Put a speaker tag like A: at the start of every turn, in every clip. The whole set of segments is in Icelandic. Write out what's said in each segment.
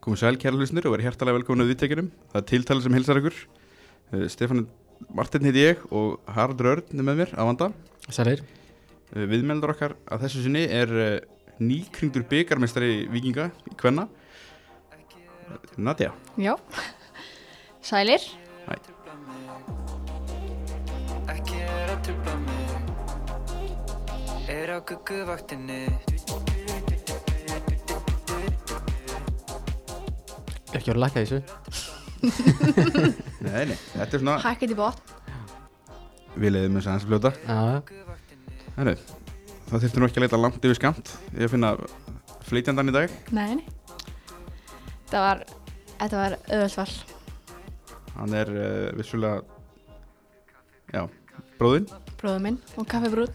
A: Komum sæl kæra lusnir og verið hjertalega velkominu að viðtekinum. Það er tiltalið sem hilsar ykkur. Uh, Stefán Martin heiti ég og Haraldur Örn er með mér að vanda.
B: Sælir
A: Uh, viðmeldur okkar að þessu sinni er uh, nýkringdur byggarmestari vikinga í Kvenna. Nadja,
C: Já, sælir.
D: Ekki er að trubla mig Er á gugguvaktinni
B: Ekki voru að lækka þessu
A: nei, nei, þetta er svona
C: Hækkið í botn.
A: við leiðum þess aðeins að fljóta.
B: Já,
A: Herru, það þurftum nú ekki að leita langt yfir skamt. Ég að finna flytjandan í dag.
C: Nei, nei. Þetta var, þetta var öðvöldval.
A: Hann er uh, vissulega, já, bróðinn.
C: Bróður minn og kaffibrúð.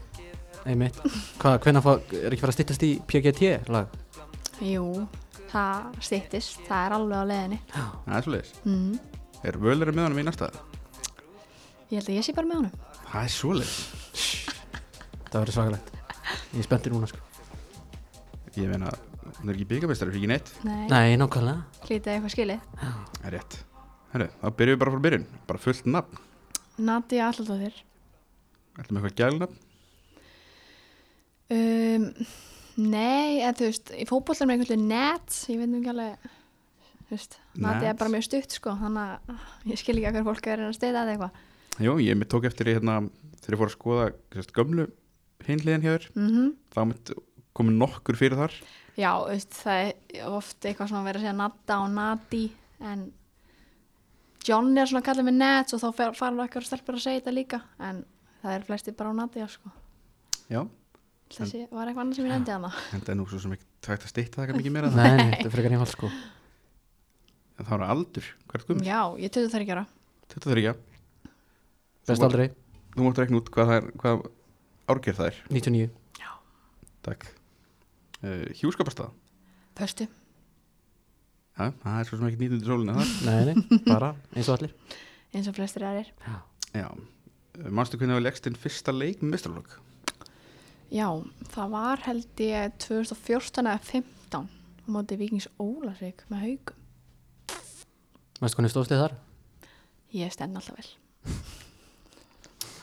B: einmitt Hvað, hvenær fá, er ekki fara að styttast í PGT lag?
C: Jú, það stýttist. Það er alveg á leiðinni.
A: Það er svoleiðis.
C: Mm.
A: Er völurinn með honum í næsta?
C: Ég held að ég sé bara með honum.
A: Það er svoleiðis.
B: Það verður svakalegt Ég er spenntur núna sko
A: Ég meina, hún er ekki byggabestari, fyrir ekki neitt
C: Nei,
B: Nei, nákvæmlega
C: hlítið eitthvað skilið.
A: Það er rétt Herru, þá byrjum við bara frá byrjun Bara fullt nafn
C: Nadia Allardóttir.
A: Ætlum við eitthvað gælnafn
C: Um, nei, eða þú veist, í fótbollum er einhvern veginn net. Ég veit nú ekki alveg, þú veist, Nadia
A: Net.
C: er bara mjög stutt sko. Þannig að ég skil ekki að hver fólk er að stýta eða eitthvað.
A: Jú, ég mitt tók eftir í hérna Þegar ég fór að skoða sérst, gömlu hinliðin hér
C: Mm
A: Þá mitt komið nokkur fyrir þar
C: Já, þú veist, það er oft eitthvað svona verið að segja Nadda og Nadi en John er svona að kalla mig Nats og þá fer, fara okkur stelpur að segja þetta líka en það er flesti bara á Nadia sko.
A: Já
C: Þessi var eitthvað annað sem ég nefndi hana
A: En það er nú svo sem ekki tægt að stýta það mikið meira en það
B: Nei, nei, þetta er frekar einfalt sko
A: En það var aldur, hvað er guðmur?
C: Já, ég töðu þær ekki ára
A: 23
B: Best aldrei,
A: Þú mátt reikna út hvað, það er, hvað árgerð það er
B: 99
A: Takk uh, Hjúskapastað
C: Pöstu
A: Já, það er svo sem ekki nýtundur sólina þar
B: Nei, nei, bara eins og allir
C: eins og flestir aðrir
A: Já Eh, Manstu hvernig við leggst inn fyrsta leik með mestralokk?
C: Já, það var held ég 2014 eða 15 á móti Víkings Ólasvík með haugum
B: Veistu hvernig stóðst þið þar?
C: Ég stend alltaf vel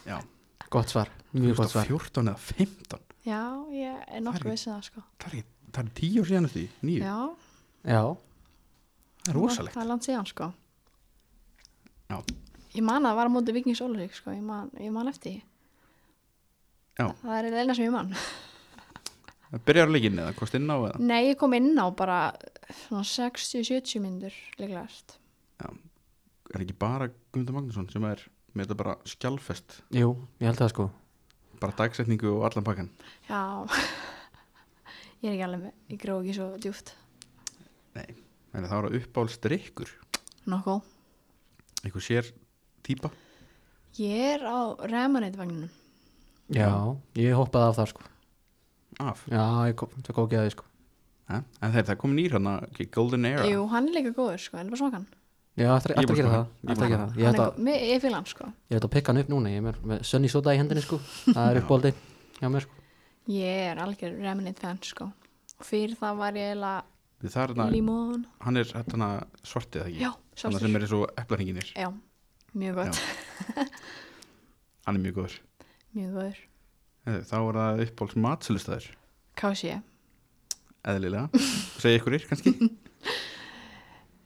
A: Já
B: Gott svar, mjög gott svar
A: 14 eða 15
C: Já, ég er
A: Það er-
C: nokkuð vissið það sko
A: það er, ekki- það er tíu ár síðan eftir því, níu,
C: Já,
B: Já,
A: það er rosalegt
C: Það er langt síðan sko
A: já,
C: Ég man að það var á móti Vikings Ólafsvík sko, ég man, ég man eftir því.
A: já,
C: Það er eina sem ég man.
A: það byrjar leikinn eða kost inn á eða
C: Nei, ég kom inn á bara svona 60-70 myndur líklegast.
A: er ekki bara Guðmundur Magnússon sem er með þetta bara skjálfest,
B: jú, ég held það sko
A: bara dagsetningu og allan pakkan
C: Já, ég er ekki alveg með, ég gróð ekki svo djúft.
A: nei, en það var uppáhaldst drikkur
C: Nokkó.
A: einhver sér típa
C: Ég er á Remanate-vagninum.
B: Já, ég hoppaði af þar sko
A: af,
B: Já, ég kom, það góð geði sko
A: ja. en þeir, það kom nýr hann að Golden Era
C: Jú, hann er líka góður sko, en bara smakan.
B: Já, ættir
A: Ég
B: að
A: búið
B: gera
A: sko.
B: það,
A: Ég
B: ættir
A: búið
B: að gera
A: sko.
B: það Ég
C: Hann
B: ætla
C: er,
B: að-
C: mér- ég fíla hann sko.
B: ég ætla að pikka hann upp núna, ég er með- með Sunny Soda í hendinni sko Það er uppbóldi hjá mér sko
C: Ég er algjör Remanate-fan sko. Fyrir það var ég eiginlega
A: Því það er þarna,
C: limón.
A: hérna, hann er þarna svartið eða ekki,
C: Já,
A: hann
C: svartur.
A: sem er eins og eplaringinir,
C: Já, mjög gott.
A: hann er mjög góður
C: Mjög góður.
A: Heyrðu, þá var það uppáhaldst matsölustæður
C: Kási ég.
A: eðlilega, segja ykkur er kannski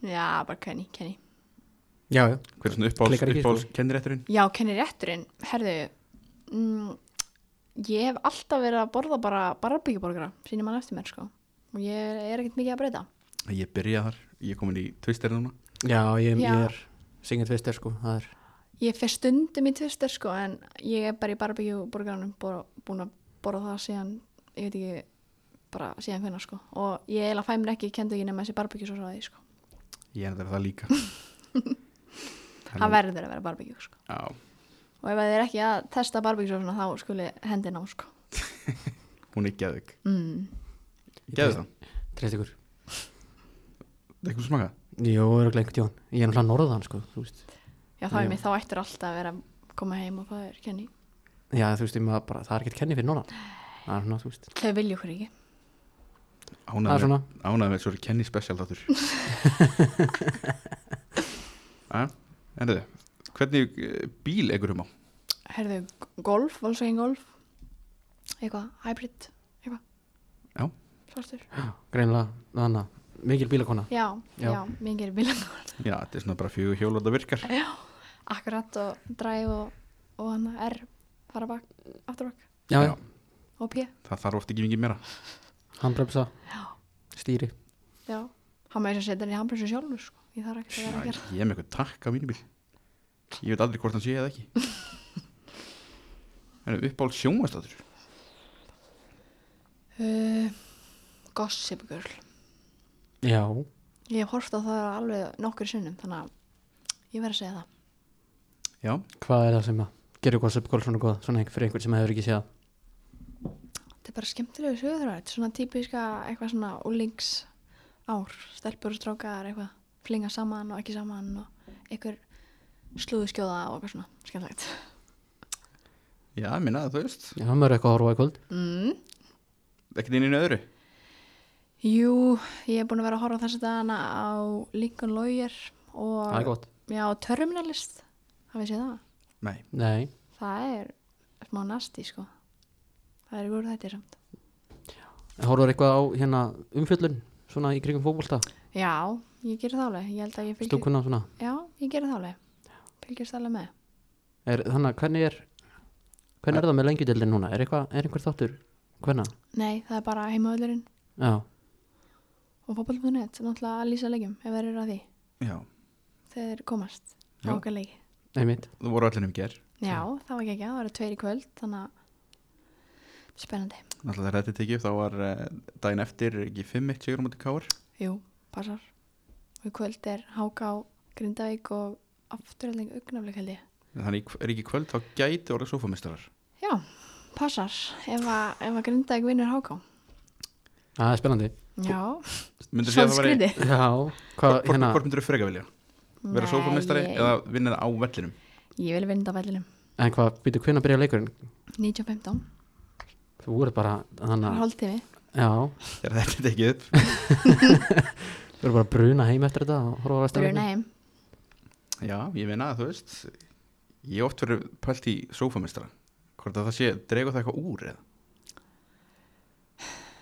C: Já, bara Kenny, Kenny.
B: Já, já,
A: hver er svona
B: Klikkar ekki, sko.
A: uppáhalds kennirætturinn
C: Já, Kenny rétturinn, herðu, mm, ég hef alltaf verið að borða bara barbíkjuborgara, sínum hann eftir mér, sko. Og ég er ekkert mikið að breyta.
A: Ég byrja þar, ég er komin í tvistir núna
B: Já, ég, ég
C: Já.
B: er singin tvistir sko, það er
C: Ég fer stundum í tvistir, sko, en ég er bara í barbíkjuborgaranum búin að borða það síðan, ég veit ekki, bara síðan hvenna, sko. Og ég eiginlega fæ mér ekki, kendu ekki nema þessi barbíkjusósa að því, sko.
A: Ég er þetta það líka Það
C: Það verður að vera barbíkjú, sko.
A: Já,
C: Og ef þið er ekki að testa barbíkjusósuna, þá skuli hendin á, sko.
A: hún er geðvig
C: Mm.
A: Geðu það,
B: treyst ykkur
A: það er eitthvað smaka
B: Jó, er ekki lengt jón, ég er náttúrulega norðan sko, þú veist
C: Já, þá
B: Já.
C: er mér, þá ættir alltaf að vera að koma heim og það er Kenny.
B: Já, þú veist, ég maður bara, það er ekkert kenni fyrir norðan Það er svona, þú veist
C: Þau vilja okkur ekki.
A: Á
B: Það er
A: Ánægð
B: svona,
A: með- ánægð með svo Kenny special þáttur Æ, En þið, Ah, hvernig eh, bíl ekur um á?
C: Herðu, golf, Volkswagen golf Eitthvað, hybrid Eitthvað
A: Já.
C: Svartur
B: greinilega, þannig að mikil bílakona
C: Já,
B: Já.
C: já, mér gerir bílangur
A: Já, þetta er svona bara fjögur hjól og það virkar
C: Akkurat og dræð og, og hann R fara bak, aftur bak
B: Já,
A: Já.
B: já.
C: og P
A: Það þarf oft ekki mikið meira
B: handbremsa, stýri
C: Já, hann maður þess að setja hann í handbremsu sjálfur sko. Ég þarf ekki að vera að
A: Æ,
C: gera
A: Ég er með eitthvað takk á mínu bíl Ég veit aldrei hvort hann sé eða ekki En uppáld sjónvastátur
C: uh, Gossip Girl
B: Já,
C: Ég hef horft á það alveg nokkur sinnum þannig að ég verð að segja það
A: Já,
B: hvað er það sem að gerir gossip girl svona góð, svona einhver fyrir einhvern sem hefur ekki séð
C: Þetta er bara skemmtilegu sögurþráð Þetta er svona típiska eitthvað svona úlings ár stelpur og strákar eitthvað flinga saman og ekki saman og einhver slúðuskjóða og eitthvað svona skemmtilegt
A: já, minna það, þú veist
B: Já, maður er eitthvað að horfa á í kvöld
C: mm.
A: Ekkert inn í nöðru
C: Jú, ég er búin að vera að horfa þess að dana á Lincoln Lawyer
B: Það er
C: og
B: gott
C: já, Terminalist hafið séð það?
A: Nei,
B: Nei,
C: Það er smá nasti sko Það er góður þetta samt
B: horfur eitthvað á hérna umfjöllun svona í kringum fótbolta,
C: Já, ég gerir það alveg, ég held að ég fylgir
B: stúkuna svona
C: Já, ég gerir það alveg, fylgjast alveg með
B: er, Þannig að hvernig er hvernig er það með lengjudeldin núna, er, eitthvað, er einhver þáttur hvernig?
C: Nei, það er bara heimaöldurinn
B: Já,
C: og fótboll.net, náttúrulega að lýsa leikjum ef það eru að því,
A: já,
C: þegar þeir komast
A: Já.
C: á okkar leiki.
B: einmitt
A: þú voru allir um ger
C: Já, það var ekki ekki, það eru tveir í kvöld þannig að spennandi
A: Alltaf þegar þetta er tekið upp, þá var eh, daginn eftir ekki 5-1 sigur á móti káar
C: Jú, passar og í kvöld er Háká, Grindavík og afturölding augnaflik held ég
A: Þannig er ekki í kvöld, þá gæti orðið sofamistrar
C: Já, passar ef að, ef að Grindavík vinnur Háká
B: Það er spennandi
C: Já,
A: Myndir
C: svona
A: væri,
C: skrýti
B: Já, hvað
A: hvort,
B: hérna
A: hvort myndir þú freka vilja? Verða sofamistari
C: ég,
A: eða vinnir á vellinum?
C: Ég vil vinna á vellinum
B: En hvað, býtu hvernig að byrja leikurinn?
C: 19.15,
B: Þú voru bara,
C: það
B: þannig
C: er
B: að,
C: hálftími
B: já,
A: Þegar þetta er tekið upp
B: þú voru bara að bruna heim eftir þetta og horfa á hérna. vestar
C: Bruna heim
A: Já, ég meina að þú veist Ég hef oft verið pælt í sofamistra Hvort að það sé, dregur það eitthvað úr eða?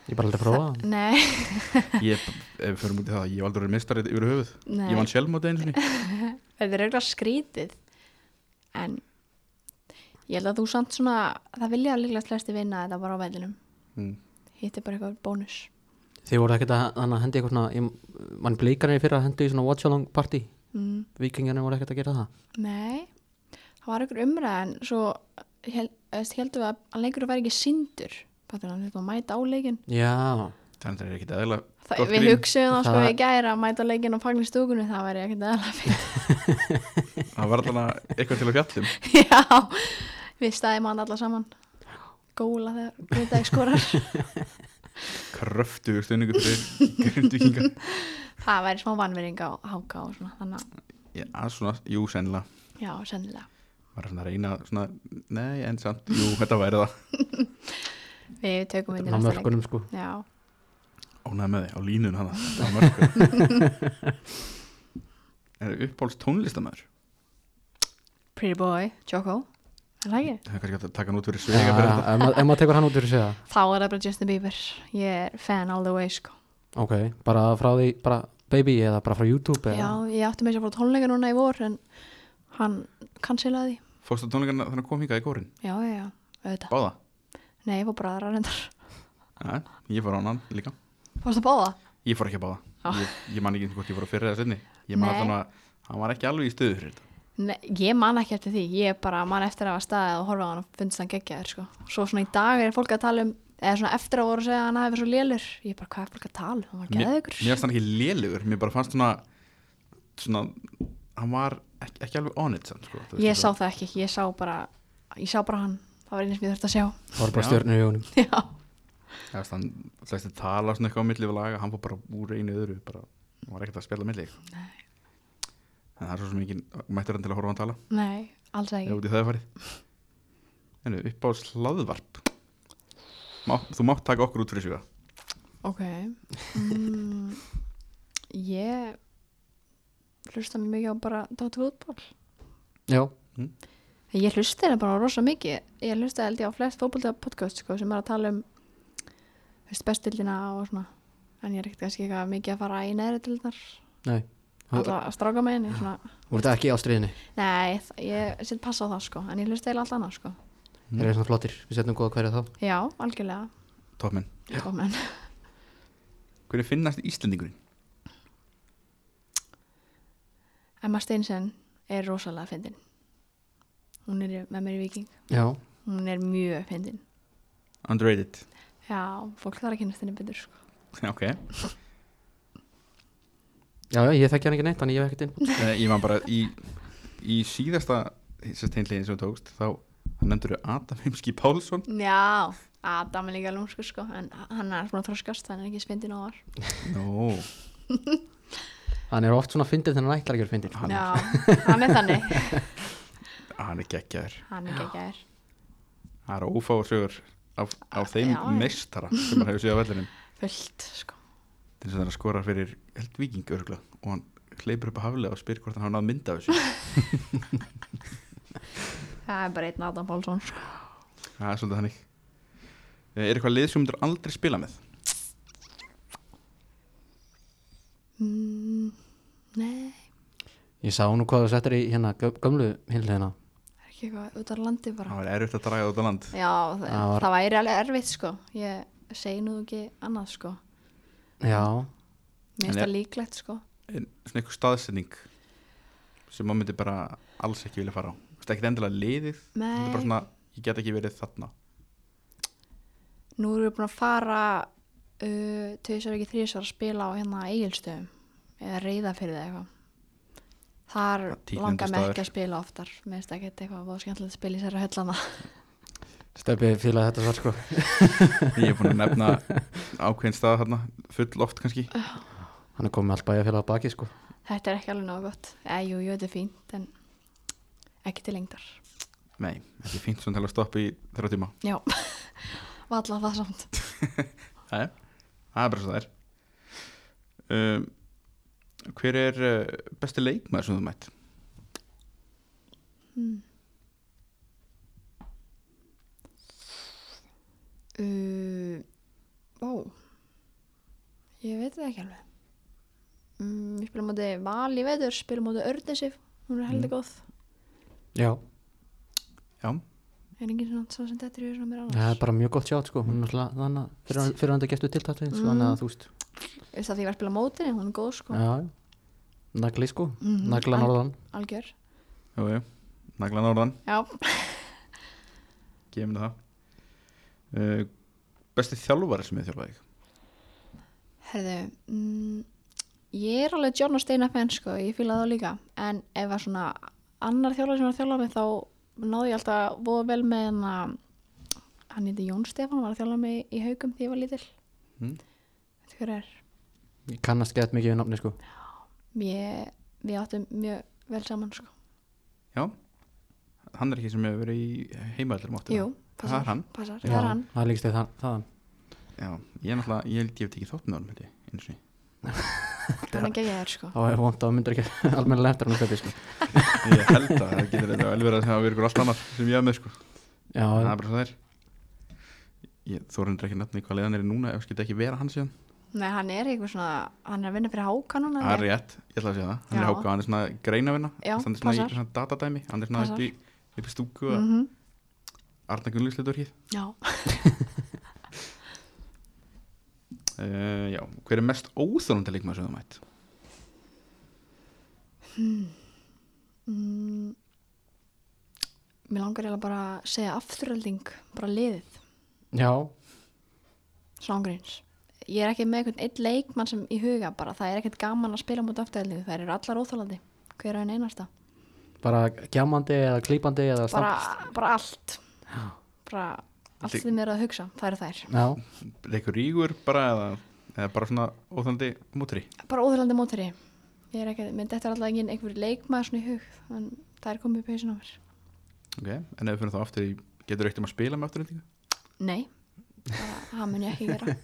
B: Ég er bara aldrei að prófa það.
C: Nei,
A: Ég, ef við förum út í það, ég hef aldrei verið mistari yfir höfuð
C: nei
A: Ég vann sjálfmóti einu sinni
C: Þetta er auðvitað skrítið en ég held að þú samt svona það vilja líklega slesti vinna þetta bara á vellinum
A: mm.
C: hitt er bara eitthvað bónus
B: Þið voru ekkert að þannig að hendi eitthvað svona ég- mann blíkarnir fyrir að hendi í svona watch along party
C: mm,
B: Vikingarnir voru ekkert að gera það
C: Nei, það var einhver umræð en svo hel, eðst, heldum við að, að leikur væri ekki sindur Fattur, hann þurfti að mæta á leikin
B: Já,
A: Þannig að það er ekkit eðla
C: Þa,
A: Gott
C: Við
A: grín.
C: hugsuðum það sko
B: Það-
C: í gæra að mæta á leikin og fagna í stúkunni það væri ekkert eðalega
A: Það var alltaf eitthvað til að fjallum
C: fyrir Já, við stæðum hann alla saman góla þegar Grindavík skorar
A: Kröftu stundingu fyrir grindvíkinga
C: það væri smá vannvering á háka og svona þannig að,
A: Já, svona, jú, sennilega
C: já, sennilega
A: Var svona að reyna, svona, nei, en samt Jú, þetta væri það
C: Við tökum
B: á
C: undir næsta leik.
B: mörkunum sko
C: Já,
A: Ánæði með þig, á línun hana á mörku. Er uppáhalds tónlistamæður?
C: Pretty Boy, Jocko, er það ekki?
A: Það er kannski hægt að taka hann út fyrir
B: Já,
A: svega fyrir þetta
B: ef ma- ef maður tekur hann út fyrir sig það
C: Þá er það bara Justin Bieber, ég er fan all the way sko.
B: Ok, bara frá því, bara baby eða bara frá YouTube
C: Já,
B: eða
C: ég átti með sér að fara á tónleika núna í vor en hann cancelaði, því.
A: Fórstu á tónleikana þannig að kom hingað í kórin?
C: já, já, já, auðvitað.
A: Báða?
C: Nei, ég fór bara aðra reyndar.
A: Já, ég fór á annan líka
C: Fórst að báða?
A: Ég fór ekki að
C: Á.
A: báða Ég, ég man ekki hvort ég fór á fyrir eða sinni Ég man
C: Nei.
A: alltaf að hann var ekki alveg í stöðu fyrir þetta
C: Nei, ég man ekki eftir því, ég bara man eftir að hafa staðið og horfa á hann og fundist hann geggjaður sko. Svo svona í dag er fólk að tala um, eða svona eftir að voru að segja að hann hafi verið svo lélur, ég bara hvað er fólk að tala, um? hann var
A: Mér mér
C: geðugur.
A: fannst hann ekki lélugur Mér bara fannst svona Svona Hann var ekki, ekki alveg on it samt, sko. Þú veist,
C: Ég sá það ekki, ég sá bara, ég sá bara hann, það var einu sem ég þurfti að sjá.
B: Það voru bara
A: Já.
B: stjörnur í hugunum
C: Já,
A: Þú veist, hann slæst að tala svona eitthvað á milli við laga, hann fór bara úr einu öðru bara, hann var ekkert að spjalla á milli Nei. en það er svo sem ekki mættur hann til að horfa á hann tala
C: nei, alls ekki.
A: eða út í það er farið en upp á slaðvarp Má, þú mátt taka okkur út fyrir sjöga
C: Ok mm, Ég hlusta mikið á bara Dóttu fútból
B: já,
C: Ég hlusta þeirra bara rosa mikið Ég hlusta held ég á flest fótbolta podcast sko, sem er að tala um þú veist, bestildina og svona en ég er ekkert kannski eitthvað mikið að fara í neðri dildar
B: nei
C: alltaf að stráka með henni svona.
B: voru þetta ekki í ástriðinni,
C: Nei, þ- ég set passa á það sko en ég hlusta eða allt annað sko
A: Mm.
B: þeir eru svona flottir við setjum góða hverja þá
C: Já, algjörlega
A: Tópminn
C: Kom, en,
A: Hvernig finnast Íslendingurinn?
C: Emma Steinsen er rosalega fyndin Hún er í- með mér í Viking
B: já,
C: Hún er mjög fyndin
A: Underrated
C: Já, fólk þarf að kynast henni betur sko.
A: Ok
B: já, já, ég þekki hann ekki neitt þannig ég hef ekkert inn
A: Nei, Eh, Ég var bara í, í síðasta steinlegin sem þú tókst þá nefndur þau Adam Heimski Pálsson
C: Já, Adam er líka lúmsku sko, en hann er svona þroskast, hann er ekki spindin á var
A: Nó,
B: hann er oft svona fyndin þegar hann ætlar ekki að vera fyndin
A: Hann-
C: Já, hann er þannig
A: hann er geggjaður
C: Hann er ekki að
A: Það eru ófáar sögur af, af þeim
C: Ah, Já, já.
A: meistara sem maður hefur séð á vellinum
C: fullt sko.
A: til þess að það er að skora fyrir held viking örgla og hann hleypur upp að haflega og spyr hvort hann hafa náð mynda af þessu
C: Það er bara einn Adam Pálsson sko.
A: Það er svolítið þannig Eh, Er eitthvað lið sem myndir aldrei spila með?
C: mm, Nei,
B: ég sá nú hvað þú settir í hérna gö- gömlu hinliðina
C: það er ekki eitthvað út af landi bara
A: Það var erfitt að draga út á land
C: Já, það,
B: Það var-
C: það væri alveg erfitt sko Ég segi nú ekki annað sko
B: já,
A: En
C: Mér finnst
A: er-
C: það líklegt sko
A: en svona einhver staðsetning sem maður myndi bara alls ekki vilja fara á Þú veist, ekkert endilega liðið þetta er bara
C: Nei.
A: svona, ég get ekki verið þarna
C: Nú erum við búin að fara uh, Tveisar ekki þrísar að spila á hérna eigilstöðum eða reyða fyrir það eitthvað Þar
A: tíðnindi
C: langar mig ekki
A: staður.
C: að spila oftar Mér finnst ekki eitthvað voða skemmtilegt að spila í sér að höllana
B: stefið fílaði þetta svar sko
A: ég er búin að nefna ákveðin stað þarna full oft kannski
B: hann er komið með allt bæjarfélag að baki sko
C: Þetta er ekki alveg náðu gott Eða, jú, jú, þetta er fínt en ekki til lengdar
A: nei, ekki fínt svona til að stoppa í þrjá tíma
C: Já, valla það samt
A: Nei, það er bara svo það er um, hver er uh, besti leikmaður sem þú mætt?
C: hmm. uh, Ó Ég veit það ekki alveg mm, Ég spila móti Val í veður spila móti Ördesif, hún er heldur
A: Mm.
C: góð
B: já,
A: já,
C: Er enginn svona svo sem þetta er í svona mér
B: það er
C: annars
B: bara mjög gott sjátt sko hún er alltaf þannig að fyrir, fyrir hann að gestu tiltættu mm.
C: Mm.
B: þannig að þú veist
C: Veist það því ég var að spila móti henni, hún er góð sko
B: já, nagli sko
C: Mhm.
B: nagla
C: Al-
B: norðan
C: Algjör
A: jú, jú naglan orðan,
C: Já,
A: gefum það uh, besti þjálfari sem ég þjálfaði þig?
C: herðu mm, Ég er alveg John og Steina fenn sko, ég fíla það líka en ef var svona annar þjálfari sem var að þjálfa mig þá náði ég alltaf voða vel með hann að hann heiti Jón Stefán, var að þjálfa mig í haugum því ég var lítil
A: Mm.
C: Veitu hver er?
B: ég kannast gett mikið við nafni sko
C: Ég, við áttum mjög vel saman sko
A: já, hann er ekki sem hefur verið í heimaðlum áttu
C: Jú,
A: Það er
C: passar,
A: hann.
C: passar,
B: Já,
C: það er hann
B: það er líkst eða þaðan
A: Já, ég er náttúrulega, ég held ég hef ekki þátt með honum held ég, einu sinni.
C: hann er geggjæður sko
B: þá er vond að það myndir ekki almennilega eftir hann þetta sko
A: Ég held að það getur þetta vel verið að það verður ykkur allt annað sem ég hef með sko.
B: já,
A: Það er bara svo það er. Ég þórindur ekki nefni hvað leiðan er í núna ef skilta ekki vera hann síðan.
C: Nei, hann er eitthvað svona, hann er að vinna fyrir háka núna
A: Það er rétt, ég ætla að segja það. Hann er
C: Já.
A: háka, hann er svona greinavinna.
C: Já,
A: hann er svona
C: passar.
A: í svona datadæmi, hann er svona
C: Passar.
A: upp í, upp í stúku og
C: mm
A: mm. Arna Gunnlýsleiturkið.
C: Já,
A: Uh, já, hver er mest óþólandi leikmaður sem þú mætt?
C: Mm, mér langar eiginlega bara að segja afturölding, bara liðið,
B: já,
C: slángriðins. Ég er ekki með einhvern einn leikmann sem í huga bara, það er ekkert gaman að spila mútið afturöldingu, þær eru allar óþálandi, hver er en einasta.
B: bara gjamandi eða klípandi eða
C: Bara,
B: stamp-
C: bara allt, bara allt sem mér er að hugsa, það eru þær.
B: já,
A: Leikur rígur bara eða, eða bara svona óþólandi mótri?
C: Bara óþálandi mótari, ég er ekki, minn þetta er alltaf enginn einhver leikmann svona í hug, þannig það er komið upp í hausin á mér.
A: Ok, en ef við fyrir þá aftur í, getur þú eitt um að spila með afturöldingu?
C: Nei, það, það mun ég ekki gera.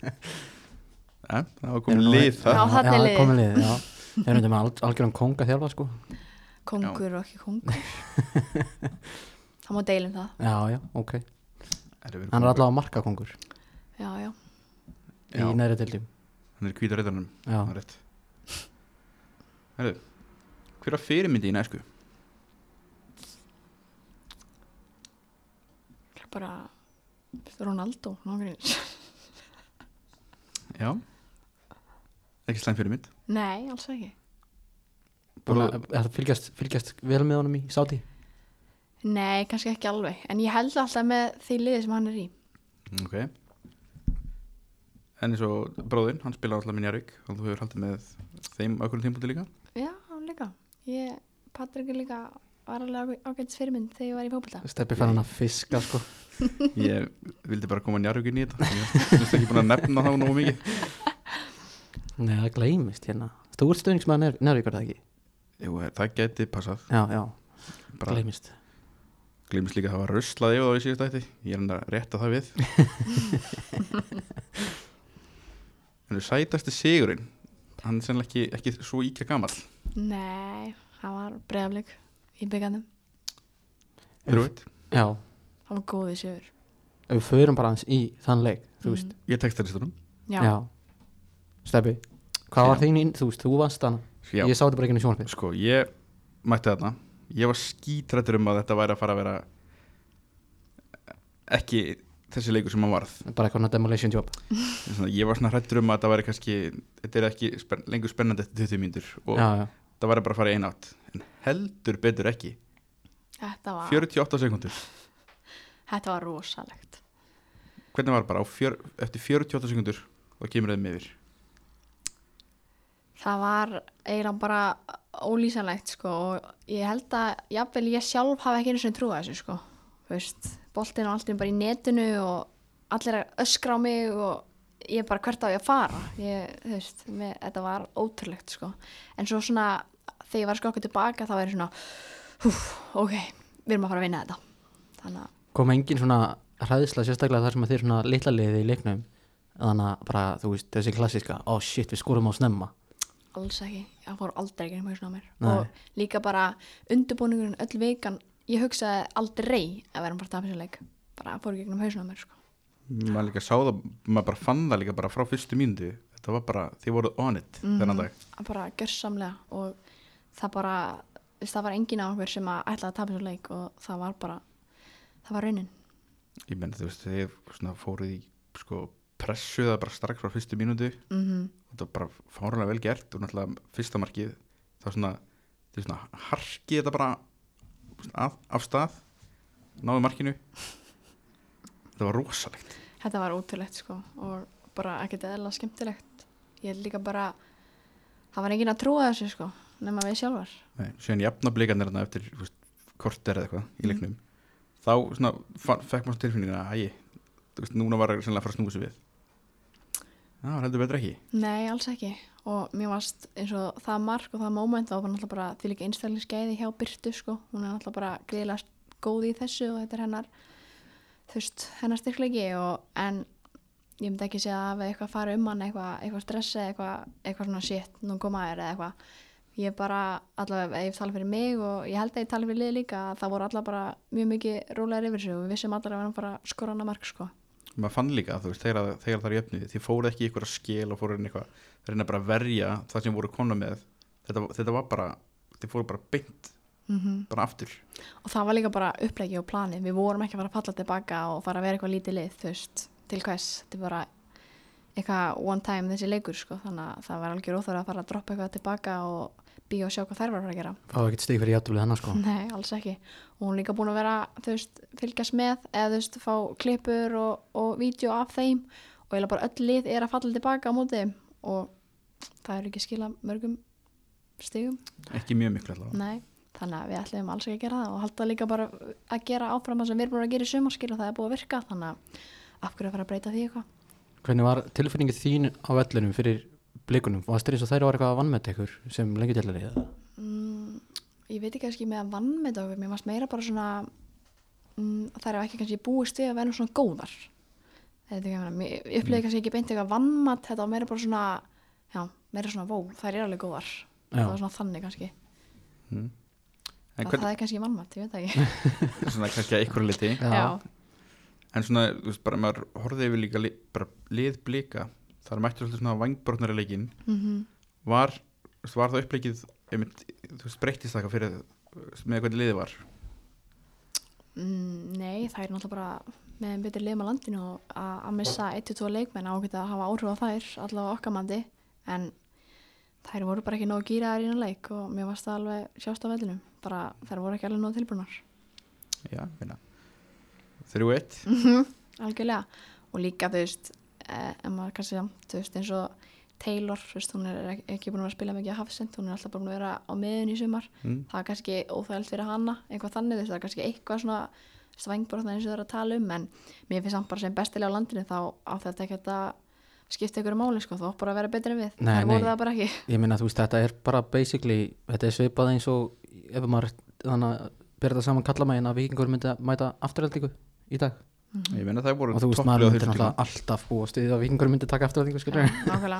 A: ja, það var komið lið
C: Já,
A: það
C: þarna er liðið.
B: komið lið, já Þeir eru þetta með alg- algjöran konga þjálfa sko
C: Kongur og ekki kongur Það má deilum það
B: Já, já, ok
A: Herri, við erum
B: Hann er
A: komin-
B: allavega markakongur
C: Já, já
B: í
A: Já.
B: næri deildum
A: hann er hvítur reyðanum
B: Já,
A: það er rétt Herru, hver að fyrirmyndi í næsku?
C: Það er bara Ronaldo nágrins.
A: Já Ekki slæm fyrirmynd
C: Nei, alls ekki
B: búin að er að fylgjast, fylgjast vel með honum í sáti
C: Nei, kannski ekki alveg En ég held alltaf með því liði sem hann er í
A: Ok En eins og bróðinn, hann spilaði alltaf minni Jarvík og þú hefur haldið með þeim okkur tímpúti líka
C: Já, hann líka ég, Patrik er líka var alveg ágætis fyrirmynd þegar ég var í fótbolta
B: Steppi fann hann að fiska sko
A: Ég vildi bara koma Jarvík inn í þetta Ég finnst ekki búin að nefna þá nógu mikið
B: Nei, það gleymist hérna Þú ert stöðningsmaður nærvíkur það ekki
A: Jú, eh, það geti passað
B: Já, já,
A: bara
B: gleymist
A: glimst líka að það var ruslað yfir þá í síðust ætti Ég er hann að rétta það við En þú sætasti sigurinn Hann er sennilega ekki, ekki svo íkja gamall
C: Nei, hann var bregðaflik í byggandum
A: Þú veit,
B: Já,
C: Hann var góðið sigur
B: ef við förum bara hans í þann leik Þú veist,
A: ég tekst það listunum
C: Mm, Já,
B: já Steppi, hvað var
A: Já.
B: þín inn, þú veist, þú vannst hann
A: Já.
B: Ég sá þetta bara ekki inn í sjónarfið
A: Sko, ég mætti þarna Ég var skítrættur um að þetta væri að fara að vera ekki þessi leikur sem hann varð
B: Bara eitthvað svona demolition job
A: Svona, Ég var svona hrættur um að þetta væri kannski þetta er ekki spen lengur spennandi eftir 20 mínútur og
B: Já, já,
A: það væri bara að fara í einn átt en heldur betur ekki
C: þetta var
A: 48 sekundur
C: Þetta var rosalegt
A: Hvernig var bara á fjör, eftir 48 sekundur og kemur þeim yfir
C: Það var eiginlega bara ólýsanlegt sko og ég held að jafnvel ég sjálf hafi ekki einu sem trúið þessu sko Þú veist, boltinn og allt er bara í netinu og allir að öskra á mig og ég bara hvert á ég að fara ég, þú veist, með, þetta var ótrúlegt sko en svo svona þegar ég var skokkuð tilbaka þá er ég svona húf, ok, við erum að fara að vinna þetta þannig að
B: kom engin svona hræðisla sérstaklega þar sem að þeir svona litla liðið í leiknum þannig að bara, þú veist, þessi klassiska oh shit, við skorum á snemma
C: alls ekki, það fór aldrei ekki um hausnum á mér
B: Nei.
C: og líka bara undirbúningurinn öll vikan, ég hugsaði aldrei að vera bara tapisleik bara fór ekki um hausnum á mér sko.
A: maður líka sá það, maður bara fann það líka bara frá fyrstu mínútu, þetta var bara þið voruð on it þennan dag
C: Að Mhm. bara görsamlega og það bara þú veist, það var engin á okkur sem að ætlaði að tapisleik og það var bara það var raunin
A: ég menn þú veist þegar svona fóruð í sko pressu það bara strax frá fyrstu mínútu
C: mm
A: þetta var bara fárlega vel gert og náttúrulega fyrsta markið það var svona, það var svona harkið þetta bara svona, af, af stað náðu markinu þetta var rosalegt
C: þetta var ótrúlegt sko og bara ekkert eðla skemmtilegt ég er líka bara það var engin að trúa þessu sko nema við sjálfar
A: Nei, síðan jafna blikarnir þarna eftir þú veist, korter eða eitthvað í leiknum þá svona fa- fekk maður tilfinningina að æ, þú veist, núna var það sennilega að fara að snúa sér við það var heldur betur ekki
C: Nei, alls ekki og mér varst eins og það mark og það moment þá var náttúrulega bara því líka einstaklingsgæði hjá Byrtu sko, hún er náttúrulega bara greiðlega góð í þessu og þetta er hennar þú veist, hennar styrklegi og en ég myndi ekki segja að við eitthvað fara um hann eitthvað, eitthvað stressa eitthvað, eitthvað svona shit, nú koma þér eða eitthvað ég bara, allavega, ef ég tala fyrir mig og ég held að ég tala fyrir lið líka að það voru allavega bara mjög mikið rólegar yfir sig og við vissum allavega að við erum bara að skora hana mark sko.
A: maður fann líka að þú veist, þegar, þegar það er jöfnið þið fóruð ekki í ykkur að skil og fóruð inn í eitthvað það reyna bara að verja það sem voru konu með þetta, þetta var bara, þið fóruð bara beint
C: mm
A: bara aftur
C: og það var líka bara upplegi og planið við vorum ekki að fara að falla tilbaka og fara að vera eitthvað lítið lið, þú veist, til hvers þetta er bara eitthvað one time þessi leikur, sko, þannig að það var algjör óþóra að fara að droppa eitthvað tilbaka og býja og sjá hvað þær var að fara að gera
B: fá ekkert stig fyrir játtöflið hennar sko
C: nei, alls ekki, og hún er líka búin að vera þú veist, fylgjast með, eða þú veist fá klippur og, og vídeo af þeim og ég bara öll lið er að falla tilbaka á móti þeim og það er ekki skila mörgum stigum
A: ekki mjög miklu allavega
C: Nei, þannig að við ætlum alls ekki að gera það og halda líka bara að gera áfram það sem við erum búin að gera í sumarskil og það er búið að virka þannig að af hverju að fara að breyta því eitthvað
B: hvernig var tilfinningi þín á vellunum fyrir blikunum, varst þér eins og þær var eitthvað að vannmett ykkur sem lengi dælar í það
C: mm, Ég veit ekki kannski með að vann með þetta okkur, mér varst meira bara svona mm, það er ekki kannski búist við að vera svona góðar þetta ekki að meina, mér- ég upplýði kannski ekki beint eitthvað vannmatt, þetta var meira bara svona, já, meira svona vó, þær eru alveg góðar,
B: Já.
C: það var svona þannig kannski,
A: Mm. En
C: en
A: hvernig,
C: það er kannski vannmatt, ég veit það ekki,
A: svona kannski að ykkur liti
C: já,
A: En svona, þú veist, bara maður horfði yfir líka li, bara lið blika þar mættur alltaf svona vangbrotnari leikinn
C: mhm,
A: var, þú veist, var það uppleikið einmitt, þú veist, breyttist það eitthvað fyrir með hvernig liðið var
C: mm, nei, það er náttúrulega bara með einn betur liðum á landinu og að að missa 1-2 leikmenn ákveða að hafa áhrif á þær, allavega okkar mandi, en þær voru bara ekki nóg gýraðar í einu leik og mér varst það alveg sjást á vellinum, bara þær voru ekki alveg nóg tilbúnar.
A: Já, meina 3-1
C: Mm. algjörlega og líka þú veist eh, en maður kannski samt, þú veist eins og Taylor, þú veist, hún er ek- ekki búin að vera að spila mikið að hafsend, hún er alltaf búin að vera á miðun í sumar,
A: mm.
C: það er kannski óþægild fyrir hana, eitthvað þannig, þú veist, það er kannski eitthvað svona svængbrotna eins og það er að tala um en mér finnst samt bara sem bestilega á landinu þá á þetta ekki að skipta ykkur máli, sko, þú átt bara að vera betri en við
B: Nei,
C: það
B: nei.
C: voru það bara ekki,
B: ég meina þú veist þetta er bara basically þetta er svipað eins og ef maður þannig að bera þetta saman kallamægin að vikingur myndi að mæta afturhaldingu í dag
A: Ég meina það voru
B: og þú veist
A: topplið á
B: maður myndi
A: þessum
B: náttúrulega alltaf búast við að vikingur myndi taka afturhaldingu skilur
C: Já,
A: tíma
C: nákvæmlega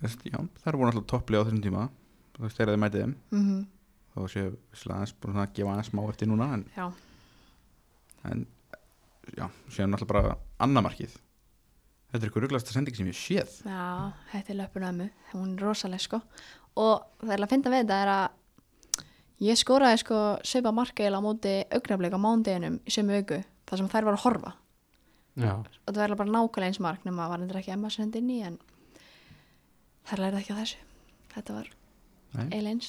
A: Þess, Já, það voru alltaf topplið á þessum tíma þú veist, þegar þið mætið þeim
C: mm
A: þá séu vissulega aðeins búin að gefa aðeins smá eftir núna en,
C: já,
A: en já, séu náttúrulega bara annamarkið Þetta er ykkur ruglasta sending sem ég hef séð
C: Já, þetta er löpunömmu, hún er rosaleg sko og það er að finna við þetta er að ég skoraði sko svipa markaðil á móti augnablik á mándeginum í sömu viku þar sem þær var að horfa
B: já,
C: og það var eiginlega bara nákvæmlega eins mark nema var þetta ekki emma send inn í en þær lærið ekki á þessu þetta var
A: Nei.
C: eiginlega eins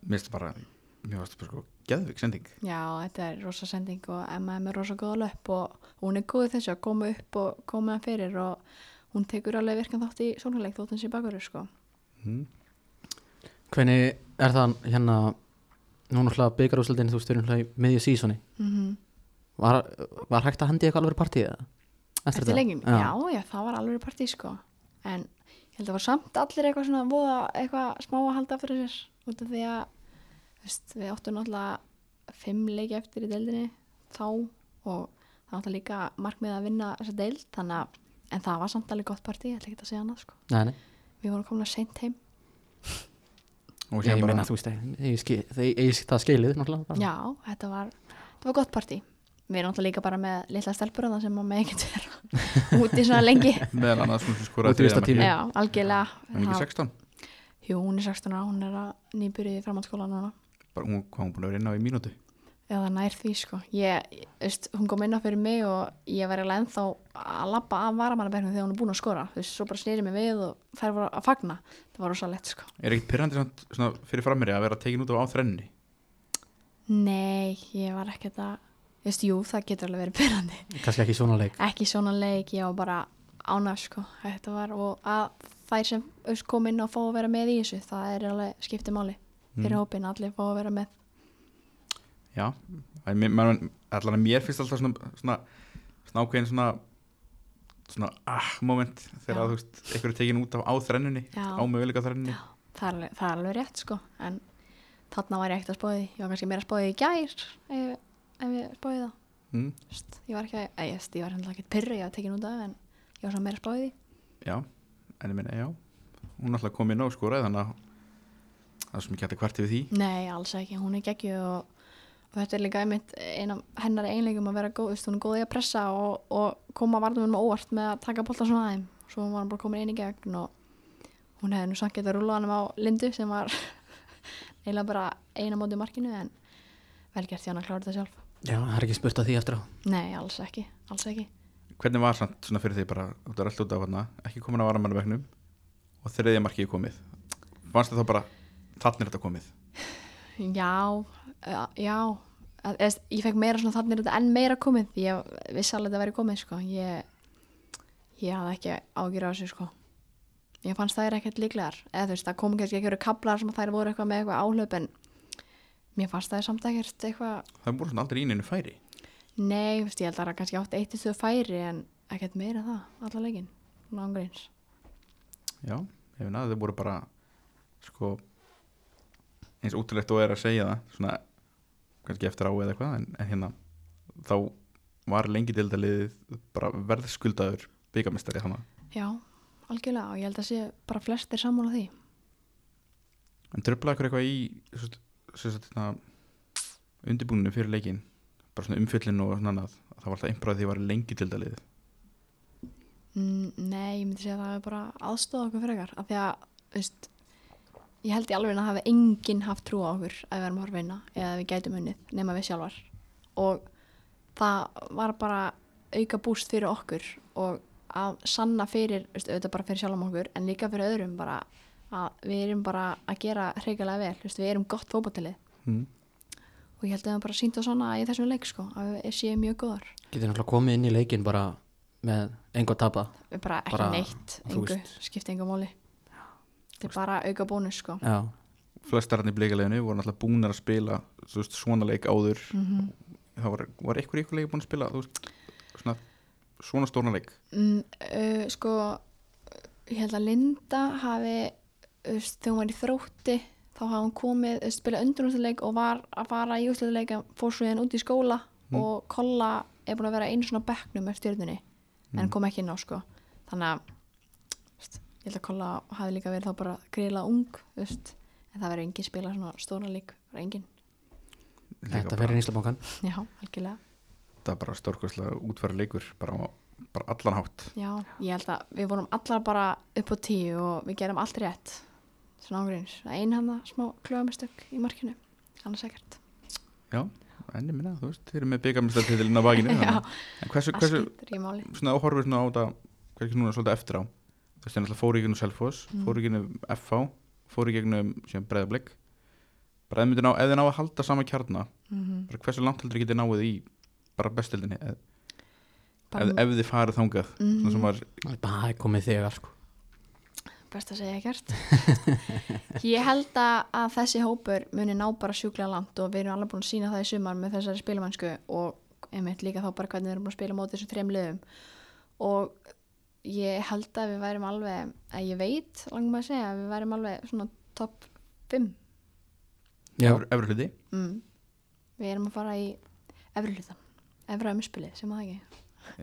A: Mér finnst það bara, mér finnst það bara sko geðvik sending
C: Já, þetta er rosa sending og Emma er með rosa góða löpp og hún er góð í þessu að koma upp og koma hann fyrir og hún tekur alveg virkan þátt í sónuleik þótt hans í bakurur sko
A: mm.
B: hvernig er það hérna núna hlað byggarúsleldin þú styrir hlað í miðju sísoni
C: mm
B: var, var hægt að hendi eitthvað alveg partíð eða?
C: Eftir, lengjum, já. já, það var alveg partí sko En ég held að það var samt allir eitthvað svona voða eitthvað smá að halda aftur af sér Út af því að þú veist, við áttum náttúrulega fimm leiki eftir í deildinni þá og það átti líka markmið að vinna þessa deild þannig að, en það var samt alveg gott partí, ég ætla ekki að segja annað sko
B: Nei, nei.
C: Við vorum komin að seint heim
A: Og
B: Ég,
A: síðan
B: ég
A: bara-
B: meina þú veist ég, skil, ég, ég, það skilið náttúrulega bara.
C: Já, þetta var, þetta var gott partí Við erum náttúrulega líka bara með litla stelpur þarna sem maður með ekkert vera úti svona lengi
A: meðal annars hún sem skoraði
B: Út í
A: þriðja
B: vistartími.
A: markið.
C: Já, algjörlega
A: en ekki
C: Það-
A: 16
C: Jú, hún er 16 ára, hún er að nýbyrja í framhaldsskóla núna.
A: bara hún hvað hún búin að vera inn á í mínútu
C: Eða nær því, sko. Ég, ég- veist, hún kom inn á fyrir mig og ég var eiginlega ennþá að labba af varamannabergnum þegar hún er búin að skora. Þú veist, svo bara snýri mig við og þær voru að fagna. Það var rosa lett, sko.
A: er ekkert pyrrandi samt, svona, fyrir frammeiri að vera tekin út á á þrenni
C: Nei, ég var ekkert að, þú veist, jú, það getur alveg verið byrjandi.
B: kannski ekki í svona leik
C: Ekki svona leik, ég var bara ánæg, sko. Þetta var, og að þær sem þú veist, kom inn og fá að vera með í þessu, það er alveg skiptið máli fyrir
A: Mm.
C: hópinn, allir fá að vera með.
A: já, En mér- maður- allan að mér finnst alltaf svona, svona, svona ákveðin svona svona ah moment þegar
C: Já.
A: að, þú veist einhver er tekin út á, á þrennunni
C: Já.
A: á möguleika þrennunni
C: það er, alveg- það er alveg rétt sko en þarna var ég ekkert að spóði ég var kannski meira að spóði í gær ef, ef ég spóði það
A: mm,
C: Vist, ég var ekki að, eða, ég, veist, ég var hendur ekki pyrru ég var tekin út af en ég var svona meira að spóði því
A: já, en ég minna já hún alltaf kom inn á skoraði þannig að það er sem ekki hægt að kvarti við því
C: nei, alls ekki, hún er geggju og, og þetta er líka einmitt ein af hennar einleikum að vera góð, þú veist, hún er góð í að pressa og, og koma varnumum óvart með að taka bolta svona aðeim svo hún var bara komin inn í gegn og hún hefði nú samt getað rúlaðanum á Lindu sem var eiginlega bara eina móti markinu en vel gert ég hann að klára þetta sjálf
B: já, það er ekki spurt að því eftir á
C: Nei, alls ekki, alls ekki.
A: hvernig var samt svona fyrir því bara þú er alltaf út af hana, ekki komin á varamannabæknum og þriðja markið komið fannst það þá bara, þannig er þetta komið
C: Já, eh, já, að, eða, ég fekk meira svona þannig er þetta enn meira komið. Ég vissi alveg að þetta væri komið, sko. Ég, ég hafði ekki ágjur á þessu, sko. Ég fannst þær ekkert líklegar. Eða þú veist, það kom kannski ekki verið kaplar sem að þær voru eitthvað með eitthvað áhlaup, en mér fannst þær samt ekkert eitthvað,
A: það voru svona aldrei í neinu færi
C: nei, þú veist, ég held að það kannski átt eitt í þau færi, en ekkert meira en það, allar leikinn, svona ángreins.
A: já, ég finna að þau voru bara sko eins útilegt og er að segja það svona kannski eftir á eða eitthvað en, en hérna þá var lengi deildaliðið bara verðskuldaður byggamistari hana
C: já, algjörlega og ég held að sé bara flestir sammála því
A: en tröflaði ykkur eitthvað í sem sagt- sem sagt, hérna, undirbúinu fyrir leikin bara svona umfyllin og svona annað það var alltaf einbrað því að ég var lengi deildaliðið
C: Mm, Nei, ég myndi segja að það hefur bara aðstóða okkur frekar af því að, þú veist ég held í alveg að það hefði enginn haft trú á okkur að við erum að horfinna eða að við gætum unnið nema við sjálfar og það var bara auka búst fyrir okkur og að sanna fyrir, þú veist, auðvitað bara fyrir sjálfum okkur en líka fyrir öðrum bara að við erum bara að gera hreikilega vel, þú veist, við erum gott fótballið
A: mm.
C: og ég held að það bara sínt á svona í þessum leik sko, að við séum mjög góðar
B: Getur náttúrulega komið inn í leikin bara með engu að tapa
C: Við bara ekki
B: Bara,
C: neitt,
B: þú
C: engu,
B: veist.
C: skipti engu móli þetta er bara auka bónus sko
B: Já,
A: flestarinn í bleikaleginu voru náttúrulega búnar að spila þú veist, svona leik áður
C: Mhm.
A: það var, var eitthvað eitthvað leik búin að spila þú veist, svona, svona stórna leik
C: mm, uh, sko ég held að Linda hafi þú veist, þegar hún var í þrótti þá hafi hún komið, þú veist, spilað undrunumstæðleik og var að fara í úsleðleik en fór svo hérna út í skóla
A: Mm.
C: og Kolla er búin að vera einu svona bekknum með stjörnunni
B: Mm.
C: en kom ekki inn á sko þannig að þú veist, ég held að Kolla hafi líka verið þá bara gríla ung þú veist, en það verið engin spila svona stóra leik, bara engin
A: Líka
B: þetta
A: bara-
B: fyrir nýslabankan
C: já, algjörlega
A: þetta er bara stórkvæslega útfæra leikur bara, á- bara allan hátt
C: Já, ég held að við vorum allar bara upp á tíu og við gerum allt rétt svona ágríns, ein hann að smá klöfamistök í markinu, annars ekkert
A: já, enni minna, þú veist, þeir eru með byggamestartitilinn á bakinu þannig
C: Já,
A: að- en hversu,
C: það
A: hversu
C: skiptir í máli
A: svona áhorfið svona á þetta hversu núna svolítið eftir á þú veist, þannig að fóru í gegnum Selfoss,
C: Mm.
A: fóru í gegnum FH fóru í gegnum sem breðablik bara ef þið myndu ná- ef þið ná að halda sama kjarna
C: mm
A: bara hversu langt heldur þið getið náið í bara bestildinni ef,
C: bara,
A: ef, ef þið farið þangað svona sem
C: mhm,
A: var
B: Það er komið þegar sko
C: best að segja ekkert Ég held að, að þessi hópur muni ná bara sjúklega langt og við erum alveg búin að sína það í sumar með þessari spilamennsku og einmitt líka þá bara hvernig við erum búin að spila móti þessu þrem liðum og ég held að við værum alveg, að ég veit langum að segja, að við værum alveg svona topp 5
B: Já,
A: efri- efri hluti
C: mm. Við erum að fara í efri hlutan, efra umspilið sem það ekki,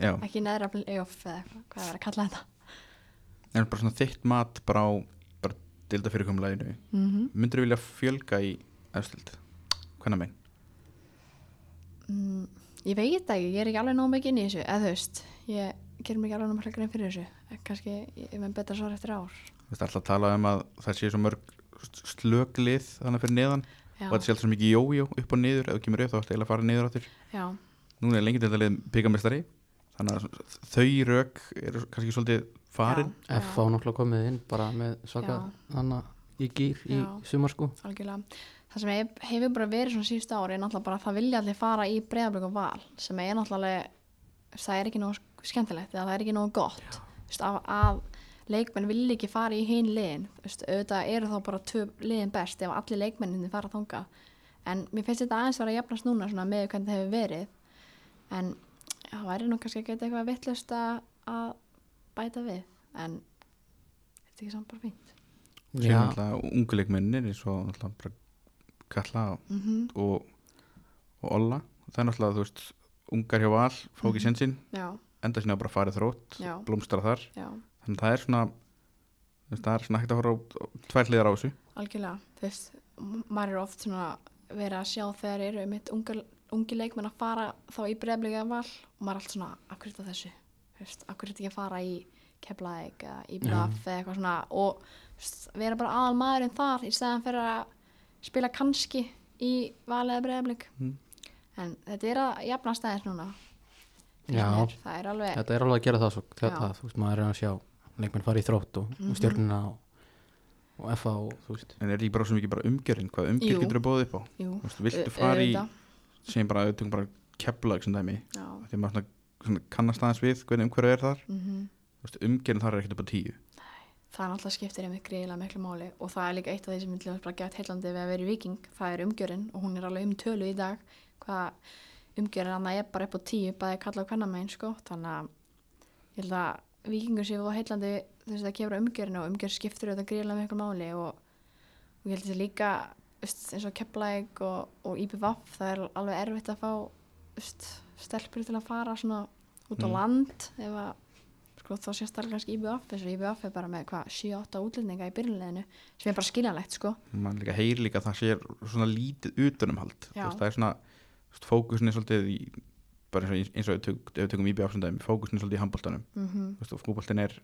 A: já,
C: ekki neðra playoff eða eitthvað, hvað er að kalla þetta
A: en bara svona þitt mat bara á bara dilda fyrirkomlæginu
C: mm
A: myndur þú vilja fjölga í efstild hvernig megin?
C: Mm, ég veit það ekki, ég er ekki alveg nóg mikið inn í þessu, eða þú veist, ég ger mér ekki alveg náttúrulega grein fyrir þessu, En kannski ég er með betra svar eftir ár.
A: Þú veist, alltaf að tala um að það sé svo mörg slöglið þannig fyrir neðan
C: Já,
A: og þetta sé alltaf svo mikið jójó upp og niður ef þú kemur upp þá ertu eiginlega að fara niður áttur
C: já,
A: núna er lengi dilda liðin byggamestari þannig að þau rök eru kannski svolítið farin
C: Já.
B: F á náttúrulega komið inn bara með svaka þannig í gýr í
C: Já.
B: sumar sko
C: algjörlega. Það sem hef- hefur bara verið svona síðustu ári er náttúrulega bara að það vilja allir fara í breyðablík og val, sem er náttúrulega, það er ekki nógu skemmtilegt eða það er ekki nógu gott, þú veist, að, að leikmenn vilja ekki fara í hinn liðin, þú veist, auðvitað eru þá bara tvö liðin best ef allir leikmenninni fara þangað, en mér finnst þetta aðeins vera að jafnast núna svona með hvernig það hefur verið, en það væri nú kannski að geta eitthvað vittlust að bæta við en þetta er ekki samt bara fínt
A: sér alltaf unguleikmennir eins og alltaf bara kalla
C: mm
A: og, og olla það er náttúrulega þú veist ungar hjá val, fá ekki
C: Mhm.
A: sensinn
C: já,
A: enda sinna bara farið þrótt,
C: já,
A: blómstra þar
C: já,
A: þannig að það er svona þú veist, það er svona hægt að horfa á á tvær hliðar á þessu
C: algjörlega þú veist, m- maður er oft svona verið að sjá þegar eru mitt ungar, ungi leikmenn að fara þá í breyflega val og maður er allt svona, akkur er þetta þessu þú veist, akkur er þetta ekki að fara í keflaðik eða í blaf eða eitthvað svona og þú veist, vera bara aðal maðurinn þar í stæðan fyrir að spila kannski í val eða breyfleg
A: Mm.
C: en þetta er að jafna stæðis núna
B: Já,
C: Finnst mér. það er alveg
B: þetta er alveg að gera það svo þetta,
C: Eh. Já. Mhm.
B: þú veist, maður er að sjá leikmenn fara í þrótt og, og stjórnina og, og F á, þú veist
A: en er ekki bara svo mikið bara umgjörinn hvað
C: Jú.
A: umgjörn getur að bóða upp á
C: jú,
A: Þú veist, viltu
C: au-
A: fara í,
C: auðvitað.
A: segjum bara, við tökum bara keflag sem dæmi,
C: já,
A: því maður svona, svona kannast aðeins við hvernig umhverju er þar
C: mhm
A: Þú veist, umgjörn þar er ekkert upp á tíu
C: það er náttúrulega skiptir einmitt greiðilega miklu máli og það er líka eitt af því sem myndi bara gett heillandi við að vera í viking, það er umgjörinn og hún er alveg um tölu í dag hvað umgjörinn hann er bara upp á tíu bæði kalla og hvernig megin sko þannig að ég held að vikingur séu og heillandi þess að það kemur á umgjörinn og umgjörn skiptir auðvitað greiðilega miklu máli og, og ég held þessi líka veist, eins og keplæk og, og IPVAF það er alveg erfitt að fá veist, stelpur til að fara svona út á
A: Mm.
C: land ef að sko þá sést það kannski IBF þess að IBF er bara með hvað 7-8 útlendinga í byrjunleginu sem er bara skiljanlegt sko
A: mann líka heyri líka að það sé svona lítið utanumhald Þú
C: Já.
A: veist, það er svona þú veist, fókusin er svolítið í bara eins og, eins og við tök, ef við tökum íbjöf sem dæmi fókusin er svolítið í handbóltanum
C: mm
A: og fútboltin er,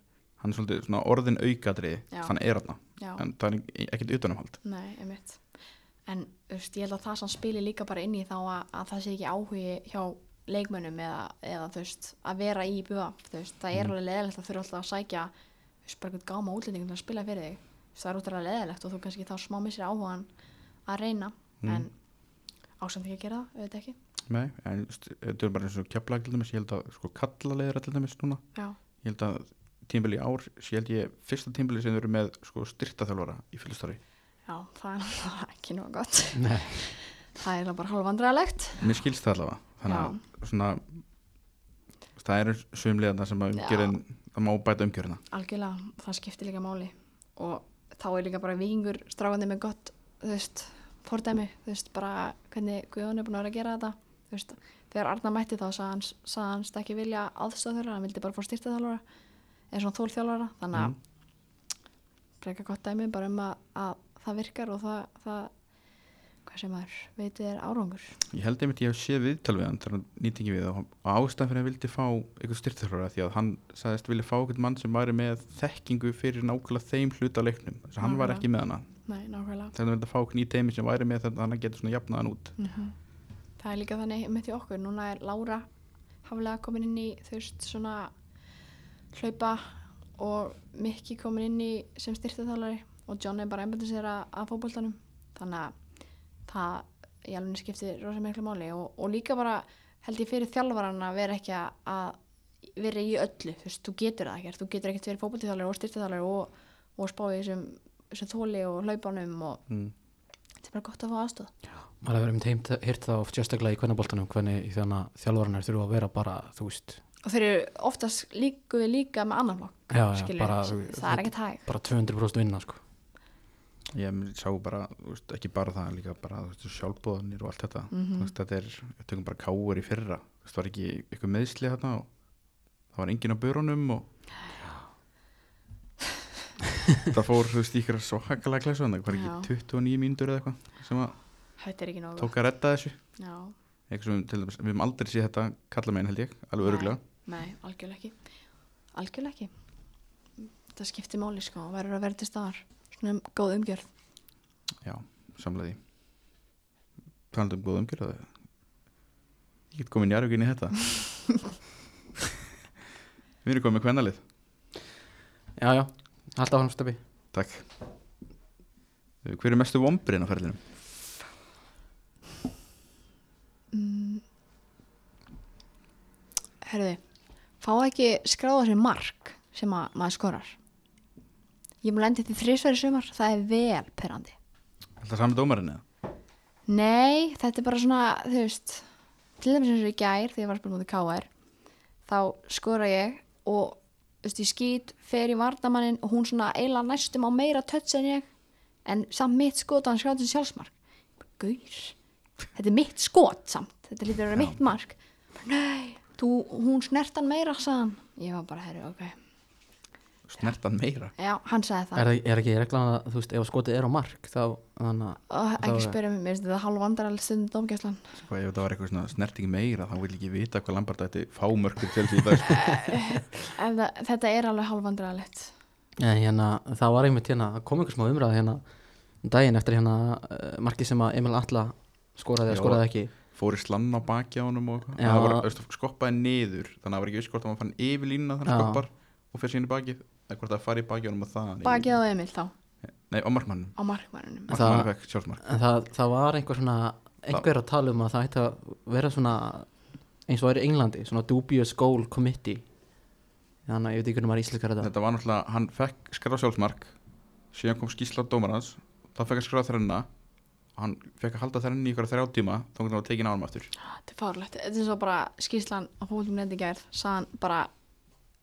A: hann er svolítið svona orðin aukadri
C: Já.
A: þannig er hann
C: já,
A: en það er ekkert utanumhald
C: nei, einmitt en þú veist, ég held að það sem spili líka bara inn í þá að, að það sé ekki áhugi hjá leikmönnum eða, eða þú veist að vera í IBF, þú veist, það er
A: Mm.
C: alveg leðilegt að þurfa alltaf að sækja þú veist, bara eitthvað gáma útlendingum til að spila fyrir þig Þú veist, það er útrúlega leðilegt og þú kannski þá smá missir áhugan að reyna
A: Mm.
C: en ásamt ekki að gera það, auðvitað ekki
A: Nei, en þú veist, þetta er bara eins og kepla til dæmis, ég held að sko kalla leiðir til dæmis núna,
C: já,
A: ég held að tímbili ár, sé held ég fyrsta tímbili sem þau eru með sko styrtaþjálfara í fylgstari
C: já, það er náttúrulega ekki nóg gott
B: Nei.
C: það er bara hálfandræðilegt
A: mér skilst það allavega, þannig að svona það eru sumliðarna sem að
C: Já.
A: umgjörðin, það má bæta umgjörðina
C: algjörlega, það skiptir líka máli og þá er líka bara vikingur stráðandi með gott, þú veist fordæmi, þú veist, bara hvernig Guðjón er búin að vera að gera þetta þú veist, þegar Arna mætti þá sagði hans, sagði hans ekki vilja aðstöð þeirra, hann vildi bara fór styrta þjálfara eða svona þólþjálfara, þannig að
A: Mm.
C: breyka gott dæmi bara um að, að það virkar og það, það hvað sem maður veitir er árangur
A: Ég held einmitt ég hef séð viðtal við hann þegar hann nýtti ekki við og ástæðan fyrir að hann vildi fá eitthvað styrtþjálfara því að hann sagðist vilja fá eitthvað mann sem væri með þekkingu fyrir nákvæmlega þeim hluta af leiknum þess að hann var
C: Nákvæmlega.
A: ekki með hana
C: Nei, nákvæmlega
A: þegar hann vildi fá eitthvað í teimi sem væri með þetta hann getur svona jafnaðan út
C: Mhm. Það er líka þannig með því okkur, núna er Lára haflega komin inn í þú veist svona hlaupa og Mikki komin inn í sem styrtaþjálari og John er bara einbættur sér að, að fótboltanum þannig að það í alveg skiptir rosa miklu máli og, og líka bara held ég fyrir þjálfaran að vera ekki að, að vera í öllu, þú veist, þú getur það ekkert þú getur ekkert verið fótboltanþjálari og styrtaþjálari og, og spá í þessum, þessum þóli og hlaupanum og
A: mm.
C: þetta er bara gott að fá aðstöð
B: maður hefur einmitt heimt hýrt það oft sérstaklega í kvennaboltanum hvernig þannig að þjálfaranar þurfa að vera bara þú veist,
C: og þeir eru oftast líku við líka með annan flokk
B: já, já,
C: skilur,
B: bara,
C: það er ekkert hæg
B: bara 200% vinna sko.
A: Ég sá bara, þú veist, ekki bara það líka bara þú veist, sjálfbóðanir og allt þetta
C: Mhm.
A: þú veist, þetta er, við tökum bara káur í fyrra þú veist, var ekki eitthvað meðsli þarna og það var enginn á börunum og það fór, þú veist, ykkur svakalega klæsu þannig, var
C: Já.
A: ekki 29 mínútur eða eitthvað sem að
C: þetta er ekki nógu
A: tók að redda þessu
C: já,
A: eitthvað sem við, til dæmis, við hefum aldrei séð þetta kalla meginn held ég, alveg öruglega
C: nei, algjörlega ekki algjörlega ekki það skiptir máli sko og verður að vera til staðar svona um, góð umgjörð
A: já, samlega því talandum um góð umgjörðu ég get komin jarugin í þetta við erum komin með kvennalið
B: já, já, alltaf hann stefi
A: Takk Eh, Hver er mestu vombriðin á ferðinum?
C: mm. herruði fá ekki skráða sér mark sem að, maður skorar ég mun lendið því þrísverið sumar það er vel perandi
A: Alltaf sami dómarinn eða?
C: Nei, þetta er bara svona, þú veist, til dæmis eins og í gær þegar ég var að spila mútið KR, þá skora ég og, þú veist, ég skýt, fer í vardamannin og hún svona eila næstum á meira tötts en ég, en samt mitt skot og hann skráði sem sjálfsmark. Ég bara, Gaur, þetta er mitt skot samt, þetta lítur að vera
A: Já.
C: mitt mark. Bara, Nei, þú, hún snert hann meira, sagði hann. Ég var bara, herru, ok.
A: Snertan meira
C: Já, hann sagði það.
B: er, er ekki reglan að þú veist, ef skotið er á mark þá, þannig að
C: Og
B: Það
C: ekki
B: var-
C: spyrja mig, mér finnst þetta hálfvandrarall stundum dómgæslan.
A: Sko ef það var eitthvað svona snerting meira þá vil ég ekki vita hvað Lambert ætti fámörkur til því það sko.
C: En það- Þetta er alveg hálfvandrarallett.
B: En hérna, það var einmitt hérna, það kom einhver smá umræð hérna daginn eftir hérna eh, markið sem að Emil Atla skoraði eða
A: Já.
B: skoraði ekki.
A: Fór í slann á baki á honum og eitthvað
B: Já.
A: Það var östu, skoppaði niður Þannig að það var ekki viss hvort að maður fann yfir línuna þannig
B: Já.
A: að skoppar og fyrir síðan í baki eða hvort það fari í baki á honum og það
C: Bakið á Emil þá,
A: Nei, á markmannum
C: á markmannunum.
B: Það-
A: Markmannum fekk sjálfsmark
B: En það, það var einhver svona, einhver að tala um að það ætti að vera svona eins og það er í Englandi, svona dubious goal committee. Þannig að ég veit ekki hvernig maður íslenskar þetta.
A: Þetta var náttúrulega, hann fekk skráð sjálfsmark síðan kom skýrsla dómarans þá fekk hann skráð þrenna og hann fekk að halda þrenni í ykkur þrjá tíma þá hann var tekin á hann aftur
C: Ah, Þetta er fárlegt. Þetta er eins og bara skýrslan á fólkum nefndi gær, saðan bara,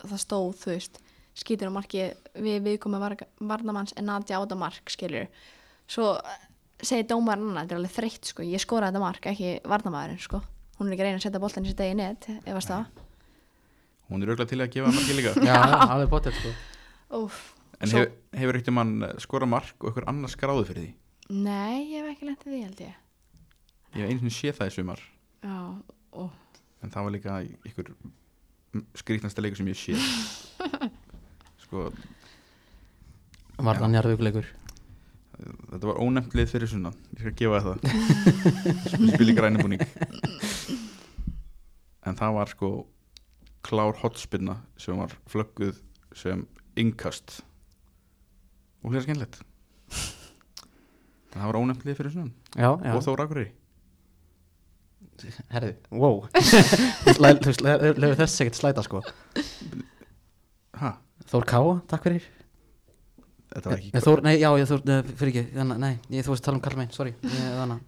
C: það stóð, þú veist, skýtir á markið við viðkomið varnamanns en Nadja áta mark, skiljur. Svo eh, segir dómarinn annað, þetta er alveg þreytt, sko, ég skoraði þetta mark, ekki varnamaðurinn, sko. hún er ekki að reyna að setja boltan í sitt degi net ef að staða
A: Hún er auðvitað til að gefa marki líka
B: Já, alveg bóttið sko
C: Úf,
A: En
C: Svo-
A: hefur, hefur ekkert um hann skora mark og einhver annars skráði fyrir því
C: nei, ég hef ekki lent í því held ég
A: Ég hef einu sinni séð það í sumar
C: Já, og
A: En það var líka ykkur skrýtnasta leikur sem ég séð Sko,
B: Var
A: Já.
B: það njarðvíkuleikur
A: þetta var ónefnt lið fyrir sunnan Ég skal gefa þér það Sem Spil í grænubúning En það var sko klár hotspinna sem var flögguð sem innkast og hlera skemmtilegt En það var ónefnt lið fyrir sunnan
B: Já, já
A: og Þóra Akureyri
B: Herði, wow Slæ- Þú veist, le- lefur þess ekkert slæta sko
A: ha,
B: Þór Káa, takk fyrir
A: þetta var ekki
B: Ég- Þór, nei, já, ég Þór, nei, fyrir ekki þannig, Nei, ég þú veist að tala um Karl Mein, sorry Ég, þannig, að-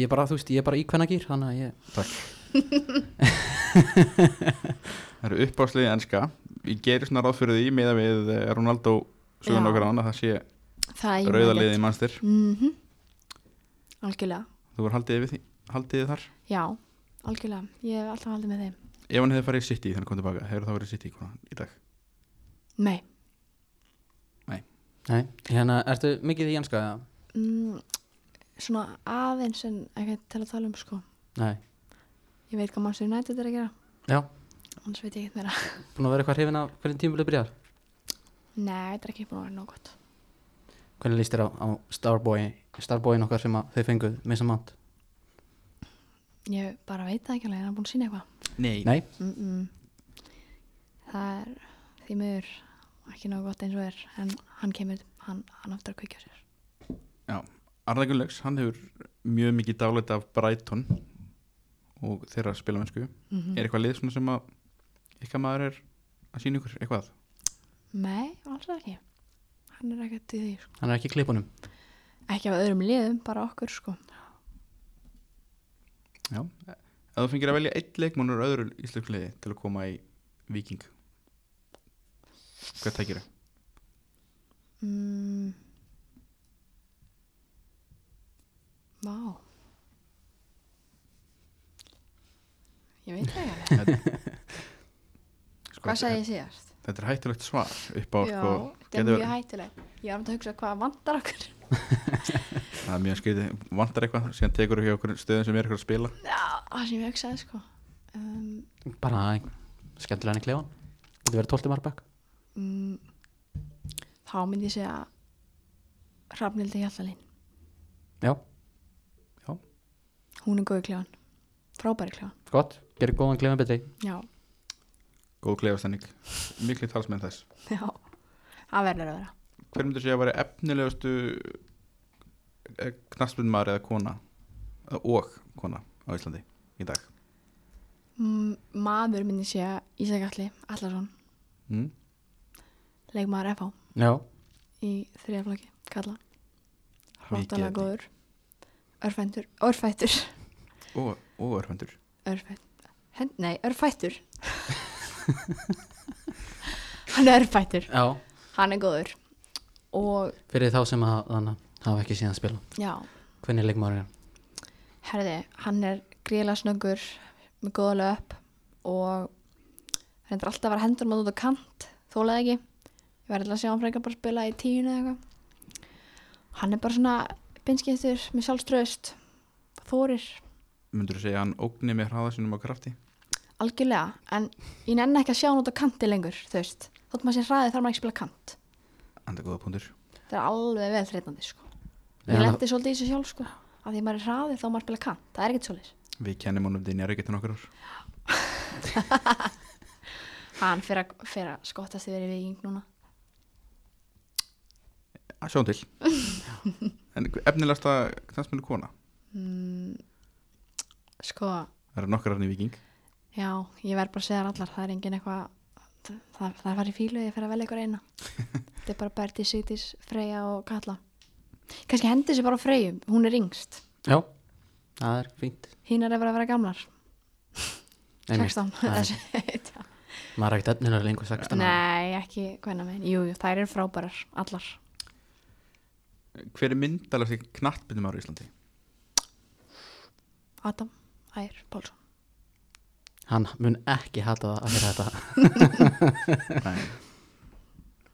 B: ég bara, þú veist, ég er bara í hvenna gýr Þannig að ég,
A: takk það eru uppáðsliði enska ég gerir svona ráð fyrir því meða við eh, Ronaldo sögum
C: Já.
A: okkar án að það sé
C: það er
A: rauða liðið í mannstir
C: mm Algjörlega,
A: þú voru haldið við því haldið þið þar
C: já, algjörlega Ég hef alltaf haldið með þeim
A: ef hann hefði farið í City þannig kom tilbaka hefur það verið City konan í dag
C: Nei,
B: nei, hérna, ertu mikið í janska? eða?
C: mm, svona aðeins en ekki til að tala um sko
B: Nei,
C: Ég veit hvað Manchester United er að gera
B: já,
C: annars veit ég ekkert meira
B: búin að vera eitthvað hrifin af hvernig tímuleg byrjar
C: Nei, þetta er ekki búin að vera nóg gott
B: Hvernig líst þér á, á Starboy Starboyin okkar sem að þau fenguð með saman
C: Ég bara veit það ekki alveg, er hann búin að sína eitthvað
A: nei,
B: Nei,
C: mm -mm. Það er því miður ekki nóg gott eins og er en hann kemur, hann, hann aftur að kveikja á sér
A: Arda Gunnlaugs hann hefur mjög mikið dálæti af Brighton og þeirra spilamennsku
C: mm
A: er eitthvað lið svona sem að eitthvað maður er að sína ykkur eitthvað
C: Nei, alls ekki Hann er ekkert í því sko.
B: hann er ekki í klipunum
C: Ekki af öðrum liðum, bara okkur sko
A: Já, ef þú fengir að velja eitt leikmann úr öðru íslensku liði til að koma í Viking Hvað tækir þau?
C: mm. Vá Ég veit það ekki alveg.
A: Sko,
C: Hvað
A: þetta,
C: sagði
A: er-
C: ég síðast?
A: þetta er hættulegt svar upp á
C: Já,
A: sko,
C: þetta er
A: gæti
C: mjög
A: verið-
C: hættileg Ég var um að hugsa hvað vantar okkur
A: það er mjög skrítið, vantar eitthvað síðan tekur þau hjá okkur stöðum sem er eitthvað að spila
C: Já, það sem ég hugsaði sko um,
B: Bara ein- skemmtilega hann í klefan Þetta verið 12. marbæk
C: mm, Þá myndi ég segja Hrafnildi Hjallalín
B: Já,
C: Hún er góð í kljóðan, frábæri kljóðan
B: gott, gerir góðan klefan betri
C: Já,
A: Góð klefastenning, miklu talsmenn þess
C: já Það verður að vera
A: Hver myndir sé að vera efnilegustu knastbundmaður eða kona eða og kona á Íslandi í dag
C: mm, Maður myndi ég segja Ísak Alli Allarsson,
A: mm?
C: leikmaður FH
B: Já,
C: í þriðaflokki, kalla
A: Mikið
C: Hróttalega
A: efni.
C: góður Örfæntur, örfættur
A: Og, og örfendur
C: Örfætt Hend, Nei, örfættur Hann er örfættur
B: já,
C: Hann er góður Og
B: fyrir þá sem að þannig hafa ekki síðan spila
C: já,
B: Hvernig leikmaður er hann?
C: herði Hann er gríla snöggur Með góða löp Og hendur alltaf að vera hendur maður út á kant Þólaði ekki Ég verði alltaf að sjá hann frekar bara spila í tíinu eða eitthvað Hann er bara svona Binskistur með sjálfströðust Þórir
A: Myndir þú segja að hann ógni með hraða sinum á krafti
C: Algjörlega, en ég nenni ekki að sjá hann út á kanti lengur, þú veist. Þótt maður sé hraðið þarf maður ekki að spila kant.
A: Enda góða punktur
C: Það er alveg vel þreytandi, sko.
B: Er
C: Ég
B: hann-
C: lendi svolítið í þessu sjálf, sko. Af því maður er hraðið þá á maður að spila kant. Það er ekkert svolítið.
A: Við kennum honum til njárvíkettin okkur ár
C: Hann fer að, fer að skottast yfir í viking núna.
A: að sjáum til En efnilegasta knastmjölu kona
C: Mm, sko,
A: Það eru nokkar afni viking
C: já, ég verð bara að segja þær allar. Það er engin eitthvað, það, það er farið í fílu eða ég fer að velja ykkur eina. Þetta er bara Berti, Sigdís, Freyja og Katla. Kanski hendi sér bara á Freyju, hún er yngst.
B: Já, það er fínt
C: Hínar er bara að vera gamlar,
B: Einmitt.
C: 16.
B: Það er-
C: Þessi-
B: Maður er ekkert efnilega lengur 16 ára.
C: Nei, ekki hvenna meginn, jú, jú, þær eru frábærar, allar.
A: Hver er myndalegasti knattbyrnum ára í Íslandi?
C: Adam, Ær Pálsson
B: Hann mun ekki hata það að heyra þetta
A: Nei.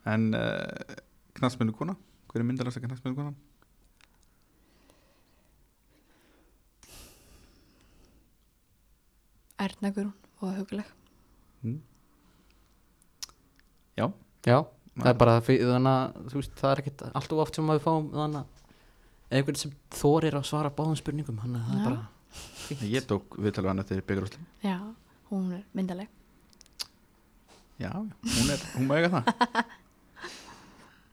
A: En uh, knastmennu kona Hver er myndalegasta knastmennu konan?
C: Erna Guðrún og huguleg
A: Mm. Já
B: Já, það er bara fyrir þannig að þú veist, það er ekkert allt of oft sem við fáum þannig að einhvern sem þorir að svara báðum spurningum þannig að það
C: Já.
B: er bara fínt
A: Ég tók viðtalið hann eftir byggarúsli
C: Já, hún er myndaleg
A: Já, hún er, hún mega það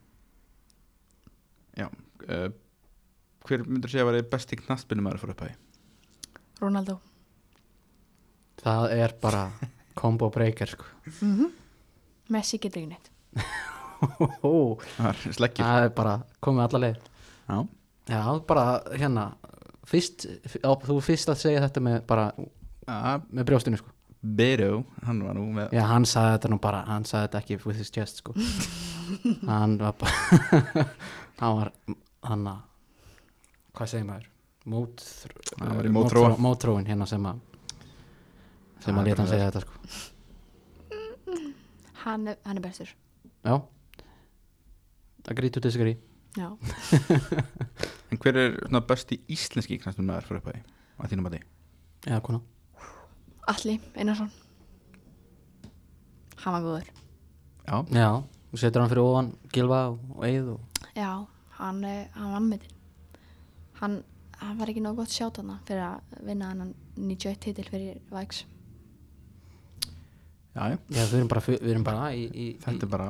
A: Já uh, Hver myndur segja að vera besti knastmennu maður fyrir upphæði?
C: Ronaldo
B: Það er bara combo breaker sko
C: Mhm. Messi getur ekki neitt
B: Ó,
A: Það er sleggjur
B: Það er bara komið alla leið
A: Já,
B: Já, bara hérna fyrst, á, þú fyrst að segja þetta með bara
A: að
B: með brjóstinu sko
A: Beru, hann var nú með
B: Já, hann sagði þetta nú bara, hann sagði þetta ekki with his chest sko Hann var bara hann var, hann að hvað segir maður? Mótró,
A: Hann var í mótþróa.
B: Mótróin hérna sem að sem
A: Það er
B: að leta hann
A: bara
B: segja þetta sko
C: Hann er, hann er bestur
B: Já Það grítur þessi grí
C: Já,
A: En hver er svona besti íslenski knastmennu maður fyrir upphæði? Að þínum að því
B: Eða kona
C: Alli Einarsson Hann var góður
A: Já,
B: Já, þú setur hann fyrir ofan gilva og eigð og
C: Já, hann, eh, hann var anmetinn hann, hann var ekki nóg gott sjátt hana fyrir að vinna hann 91 titil fyrir Væks
A: já, já
B: Já, við erum bara, við erum bara í, í, í
A: Þetta er bara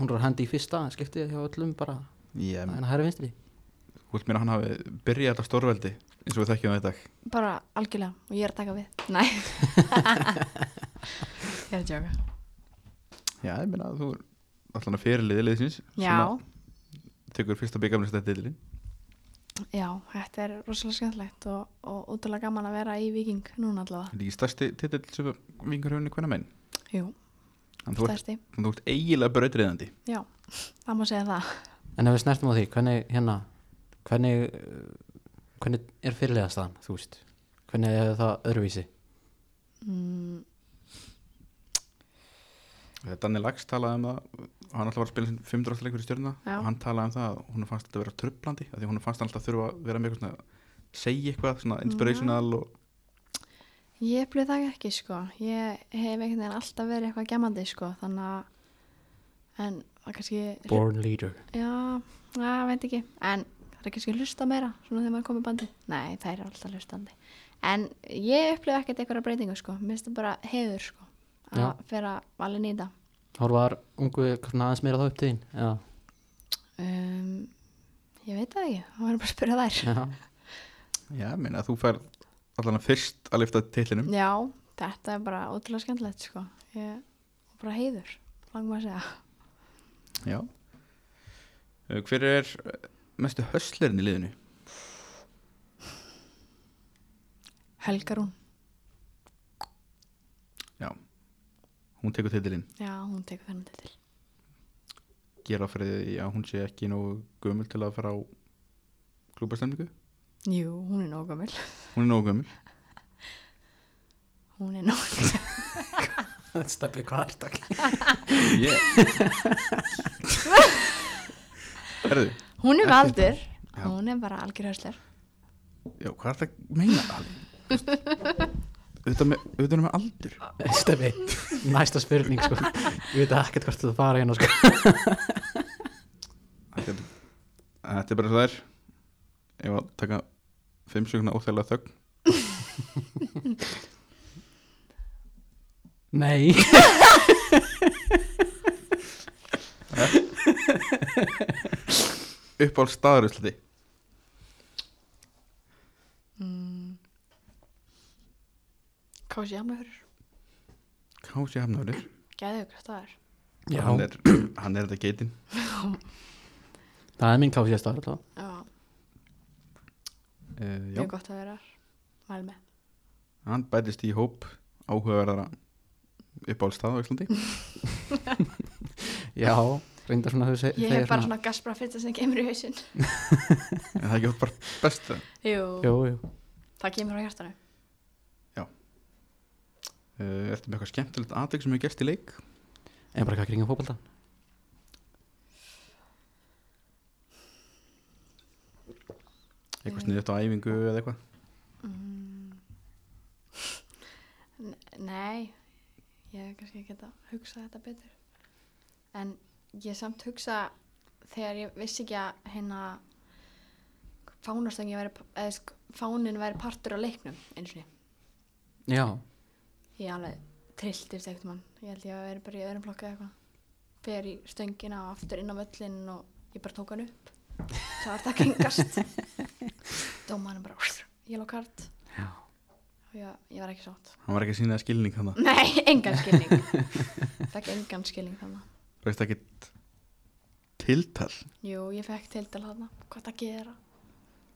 B: hún er á hendi í fyrsta skiptið hjá öllum bara
A: Ég,
B: en að hæra vinstri
A: Þú vilt mér að hann hafi byrjað þetta stórveldi eins og við þekkjum það í dag
C: bara algjörlega og ég er að taka við Nei Ég er að tjóka
A: Já, ég meina að þú er allan að fyrirliði liðsins
C: Já,
A: tekur fyrsta byggamlista titilin
C: já, þetta er rosalega skemmtilegt og, og útrúlega gaman að vera í Viking núna allavega
A: Þetta er ekki stærsti titil sem vingur höfni hvernig menn
C: Jú,
A: en þú ert,
C: stærsti,
A: en þú ert eiginlega brautriðandi
C: já, það má segja það
B: En ef við snertum á því, hvernig hérna hvernig, uh, hvernig er fyrirliðastaðan, þú veist hvernig er það öðruvísi
C: mm,
A: Eh, Danni Lax talaði um það hann alltaf var að spila sinn 500 ástaleik fyrir stjörna
C: Já.
A: og hann talaði um það að hún fannst þetta að vera trublandi af því hún fannst hann alltaf þurfa að vera með eitthvað svona, segja eitthvað, svona inspirational og,
C: Ég bleið það ekki sko, ég hef einhvern veginn alltaf verið eitthvað gemandi sko, þannig að en það kannski
B: Born leader
C: Já, það veit ekki En það er kannski að hlusta meira Svona þegar maður komið bandi Nei, það er alltaf hlustandi En ég upplifa ekkert einhverja breytingu sko Mér finnst það bara hefur sko
B: Já.
C: Að fyrir að valin í þetta
B: Hór var ungu svona aðeins meira þá upp til þín Já,
C: um, Ég veit það ekki Það var bara að spyrja þær
B: já,
A: já, ég meina að þú fær allan að fyrst að lifta titlinum
C: Já, þetta er bara ótrúlega skemmtilegt sko Ég og bara heiður Langum að segja
A: Já Uh, Hver er uh, mestu höslerinn í liðinu?
C: Helgarún
A: Hún tekur titilinn
C: Já, hún tekur þennan til
A: gera fyrir því að hún sé ekki nógu gömul til að fara á klúbastemningu
C: Jú, hún er nóg gamil
A: hún er nógu gömul
C: Hún er nóg
B: Steppi kvart
A: yeah. herðu
C: Hún er með aldur
A: Já.
C: Hún er bara algjör hörsler
A: já, hvað er það að meina Ali? auðvitað með, auðvitað er með aldur
B: Eh, Steppi, næsta spurning sko Ég veit ekkert hvort þú fara hérna sko
A: þetta þetta er bara svo það er ég var að taka fimm sekundar óþægilega þögn
B: Nei
A: upp á staðarúsliti
C: Mm. Kási Hammerhörur,
A: Kási Hafnárið
C: gæðið ykkur staðar.
B: Já,
A: hann er, hann er þetta geitin
B: það er minn káfið staðar alltaf
C: Já,
A: uh, já,
C: mjög gott að vera mæl með.
A: hann bætist í hóp áhugaverðara upp á staðar á Íslandi
B: Já, reyndar svona þú segir
C: Ég hef bara svona gaspra fyrsta sem kemur í hausinn.
A: En það er ekki bara besta
C: Jú,
B: Jú, jú
C: það kemur á hjartanu
A: Uh, ertu með eitthvað skemmtilegt aðvik sem hefur gerst í leik?
B: En bara hvað kringum fótbolta
C: Eh.
A: Eitthvað sniðið á æfingu eða eitthvað?
C: mm. N- Nei ég hef kannski ekki að hugsa þetta betur en ég samt hugsa þegar ég vissi ekki að hérna fánastöngi væri eða sko, fánin væri partur á leiknum eins og
B: Já,
C: ég alveg trilltist ekkert mann ég held ég að vera bara í öðrum flokka eða eitthvað fer í stöngina og aftur inn á völlin og ég bara tók hann upp svo var það gengast dómaðan bara yellow card
B: Já.
C: og ég, ég var ekki sátt
A: Hann var ekki að sína þér skilning þannig.
C: nei, engan skilning fekk engan skilning þannig
A: Veist ekki tiltal
C: jú, ég fekk tildal þarna hvað það gera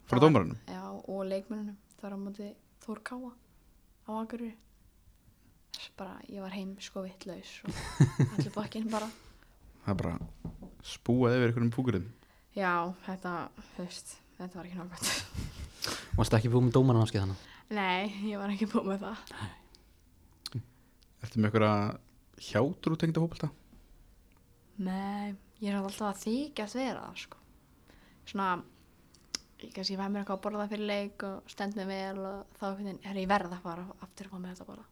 A: frá
C: Það-
A: dómaranum?
C: já, og leikmennunum það var á móti Þór Káa á Akureyri þess bara, ég var heim sko vittlaus og allir bakkinn bara
A: Það er bara spúað yfir einhverjum púkurinn.
C: Já, þetta, þú veist, þetta var ekki nákvæmt.
B: varstu ekki búið með dómarnámskið þannig
C: Nei, ég var ekki búin með það.
A: Ertu með eitthvað hjátrú tengda fókbalta?
C: Nei, ég er alltaf að þykjast vera það, sko. Svona, ég kannski fæ mér eitthvað að borða fyrir leik og stend mig vel og þá hvernig, herri, ég verð að fara aftur að fá mér þetta að borða.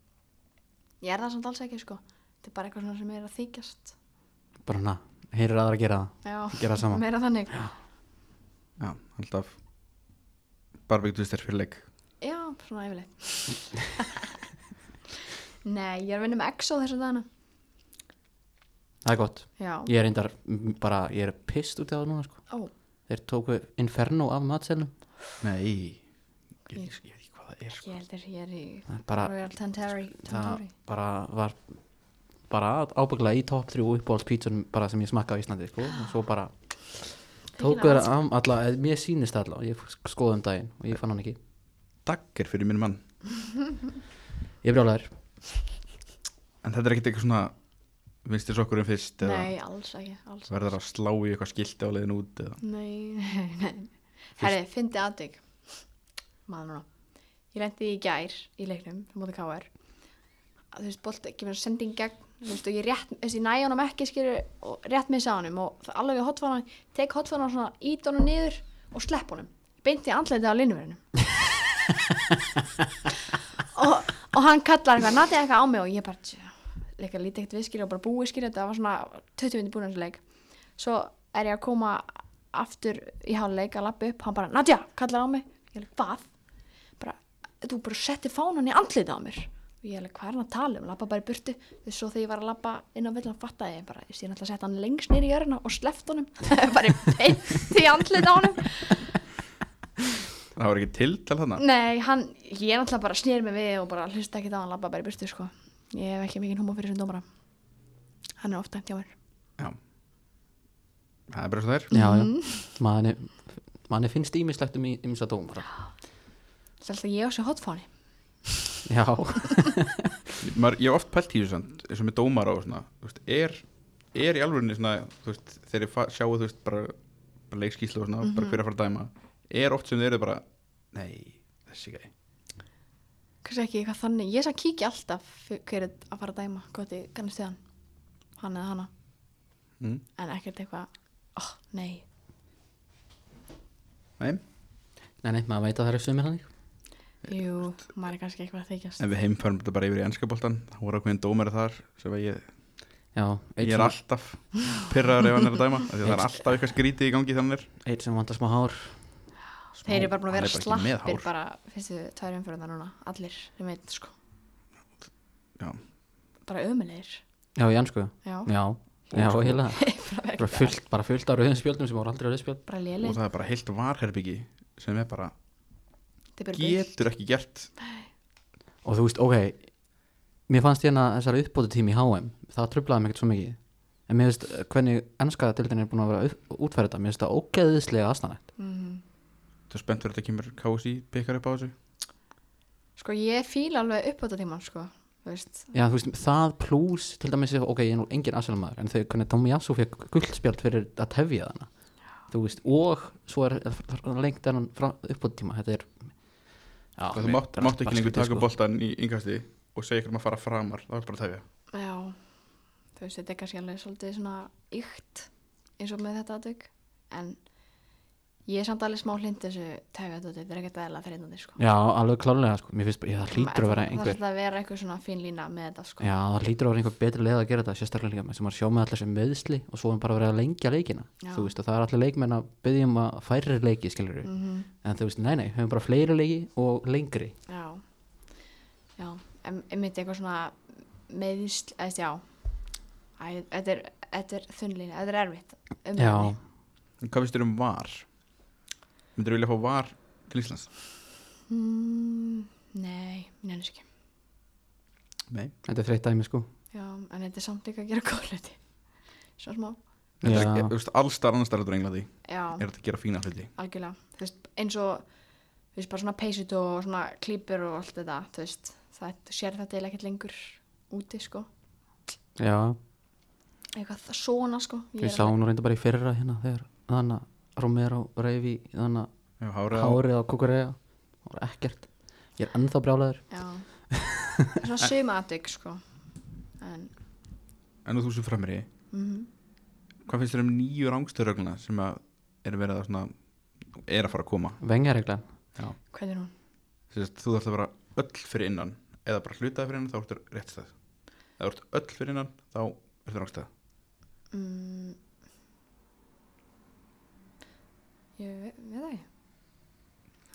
C: Ég er það samt alls ekki, sko. Þetta er bara eitthvað svona sem ég er að þykjast.
B: Bara hana, heyrir aðra að gera það
C: Já,
B: Gera það sama.
C: meira þannig.
A: Já, alltaf bara byggt við þér fyrir leik.
C: Já, svona yfirleitt. Nei, ég er að vinna með EXO þessu dagana.
B: Það er gott
C: Já.
B: Ég er reyndar m- bara, ég er pist út í það núna sko
C: Ó,
B: Þeir tóku Inferno af matselnum
A: Nei, ég, ég, ég veit ekki hvað það er.
C: ég heldur ég er í
B: Það er bara,
C: Royal Tantari.
B: það
C: Tantari.
B: bara var bara ábygglega í topp 3 uppáhalds pítsun bara sem ég smakkaði á Íslandi sko og svo bara tóku þeirra am alla, eða mér sýnist það alla og ég skoði um daginn og ég fann hann ekki
A: Dagg er fyrir minn mann.
B: Ég brjálæður,
A: En þetta er ekkert eitthvað svona vinstir sokkurinn fyrst eða
C: Nei, alls ekki, alls ekki.
A: verður að slá í eitthvað skilti á leiðin út eða
C: Nei, nei, nei. Herri, fyndi aðdygg. Maður núna. Ég lendi í gær í leiknum, á móti KR. Að Þú veist, bolt ekki verið að senda inn gegn, þú veist, og ég rétt, þessi næja honum ekki skilur og rétt missa honum og það alveg við hotfana, tek hotfana og svona ít honum niður og slepp honum. Beinti andleitið á linuverinu. og, og hann kallar eitthvað, natið eitthvað á mig og ég bara, tjá, líka lítið ekkert viðskilja og bara búið skilja þetta, það var svona 20 minni búin að þessu leik svo er ég að koma aftur í háluleik að lappa upp hann bara, Nadja, kallar á mig ég er alveg, hvað? Bara, þú bara settir fánan í andlita á mér og ég er alveg, hvað er hann að tala um, lappa bara í burtu þess svo þegar ég var að lappa inn á villan fattaði ég bara, ég sé náttúrulega að setja hann lengst nýri í jörna og sleft honum, bara beint í andlita á honum
A: Það var ekki tiltal þannig
C: Nei, hann, ég er náttúrulega bara snýr mig við og bara hlusta ekki það, hann lappa bara í burtu sko. ég hef ekki mikið húma fyrir sem dómara hann er ofta hæmt hjá mér
A: Já Það er bara svo þær
B: já já manni, manni finnst ímislegt um ímsa dómara
C: Það er alltaf ég á sér hotfáni
B: Já,
A: Maður, Ég hef oft pælt í þessu samt, eins og með dómar á svona, þú veist, er, er í alvörinni svona, þú veist, þegar ég fa- sjáu þú veist, bara, bara leikskíslu og svona
C: Mhm.
A: bara hver er að fara að dæma er oft sem þeir eru bara nei, þessi gæ
C: kannski ekki eitthvað þannig, ég sann kíkja alltaf fyr- hver er að fara að dæma, hvort ég kannast þið hann hann eða hana,
A: mm.
C: en ekkert eitthvað oh, nei,
A: Nei,
B: nei nei, maður veit að það eru sumir hannig
C: jú maður er kannski eitthvað að þykjast
A: en við heimfærum þetta bara yfir í ennskaboltan þá voru ákveðin dómar þar sem að ég,
B: Já, eitt
A: ég er
B: sem,
A: alltaf pyrraður ef hann er að dæma af því að það er
B: Eitt-
A: alltaf eitthvað skrítið í gangi þannig
B: eitt sem vantar smá hár
C: þeir eru bara búin að vera
A: Hann er bara ekki með
C: slappir
A: hár.
C: bara fyrstu tvær umfyrir núna, allir sem veit, sko,
A: Já,
C: bara ömulegir
B: Já, í ansku,
C: já,
B: já Já,
A: sko.
B: heila,
C: bara,
B: hérna, bara fullt, bara fullt á rauðum spjöldum sem voru aldrei rauðum spjöld
C: bara
A: og
C: léleg
A: það er bara heilt varherbyggi sem er bara,
C: Þetta er bara byggt.
A: getur ekki gert
B: Og þú veist, ok, mér fannst hérna þessari uppbótu tími í HM, það trublaði mig ekkert svo mikið. En mér veist hvernig ennska dildin er búin að vera upp, útfæra þetta, mér veist það ógeðislega aðstæðanætt.
C: Mhm.
A: Þú er spennt fyrir að þetta kemur KSI pekar upp á þessu
C: sko, ég fíla alveg upp á þetta tíman, sko þú veist,
B: Já, þú veist, það plus, til dæmis, ef- ok, ég er nú engin aðstæðanmaður, en þau, hvernig Tommy Jassu fekk guldspjald fyrir að tefja þarna. Þú veist, og svo er lengt þennan uppbótu tíma, þetta er, Já,
A: það
B: mér
A: mátt,
B: finnst
A: mátt ekki
B: bara
A: lengur
B: skrítið,
A: taka
B: sko.
A: boltan í yngasti og segja ykkur um að fara framar það var bara að tefja
C: Já, þú veist, þetta er kannski alveg svolítið svona ykt eins og með þetta aðtök en ég er samt alveg smá hlind þessu tega þetta, þetta er ekkert aðeins þreynandi sko.
B: Já, alveg klálega sko. Mér finnst bara, já, það hlýtur að vera
C: Það-
B: einhver
C: Það er að vera einhver svona fín lína með þetta sko.
B: Já, það hlýtur að vera einhver betri leið að gera þetta sérstaklega líka með sem að sjá með allir sem meðsli og svo er bara verið að lengja leikina
C: Já.
B: þú veist að það er allir leikmenn að byggja um að færri leiki skilur við
C: Mhm.
B: en þú veist, nei nei, höfum bara fleiri leiki og lengri
C: Já, já, em- einmitt eitthvað svona meðísl, eða já, Æ, þetta er, þetta er þunnlína, þetta er erfitt. Um
B: Já,
A: en hvað finnst þér um var? myndir þú vilja fá var til Íslands?
C: Mm, nei, mér nefnir ekki.
A: nei
B: þetta er þreytt dæmi sko
C: Já, en þetta er samt líka að gera góð hluti. Svo smá.
A: Þetta er
B: Já.
A: ekki- þú veist, alls staðar annars staðar út á Englandi
C: Já,
A: er þetta að gera fína hluti
C: algjörlega. Þú veist, eins og, þú veist, bara svona peysut og svona klípur og allt þetta, þú veist, það þú sér þetta eiginlega ekkert lengur úti, sko.
B: Já,
C: Eitthvað það svona, sko. Ég er
B: við sáum nú reynda bara í fyrra hérna þegar þannig að Romero reyfi þannig
A: já, hárið
B: að
A: á
B: hárið á kukureja og ekkert, ég er ennþá brjálæður
C: Já, Það er svona suma aðtök, sko. En,
A: en nú þú sem framri
C: mhm.
A: hvað finnst þér um nýju rángstöðrögluna sem að er verið að svona er að fara að koma
B: Vengjareglan,
C: Hvernig er hún?
A: Sérst, þú þarfst að vera öll fyrir innan eða bara hlutaði fyrir innan þá ertu rétt stað eða ertu öll fyrir innan þá ertu rángstað
C: Mm, ég ve- veit það ekki.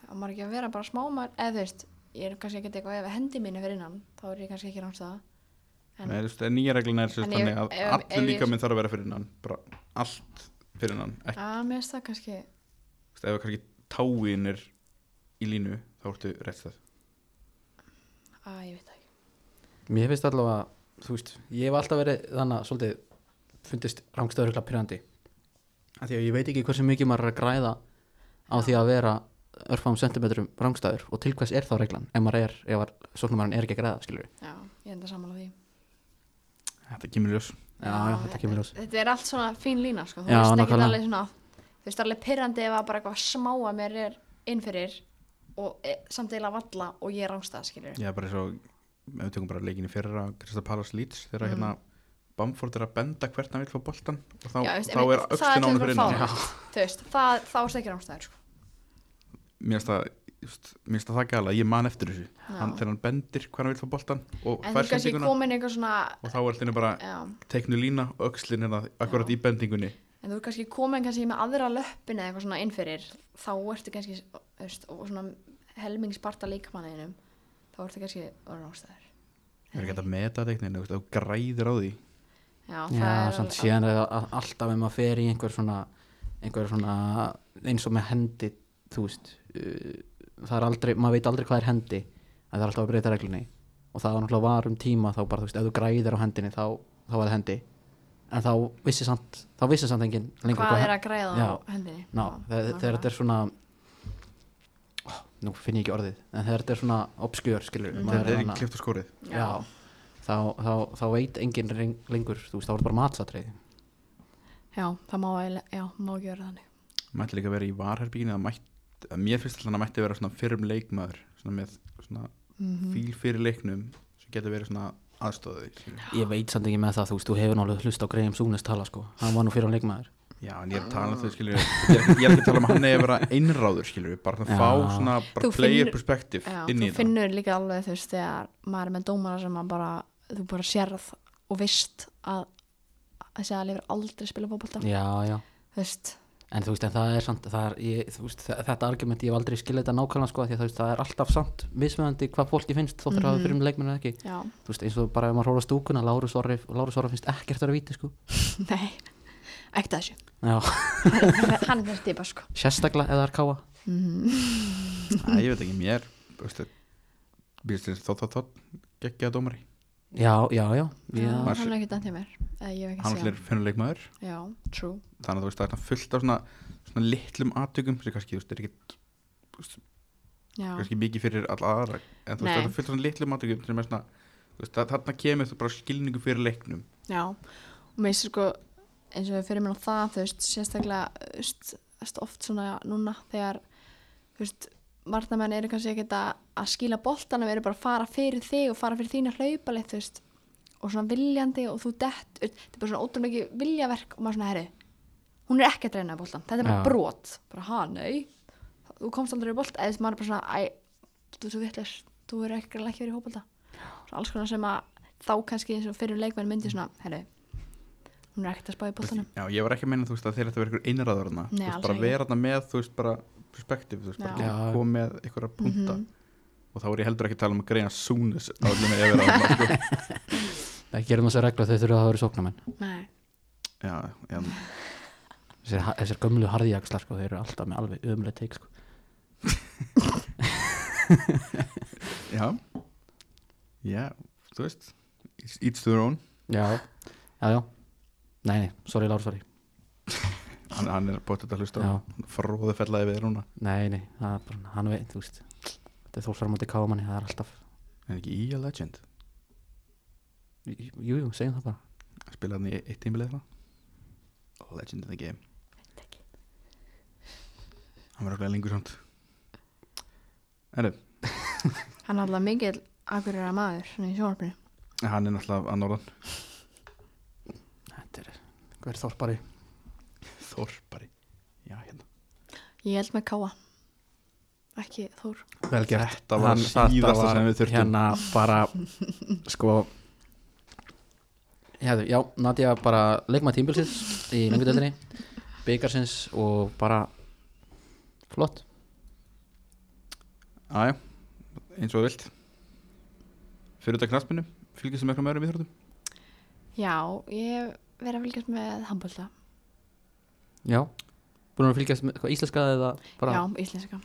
C: Það maður ekki að vera bara smá maður, eða þú veist, ég er kannski ekkert eitthvað ef hendi mín er fyrir innan, þá er ég kannski ekki ránstaða. En-
A: Nei, þú veist, en nýja reglina er sérst
C: En ef-
A: þannig að
C: ef- ef
A: allir
C: ég-
A: líka minn þarf að vera fyrir innan bara allt fyrir innan ekki,
C: Að mér finnst það kannski,
A: þú veist, ef kannski táin er í línu þá ertu rétt stað
C: að ég veit það ekki.
B: mér finnst allavega þú veist, ég hef alltaf verið þannig að svolítið fundist rángstöðurugla pyrrandi af því að ég veit ekki hversu mikið maður er að græða á því að vera örfáum sentimetrum rángstæður og til hvers er þá reglan ef maður er, ef að sóknumærin er ekki að græða skilur
C: Já, ég enda sammála því.
A: Þetta kemur ljós
B: já, já, þetta kemur ljós
C: Þetta er allt svona fín lína, sko. Þú
B: Já,
C: veist ekki
B: nákvæmlega.
C: alveg svona, þú veist alveg pyrrandi ef að bara eitthvað smá að mér er innfyrir og e, samt eila valla og ég er ránstaða, skilur.
A: Ég er bara eins og, ef við tökum bara leikinni fyrir að Krista Palas Leeds þegar
C: Mm.
A: hérna Bamford er að benda hvert hann vil fá boltan og þá,
C: Já, veist,
A: þá
C: einmitt,
A: er
C: það
A: öxtin á hann
C: til
A: fyrir
C: bara
A: innan
C: fáránlegt. Þú veist, það, þá er það ekki ránstaður, sko.
A: Mér finnst það- þú veist, mér finnst það það gæla, ég man eftir þessu
C: Já.
A: hann, þegar hann bendir hvað hann vil fá boltan og
C: En þú
A: fær
C: er kannski
A: sendinguna
C: komin einhver svona
A: og þá er alltaf bara
C: já,
A: teknu lína og öxlin hérna akkurat
C: Já.
A: í bendingunni
C: En þú er kannski komin kannski með aðra löppin eða eitthvað svona innfyrir Þá ertu kannski, þú veist, og svona helmingsparta líkamanninum Þá ertu kannski orðin ástæður
A: Það er ekki hægt að meta tekninu, þú græðir á því
C: Mm. Já, það
B: já,
C: er
B: samt
C: alveg-
B: síðan er það alltaf ef maður fer í einhver svona einhver svona, eins og með hendi þú veist uh, það er aldrei, maður veit aldrei hvað er hendi en það er alltaf að breyta reglunni og það var náttúrulega var um tíma þá bara, þú veist, ef þú græðir á hendinni þá, þá var það hendi en þá vissi samt, þá vissi samt enginn lengur
C: Hvað er
B: hen-
C: að græða
B: Já,
C: á hendinni
B: ná, þegar, þegar þetta er svona oh, nú finn ég ekki orðið en þegar þetta er svona obskjör, skilur
C: Mm.
A: Þetta er ekki klift á skórið
B: já, þá, þá, þá veit enginn reng- lengur, þú veist, þá er þetta bara matsatrið
C: Já, það má, eiginlega- já, má ekki vera þannig
A: Mætti líka vera í varherbygginu að mætt, að mér finnst alltaf að hann mætti vera svona fyrrum leikmaður svona með svona
C: Mhm. Mm.
A: fíl fyrir leiknum sem getur verið svona aðstóðu
B: Ég veit samt ekki með það, þú veist, þú hefur náttúrulega hlust á Graham Súnes tala, sko, hann var nú fyrir á leikmaður
A: Já, en ég er að tala um þau skilur ég er, ekki, ég er ekki að tala um að hann eða vera einráður skilur bara að
B: Já.
A: fá svona bara
C: Þú
A: player
C: finnur-
A: perspective
C: Já,
A: inn í
C: þú
A: þetta
C: finnur líka alveg þú veist þegar maður er með dómara sem maður bara þú bara sérð og veist að þessi að lifir aldrei spila fótbolta
B: Já, já,
C: þú veist,
B: en þú veist, en það er samt, það er, ég, þú veist, þe- þetta argument, ég hef aldrei skilja þetta nákvæmlega, sko, af því að þú veist, það er alltaf samt mismöðandi hvað fólki finnst, þóttir mm -hmm. að fyrir um leikmennu ekki,
C: já,
B: þú veist, eins og bara ef maður hóla stúkuna, Lárus Orri, Lárus Orri finnst ekkert að vera víti, sko,
C: nei ekkert að þessu,
B: já,
C: hann er típa sko Mhm.
B: sérstaklega eða er káa,
A: Æ, Ég veit ekki, mér veistu, býrst þess þótt þótt þótt geggja dómari
B: já, já, já, já,
C: Já,
A: Marsu-
C: hann er ekkert að mér eða ég hef
A: Hann
C: ekki
A: allir
C: séð
A: er fyrrum leikmaður
C: hann. já, true,
A: þannig að þú veist það er svona fullt af svona, svona litlum aðtökum sem kannski, þú veist, er ekki
C: já,
A: kannski mikið fyrir alla aðra en þú veist
C: Nei.
A: það er fullt af svona litlum aðtökum sem er svona, þú veist, það, þarna kemur þú bara skilningu fyrir leiknum
C: já og mér finnst sko, eins og við fyrir mér á það þú veist, sérstaklega þú veist, oft svona núna þegar þú veist, varnamenn eru kannski ekkert að, að skila boltanum eru bara að fara fyrir þig og fara fyrir þína hlaupaleitt þú veist og svona viljandi og þú dett þetta er bara svona ótrúlega mikið viljaverk og maður svona herri hún er ekki að reyna boltan, þetta er bara
B: Já.
C: brot bara ha, nei, þú komst aldrei í bolt eða þess maður er bara svona, æ, þú er svo vittlis þú er ekki að ekki verið í hópolta svona alls konar sem að þá kannski eins og fyrir leikmenn myndi svona, herri hún er ekkert að spá í boltanum
A: Já, ég var ekki að meina þú veist að þeir ættu að vera ykkur einræður hana
C: Nei,
A: Þú veist
C: alls
A: bara
C: ekki.
A: vera hana með, þú veist bara perspektíf, þú veist bara
C: Já.
A: geta
B: Já.
A: komið með ykkur að punta
C: Mhm.
A: og þá er ég heldur ekki að tala um að greina súnis á allir með yfir að sko.
B: það gerum þess að regla að þau þurfa að vera sóknamenn
C: nei,
A: Já, já,
B: þessir, ha- þessir gömlu harðjakslar sko, þeir eru alltaf með alveg ömulega teik sko.
A: já Já, þú veist each- Each to their own,
B: já, já, já nei, nei, sorry Lár, sorry
A: hann, hann er bótt að hlusta
B: Já.
A: fróðu fellaði við þér núna
B: nei, nei, það er bara, hann veit, þú veist þetta er þólframóti kámanni, það er alltaf
A: en ekki í a legend,
B: jú, jú, segjum það bara
A: spilaði hann í eitt tímileg það legend in the game hann var okkur lengur samt Erðu,
C: hann er alltaf mikil akkurir að maður, svona í sjónarpinu
A: hann er náttúrulega að norðan
B: þetta er, hver þorpari
A: Þorpari Já, hérna
C: Ég held með Káa ekki Þór
B: vel gert
A: Þetta var síðasta sem við þurftum
B: hérna bara sko Hefðu, já, Nadja bara leikmaði tímbilsins í lengudeldinni byggarsins og bara flott
A: Æja, eins og þú vilt Fyrir út af knaspinu Fylgjast með eitthvað meður við þróttum
C: Já, ég hef verið að fylgjast með handbólta
B: já, búin að fylgjast með hvað, íslenska eða bara
C: Já, íslenska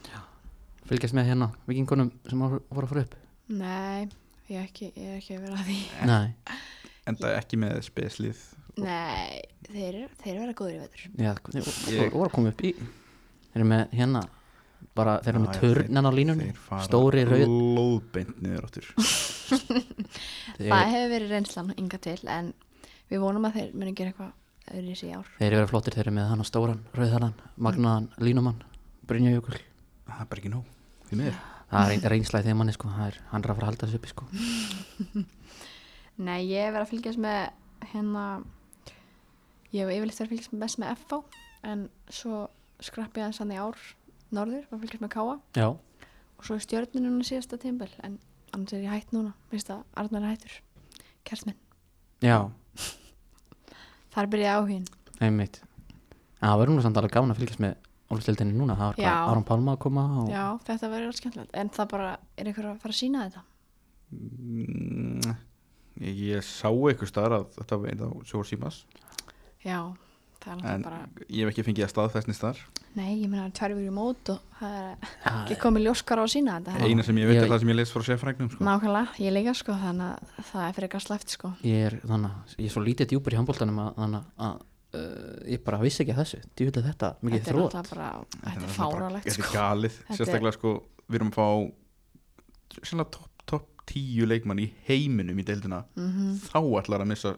B: fylgjast með hérna vikingunum sem voru voru að fara upp
C: Nei, ég er ekki, ég er ekki að vera að því
B: nei,
A: Enda ekki með speslið
C: Nei, þeir, þeir vera góður í vetur
B: já, þeir voru-
A: Ég-
B: voru að koma upp í þeir eru með hérna bara, þeir eru
A: Já,
B: með
A: já,
B: törnan á línunni
A: Þeir fara
B: stóri rauð
A: Lóðbeint niður áttur
B: þeir,
C: Það hefur verið reynslan ynga til en við vonum að þeir muni gera eitthvað öðru í sig ár
B: þeir eru verið flottir, þeir eru með hann á stóran rauðalan, magnaðan, línumann Brynjajökull
A: Það er bara ekki nóg Því miður
B: það er ein- reynsla í þeim manni sko, það er, hann er að fara að halda þessu uppi sko.
C: Nei, ég hef verið að fylgjast með hérna ég hef yfirleitt verið að fylgjast mest með FV en svo skrappi ég aðeins hann í ár norður, var að fylgjast með Káa
B: já,
C: og svo er stjörnun núna síðasta tímbil en annars er ég hætt núna, veist að Arnar er hættur, kertminn
B: já,
C: þar byrjaði áhugin
B: einmitt en það verður nú samt alveg gaman að fylgjast með Ólfstildinni núna, það var
C: Já.
B: hvað Aron Pálma að koma og
C: já, þetta verður alveg skemmtilegt en það bara, er einhver að fara að sína þetta
A: Mm, Ég, ég sá eitthvað staðar að þetta var einn á Sjór Símas
C: já, það er
A: En
C: náttúrulega bara
A: ég hef ekki fengið að staðfestni staðar
C: nei, ég meina tvær vikur í mót og það er
B: Já,
C: ekki komið ljóskar á að sína þetta
A: Eina sem ég veit
B: Ég-
A: er það sem ég leist frá sérfræknum sko.
C: nákvæmlega, ég líka sko þannig að það er fyrir eitthvað slæft sko
B: ég er þannig, ég er svo lítið djúpur í handbóltanum að, þannig að uh, ég bara vissi ekki að þessu, djúpið þetta mikið
C: þetta er
B: þrótt,
C: náttúrulega bara, þetta er
A: náttúrulega bara-
C: fáralegt
A: Þetta er
C: sko
A: galið,
C: er-
A: sérstaklega sko Við erum að fá Sérna topp top 10 leikmann í heiminum í deildina
C: Mhm.
A: Þá ætlar að missa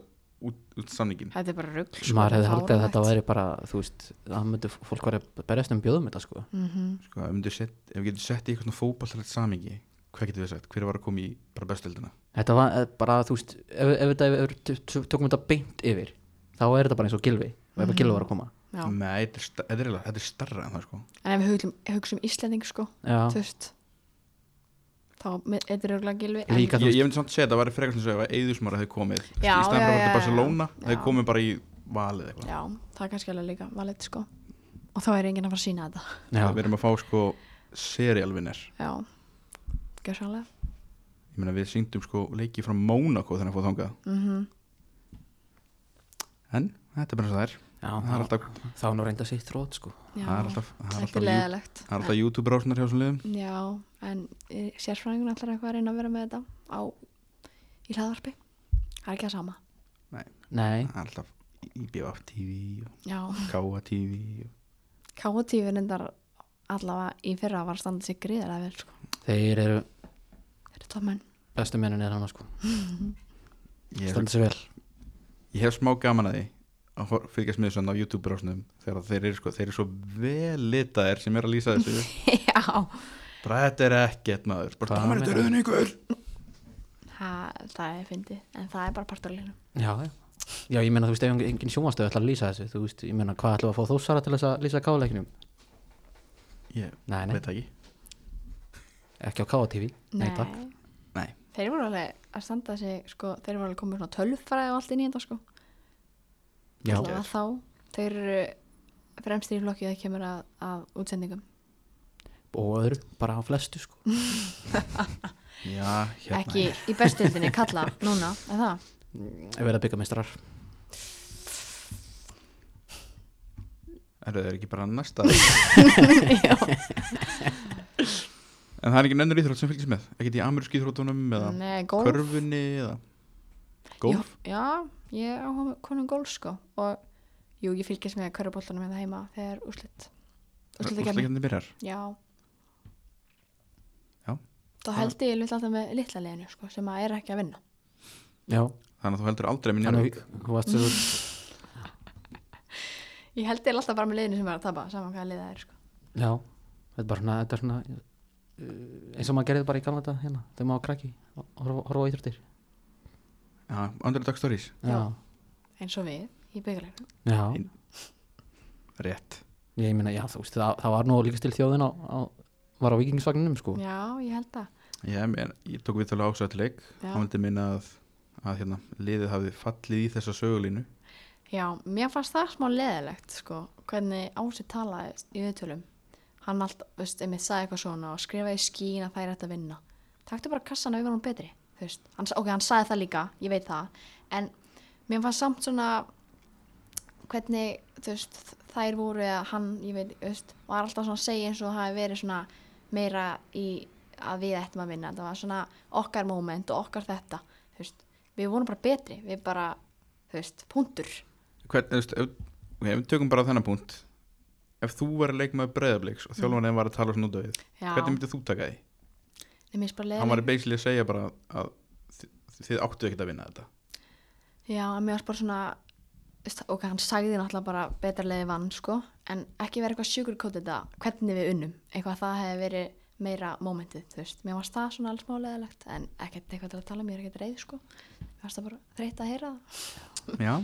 A: út, út samningin
C: þetta er bara sko. rugg
A: sko.
B: maður hefði haldið að þetta væri bara, þú veist, það myndi fólk væri að berjast um bjóðum þetta sko
C: Mhm.
A: sko, ef, við set, ef við getum sett í eitthvað svona fótballtilegt samingi hvað getum við sagt, hver var að koma í bara bestuldina
B: þetta var eh, bara, þú veist, ef, ef þetta ef, ef, tökum þetta beint yfir þá er þetta bara eins og gilvi, og ef að gilvi var að koma
C: en
A: nei, þetta er, sta- þetta er, eiginlega- þetta er starra en það sko
C: ef við hugsum, hugsum Íslanding sko þú
B: já,
C: veist þá með- þetta er örgulega gilvi
B: Líka-
C: en,
A: ég, ég myndi samt segja að það væri frekar sem segja að Eðusmar hefði komið þú veist,
C: Já,
A: í stæðan
C: já,
A: bara
C: já,
A: til
C: já.
A: Barcelona
C: Já.
A: hefði komið bara í valið eitthvað
C: já, það er kannski alveg líka valið sko og þá er enginn að fara að sína þetta
B: já,
A: við erum að fá sko serialvinner
C: já, gjörsanlega
A: ég meina við syngdum sko leiki frá Mónaco þannig að fóða þangað
C: mm
A: en þetta er bara eins og það er
B: já
A: það er alltaf,
B: þá er nú reynda sér þrótt sko
C: já,
A: það er alltaf, það er
C: ekki
A: alltaf, jú-
C: leðilegt
A: það er alltaf YouTube rásunar hjá svona liðum
C: já, en eh, sérfræðingun ætlar eitthvað að reyna að vera með þetta á í hlaðvarpi það er ekki að sama
B: nei,
A: það er alltaf IBF TV og
C: já,
A: KA TV og
C: KTV reyndar allavega í fyrra var að standa sér gríðarlega vel sko.
B: þeir eru
C: þetta er tómenn
B: bestu mennin er hana sko
A: ég er
B: standa sér vel
A: Ég hef smá gaman að því að hor- fylgjast með þessu þarna á YouTube rásnum þegar þeir eru, sko, þeir eru svo vel litaðir sem er að lýsa þessu
C: já,
A: bara þetta er ekkert maður bara
B: Hvað
A: dómar
B: meinar
A: þetta rauðin ykkur
C: ha, það er fyndið en það er bara parturlinu
B: já, já. já, ég meina þú veist ef engin sjónvastöð ætla að lýsa þessu, þú veist, ég meina hvað ætla að fá þósara til þess að lýsa káleiknum
A: ég
B: nei, nei,
A: veit það ekki
B: ekki á KTV nei, takk,
A: Nei.
C: þeir voru alveg að standa sig sko, þeir voru alveg komið svona tölfræði og allt inn í þetta sko
B: já,
C: Alla vega þá, þeir eru fremstir í flokki að kemur að, að útsendingum
B: og öðru, bara á flestu sko
A: já, hérna
C: ekki í bestuðinni kalla núna, er það?
B: ef við erum byggamistrar
A: eru þeir ekki bara næsta en það er ekki nönnur íþrótt sem fylgist með ekkert í ameríski íþróttunum eða
C: Nei, golf
A: körfunni eða golf
C: Já, já ég áhuga konum golf sko og jú, ég fylgist með körubóltanum hérna heima þegar úrslit úrslit ekki
A: úrslækjandi byrjar
C: Já
A: Já.
C: Þá held ég litla alltaf með litla leginu sko sem að er ekki að vinna
B: já,
A: þannig að þú heldur aldrei minn
B: þannig þú varst svo
C: Ég held ég alltaf bara með leginu sem er að tapa saman hvaða liða er sko
B: já, þetta er bara svona, þetta er svona uh, eins og maður gerði bara í gamla þetta hérna, þegar maður var krakki og horfa horfa á íþróttir
A: já, andri dag stories
B: já,
C: Já. eins og við í byggjuleginu
B: já,
A: Ein- rétt
B: ég meina, já, þú veist það, það var nú líka stil þjóðin á, á var á vikingsvagninum sko
C: Já, ég held það
A: ég, men, ég tók við tala ásætt leik
C: Já.
A: hann vildi minna að, að hérna, liðið hafi fallið í þessa sögulínu
C: Já, mér fannst það smá leðilegt sko, hvernig Ási talaði í viðtölum. Hann alltaf, veist, ef mér sagði eitthvað svona og skrifaði í skín að það er hægt að vinna. Taktu bara kassana yfir hún betri, þú veist. Hann, sa- ok, hann sagði það líka, ég veit það. En mér fannst samt svona hvernig, þú veist, þær voru eða hann, ég veit, þú veist, var alltaf svona að segja eins og það hafi verið svona meira í að við ættum að vinna. Það var svona okkar moment og okkar þetta, þú veist. Við vorum bara betri, við bara, þú veist, punktur.
A: Hvern, þú veist, ef, ok, ef við tökum bara þennan punkt ef þú verið leikmaður breyðabliks og þjálfarnið var að tala svona út af þig
C: Já,
A: hvernig myndið þú taka því?
C: Nei, mér finnst bara
A: hann var
C: leiðilegt.
A: basically að segja bara að þið, þið áttu ekkert að vinna þetta
C: Já, en mér finnst bara svona, veist, ok, hann sagði náttúrulega bara betra leiði vann, sko, en ekki verið eitthvað sugarcoat þetta, hvernig við unnum, eitthvað það hefði verið meira momentið, þú veist, mér varst það svona alls málegaðilegt, en ekkert eitthvað til að tala, mér er ekkert reið, sko, mér varst það bara þreytt að heyra það.
A: já,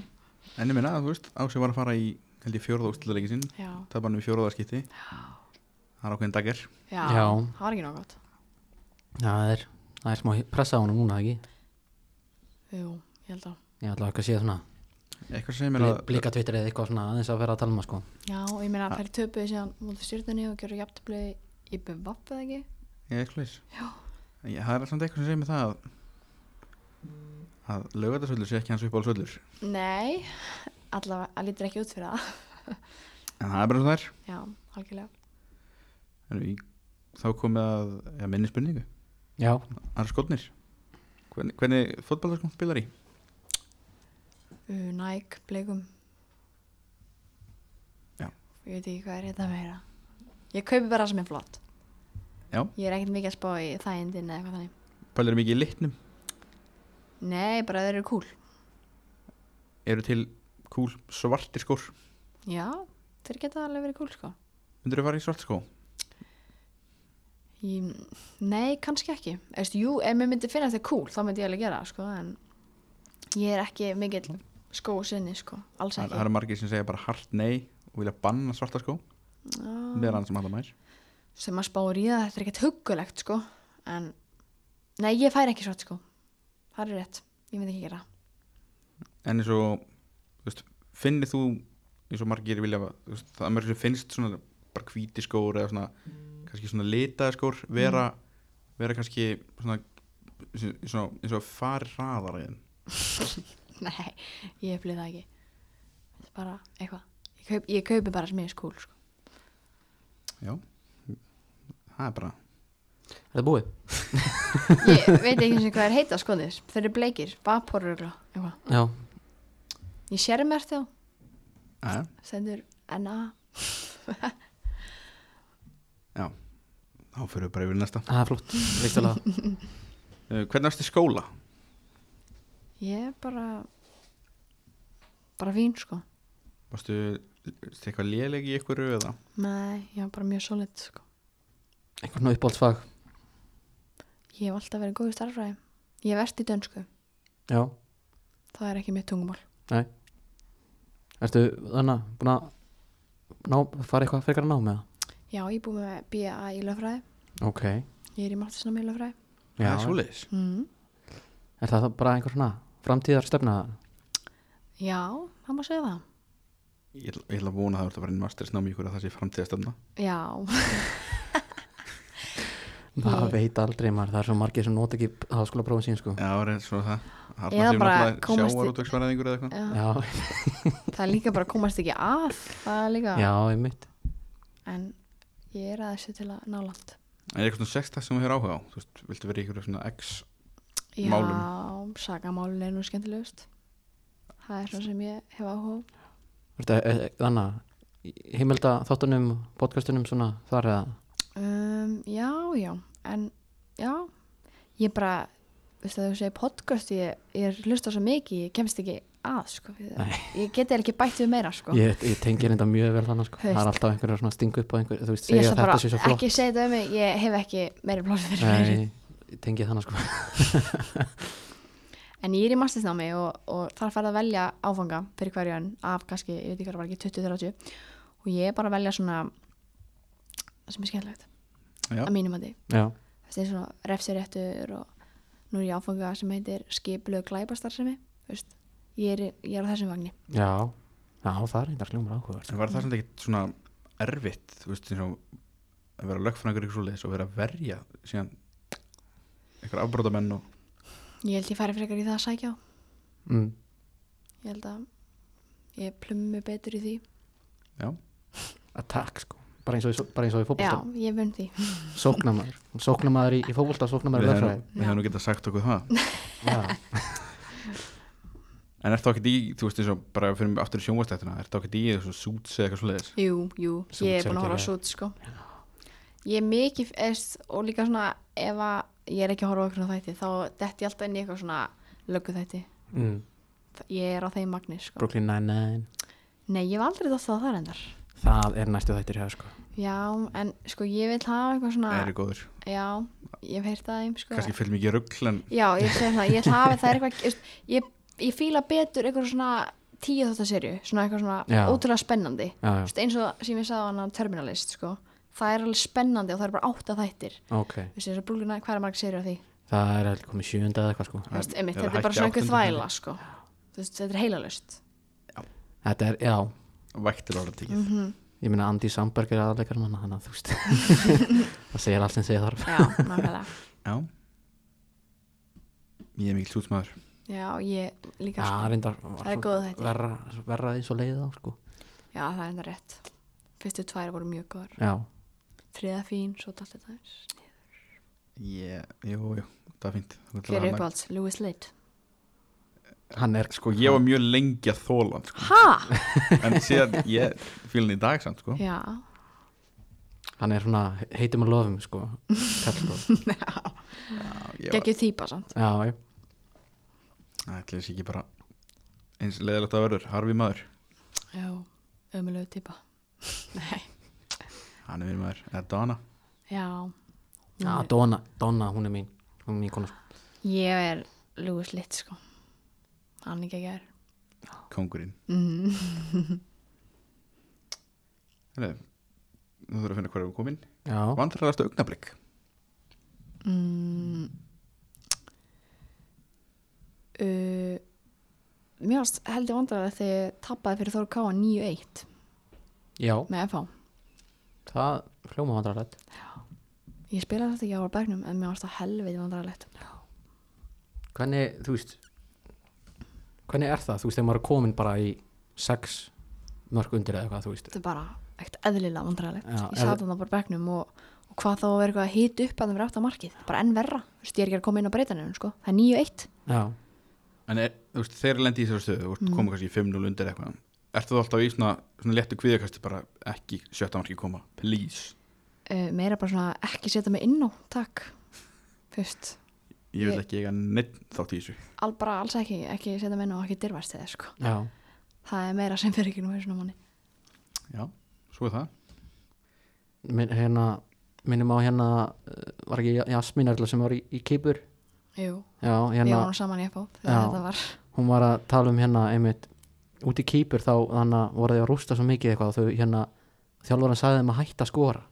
A: en ég minna að þú veist Ási var að fara í held ég fjórða úrslutaleikin sinn
C: Já,
A: tapan við fjóraðarskipti það er ákveðin dagir
C: já,
B: Já.
C: það var ekki nóg gott.
B: já, það er, það er smá pressa á honum núna, ekki
C: Jú, ég held að,
B: ég ætla ekki að sé svona,
A: eitthvað sem er
B: bli,
A: að
B: blika Twitter eða eitthvað svona aðeins að vera að tala um það sko
C: já, og ég meina, þær töpuðu síðan múlið stjórnunni og gerur jafntöflið í bumbapp eða ekki?
A: Ég er slúðis. Já. Það er samt eitthvað sem segir mig það að, að lögatarsöldur sé ekki hans upp á söldur.
C: Nei, allavega, það lítur ekki út fyrir það,
A: En það er bara svo þær.
C: já, algjörlega.
A: En við, þá komið að ja, minni spurningu.
B: já,
A: Arns Skotnir. Hvernig, hvernig fótballarskónd spilar í?
C: Uh, Nike, bleikum
A: Já.
C: Ég veit ekki hvað er þetta meira Ég kaupi bara það sem er flott
A: Já.
C: Ég er ekkert mikið að spá í þægindin eða eitthvað þannig
A: Pælir mikið í litnum.
C: Nei, bara þeir eru cool
A: Eru til kúl svartir skór.
C: Já, þeir geta alveg verið cool sko
A: Myndur þú fara í svart skó?
C: ég, Nei, kannski ekki Eðst, Jú, ef mér myndi finna þeir cool þá myndi ég alveg gera það sko En ég er ekki mikill skó sinni sko Alls
A: Það, það
C: ekki
A: eru margir sem segja bara hart nei og vilja banna svarta skó.
C: Já.
A: Meðan hann sem hann mær.
C: Sem að spá í það, þetta er ekkert huggulegt sko En, nei, ég fær ekki svart sko Það er rétt, ég myndi ekki gera það
A: En eins og, þú veist, finnir þú eins og margir vilja, þú veist, það er mörg sem finnst svona bara hvíti skór eða svona kannski svona litaði skór vera, vera kannski svona, svona eins og fari hraðar í þeim.
C: Nei, ég upplýði það ekki Þetta er bara eitthvað Ég, kaup, ég kaupi bara sem ég er skúl sko.
A: Já, það er bara
B: er það búið?
C: Ég veit ekki eins og hvað er heita sko þess Þeir eru bleikir, vaporugla eitthvað.
B: já,
C: Ég sér mér þá
A: Æja,
C: Sendur NA
A: já, þá fyrir við bara yfir í næsta.
B: það er flott, veistlega
A: Uh, hvernig varstu í skóla?
C: Ég er bara Bara fín sko
A: Varstu, varstu eitthvað léleg í ykkur eða?
C: Nei, ég var bara mjög solid sko
B: eitthvað svona uppáhaldsfag
C: Ég hef alltaf verið góð í starfræði. Ég hef verst í dönsku.
B: já,
C: Það er ekki mitt tungumál.
B: ertu þannig búin að ná, fara eitthvað frekar að ná með
C: Já, ég er búið með BA í lögfræði.
B: það ok,
C: Ég er í máttisnami í lögfræði.
A: Já, það er svoleiðis
C: Mm.
B: er það þá bara einhver svona framtíðar stefna
C: Já, það má segja það.
A: Ég ætla- ég ætla að vona að það er að vera einn mastersnám í ykkur að það sé framtíðastöfna
C: Já,
B: maður veit aldrei maður, það er svo margir sem nota ekki háskóla prófum sín sko
C: Ah.
A: Já, það er svona það Þarna
C: Eða
A: séu
C: bara
A: náttúrulega
C: komast í-
A: sjávarútvegsfræðingur eða eitthvað
C: já.
B: já,
C: það er líka bara að komast ekki að. Það er líka.
B: já, einmitt
C: En ég er að þessu til að ná land.
A: En er eitthvað svona sexta sem þú hefur áhuga á Þú veist, viltu vera í ykkur svona X
C: Já,
A: Málum.
C: sagamálun er nú skemmtilegust. Það er svona sem ég hef áhuga. á.
B: eh, þannig heimilda þáttunum, podcastunum svona þar eða
C: Um, já, já. En já, ég bara, veistu að þú segir podcast, ég, ég hlusta svo mikið, ég kemst ekki að, sko.
B: Nei.
C: Ég geti ekki bætt við meira, sko.
B: ég, ég tengi reynda mjög vel þannig sko.
C: Haust.
B: það er alltaf einhverja svona stingu upp á einhverju þú veist,
C: ég
B: segja að
C: ætla bara
B: þetta sé svo flott
C: ekki að segja þetta um mig, ég hef ekki meiri pláss fyrir fleiri.
B: Nei, ég tengi þannig sko
C: En ég er í mastersnámi og, og þar færði að velja áfanga fyrir hverjan af kannski, ég veit ekki hvað það var ekki, 20-30 og ég er bara að velja svona það sem er skemmtilegt
A: Já.
C: að mínum að því.
B: já,
C: Það er svona refsiréttur og nú er ég í áfanga sem heitir skipulegu glæbastarsemi, þú veist, ég er, í- ég er á þessum vagni.
B: já, já, það er einhverja hljómar áhuga
A: En var það samt ekkert svona erfitt Þú veist, eins og að vera lögfræðingur ykkur svoleiðis og vera að verja síðan ykkur afbrótamenn og
C: Ég held ég færi frekar í það að sækja á.
B: mm.
C: Ég held að ég plummi betur í því.
A: Já,
B: attack sko bara eins og, í svo- bara eins og í
C: Já,
B: fótbolta
C: ég vunn því.
B: sóknamaður, sóknamaður í, í fótbolta sóknamaður í
A: við hefum-
B: lögfræði
A: við hefum nú getað sagt okkur það
B: Já.
A: En er það ekkert í, þú veist, eins og bara fyrir mig aftur í sjónvastættina Er það ekkert í eða svona suits eða eitthvað svoleiðis
C: Jú, jú,
B: Suits
C: ég
B: er
C: er búin að horfa á
B: geggjað.
C: Suits sko Ég er mikið eðst, og líka svona ef að ég er ekki að horfa á eitthvað þætti þá detti ég alltaf inn í eitthvað svona löggu þætti
B: mm.
C: Ég er á þeim magni sko
B: Brooklyn Nine-Nine
C: Nei, ég hef aldrei dótt það þar endar
B: það er næstu þættir hér sko
C: Já, en sko ég vil hafa eitthvað svona
A: Það eru góður,
C: Já, ég hef heyrt það þeim sko
A: kannski fyrir mikið rugl en
C: Já, ég segi það, ég vil hafa það er eitthvað ég, ég, ég fíla betur eitthvað svona tíu þáttaserju, svona eitthvað svona
B: Já.
C: ótrúlega spennandi
B: já,
C: Þú
B: já,
C: veist, eins og sem ég sagði á hann Terminalist sko. það er alveg spennandi og það er bara átta þættir
B: ok
C: Þú veist, þessi brúluna, hvað er marg serið af því
B: það er allir komið sjönda eða eitthvað sko
C: Þú veist, einmitt,
A: Eða
C: þetta er bara
A: hækki
C: svona
A: áttundu
C: einhver þvæla sko. Þú veist, þetta er heilalust
B: þetta er, já,
A: væktir ára tekið
C: Mhm.
B: ég meina Andy Samberg er aðleikar manna þannig að þú veist það segir allt sem segir þarf
C: já, nákvæmlega
A: Já Ég er mikil sútsmaður
C: já, ég líka
B: Já,
C: sko.
B: reyndar var
C: Það er
B: svo
C: góð þættir.
B: verra, verra eins og leiði þá sko
C: já, það er enda rétt fyrstu tvær voru mjög góðar
B: Já,
C: þriða fín, svo dalt þetta eins
A: Ég, jú, jú, það er fínt Þú ætlar að
C: hver er
A: hana-
C: uppáhalds, Louis Lade
B: hann er
A: Sko, ég var mjög lengi að þóla hann, sko.
C: ha?
A: En síðan, ég fíl hann í dag samt, sko
C: já,
B: Hann er svona heitum og lofum sko Kallur
A: Ég var,
C: geggjum þýpa samt
B: Já, já,
A: ætli þessi ekki bara Eins leðilegt að verður, harfi maður
C: já, ömulegu týpa nei,
A: Hann er minn maður, eða Dana
C: já
B: já Donna, Donna, hún er mín Hún er mín kona sko
C: ég er Louis Lade sko hann er geggjar
A: Kongurinn
C: mm.
A: Hérna, Nú þurfum við að finna hverju við komin
B: Já,
A: Vandræðast augnablík
C: Mm. Uh, mér varst heldur vandrarlega þegar ég tappaði fyrir Þóru Káa 9-1
B: já,
C: með FH.
B: það hljóma vandrarlegt
C: Ég spilaði þetta ekki á bergnum en mér varst það helviti vandrarlegt.
B: Hvernig, þú veist Hvernig er það, þú veist, þegar maður er komin bara í sex mörg undir eða eitthvað, þú veist
C: Þetta er bara ekkert eðlilega vandrarlegt.
B: Já,
C: Ég
B: eða-
C: satt þarna bara á bergnum og, og hvað þá að vera eitthvað að hita upp að það vera átt á markið. Þetta er Bara enn verra. Þú veist, ég er ekki að koma inn á breytanum, sko. Það er 9-1.
B: Já,
A: En er, þú veist, þeir lendi í þessu stöðu Þú veist,
C: Mm.
A: koma kannski í 5-0 undir eitthvað Ertu þú alltaf í svona, svona léttu kviðakasti bara ekki sjötta marki koma, please
C: Uh, meira bara svona ekki setja mig inn á, takk. Fyrst,
A: Ég vil
C: Ég-
A: ekki eiga neitt þátt í þessu
C: al, bara alls ekki, ekki setja mig inn á og ekki dyrfast þeir, sko.
B: já,
C: Það er meira sem fyrir ekki nú fyrir svona manni.
A: Já, svo er það
B: Minn, hérna minnum á hérna eh, var ekki Jasmín Erla sem var í, í Kýpur
C: Jú,
B: já,
C: ég
B: hérna,
C: var nú saman í FH
B: Já.
C: þegar þetta var
B: hún var að tala um hérna einmitt, út í Kýpur þá þannig að voru þau að rústa svo mikið eitthvað og þau hérna, þjálfur hann sagði þeim að hætta að skora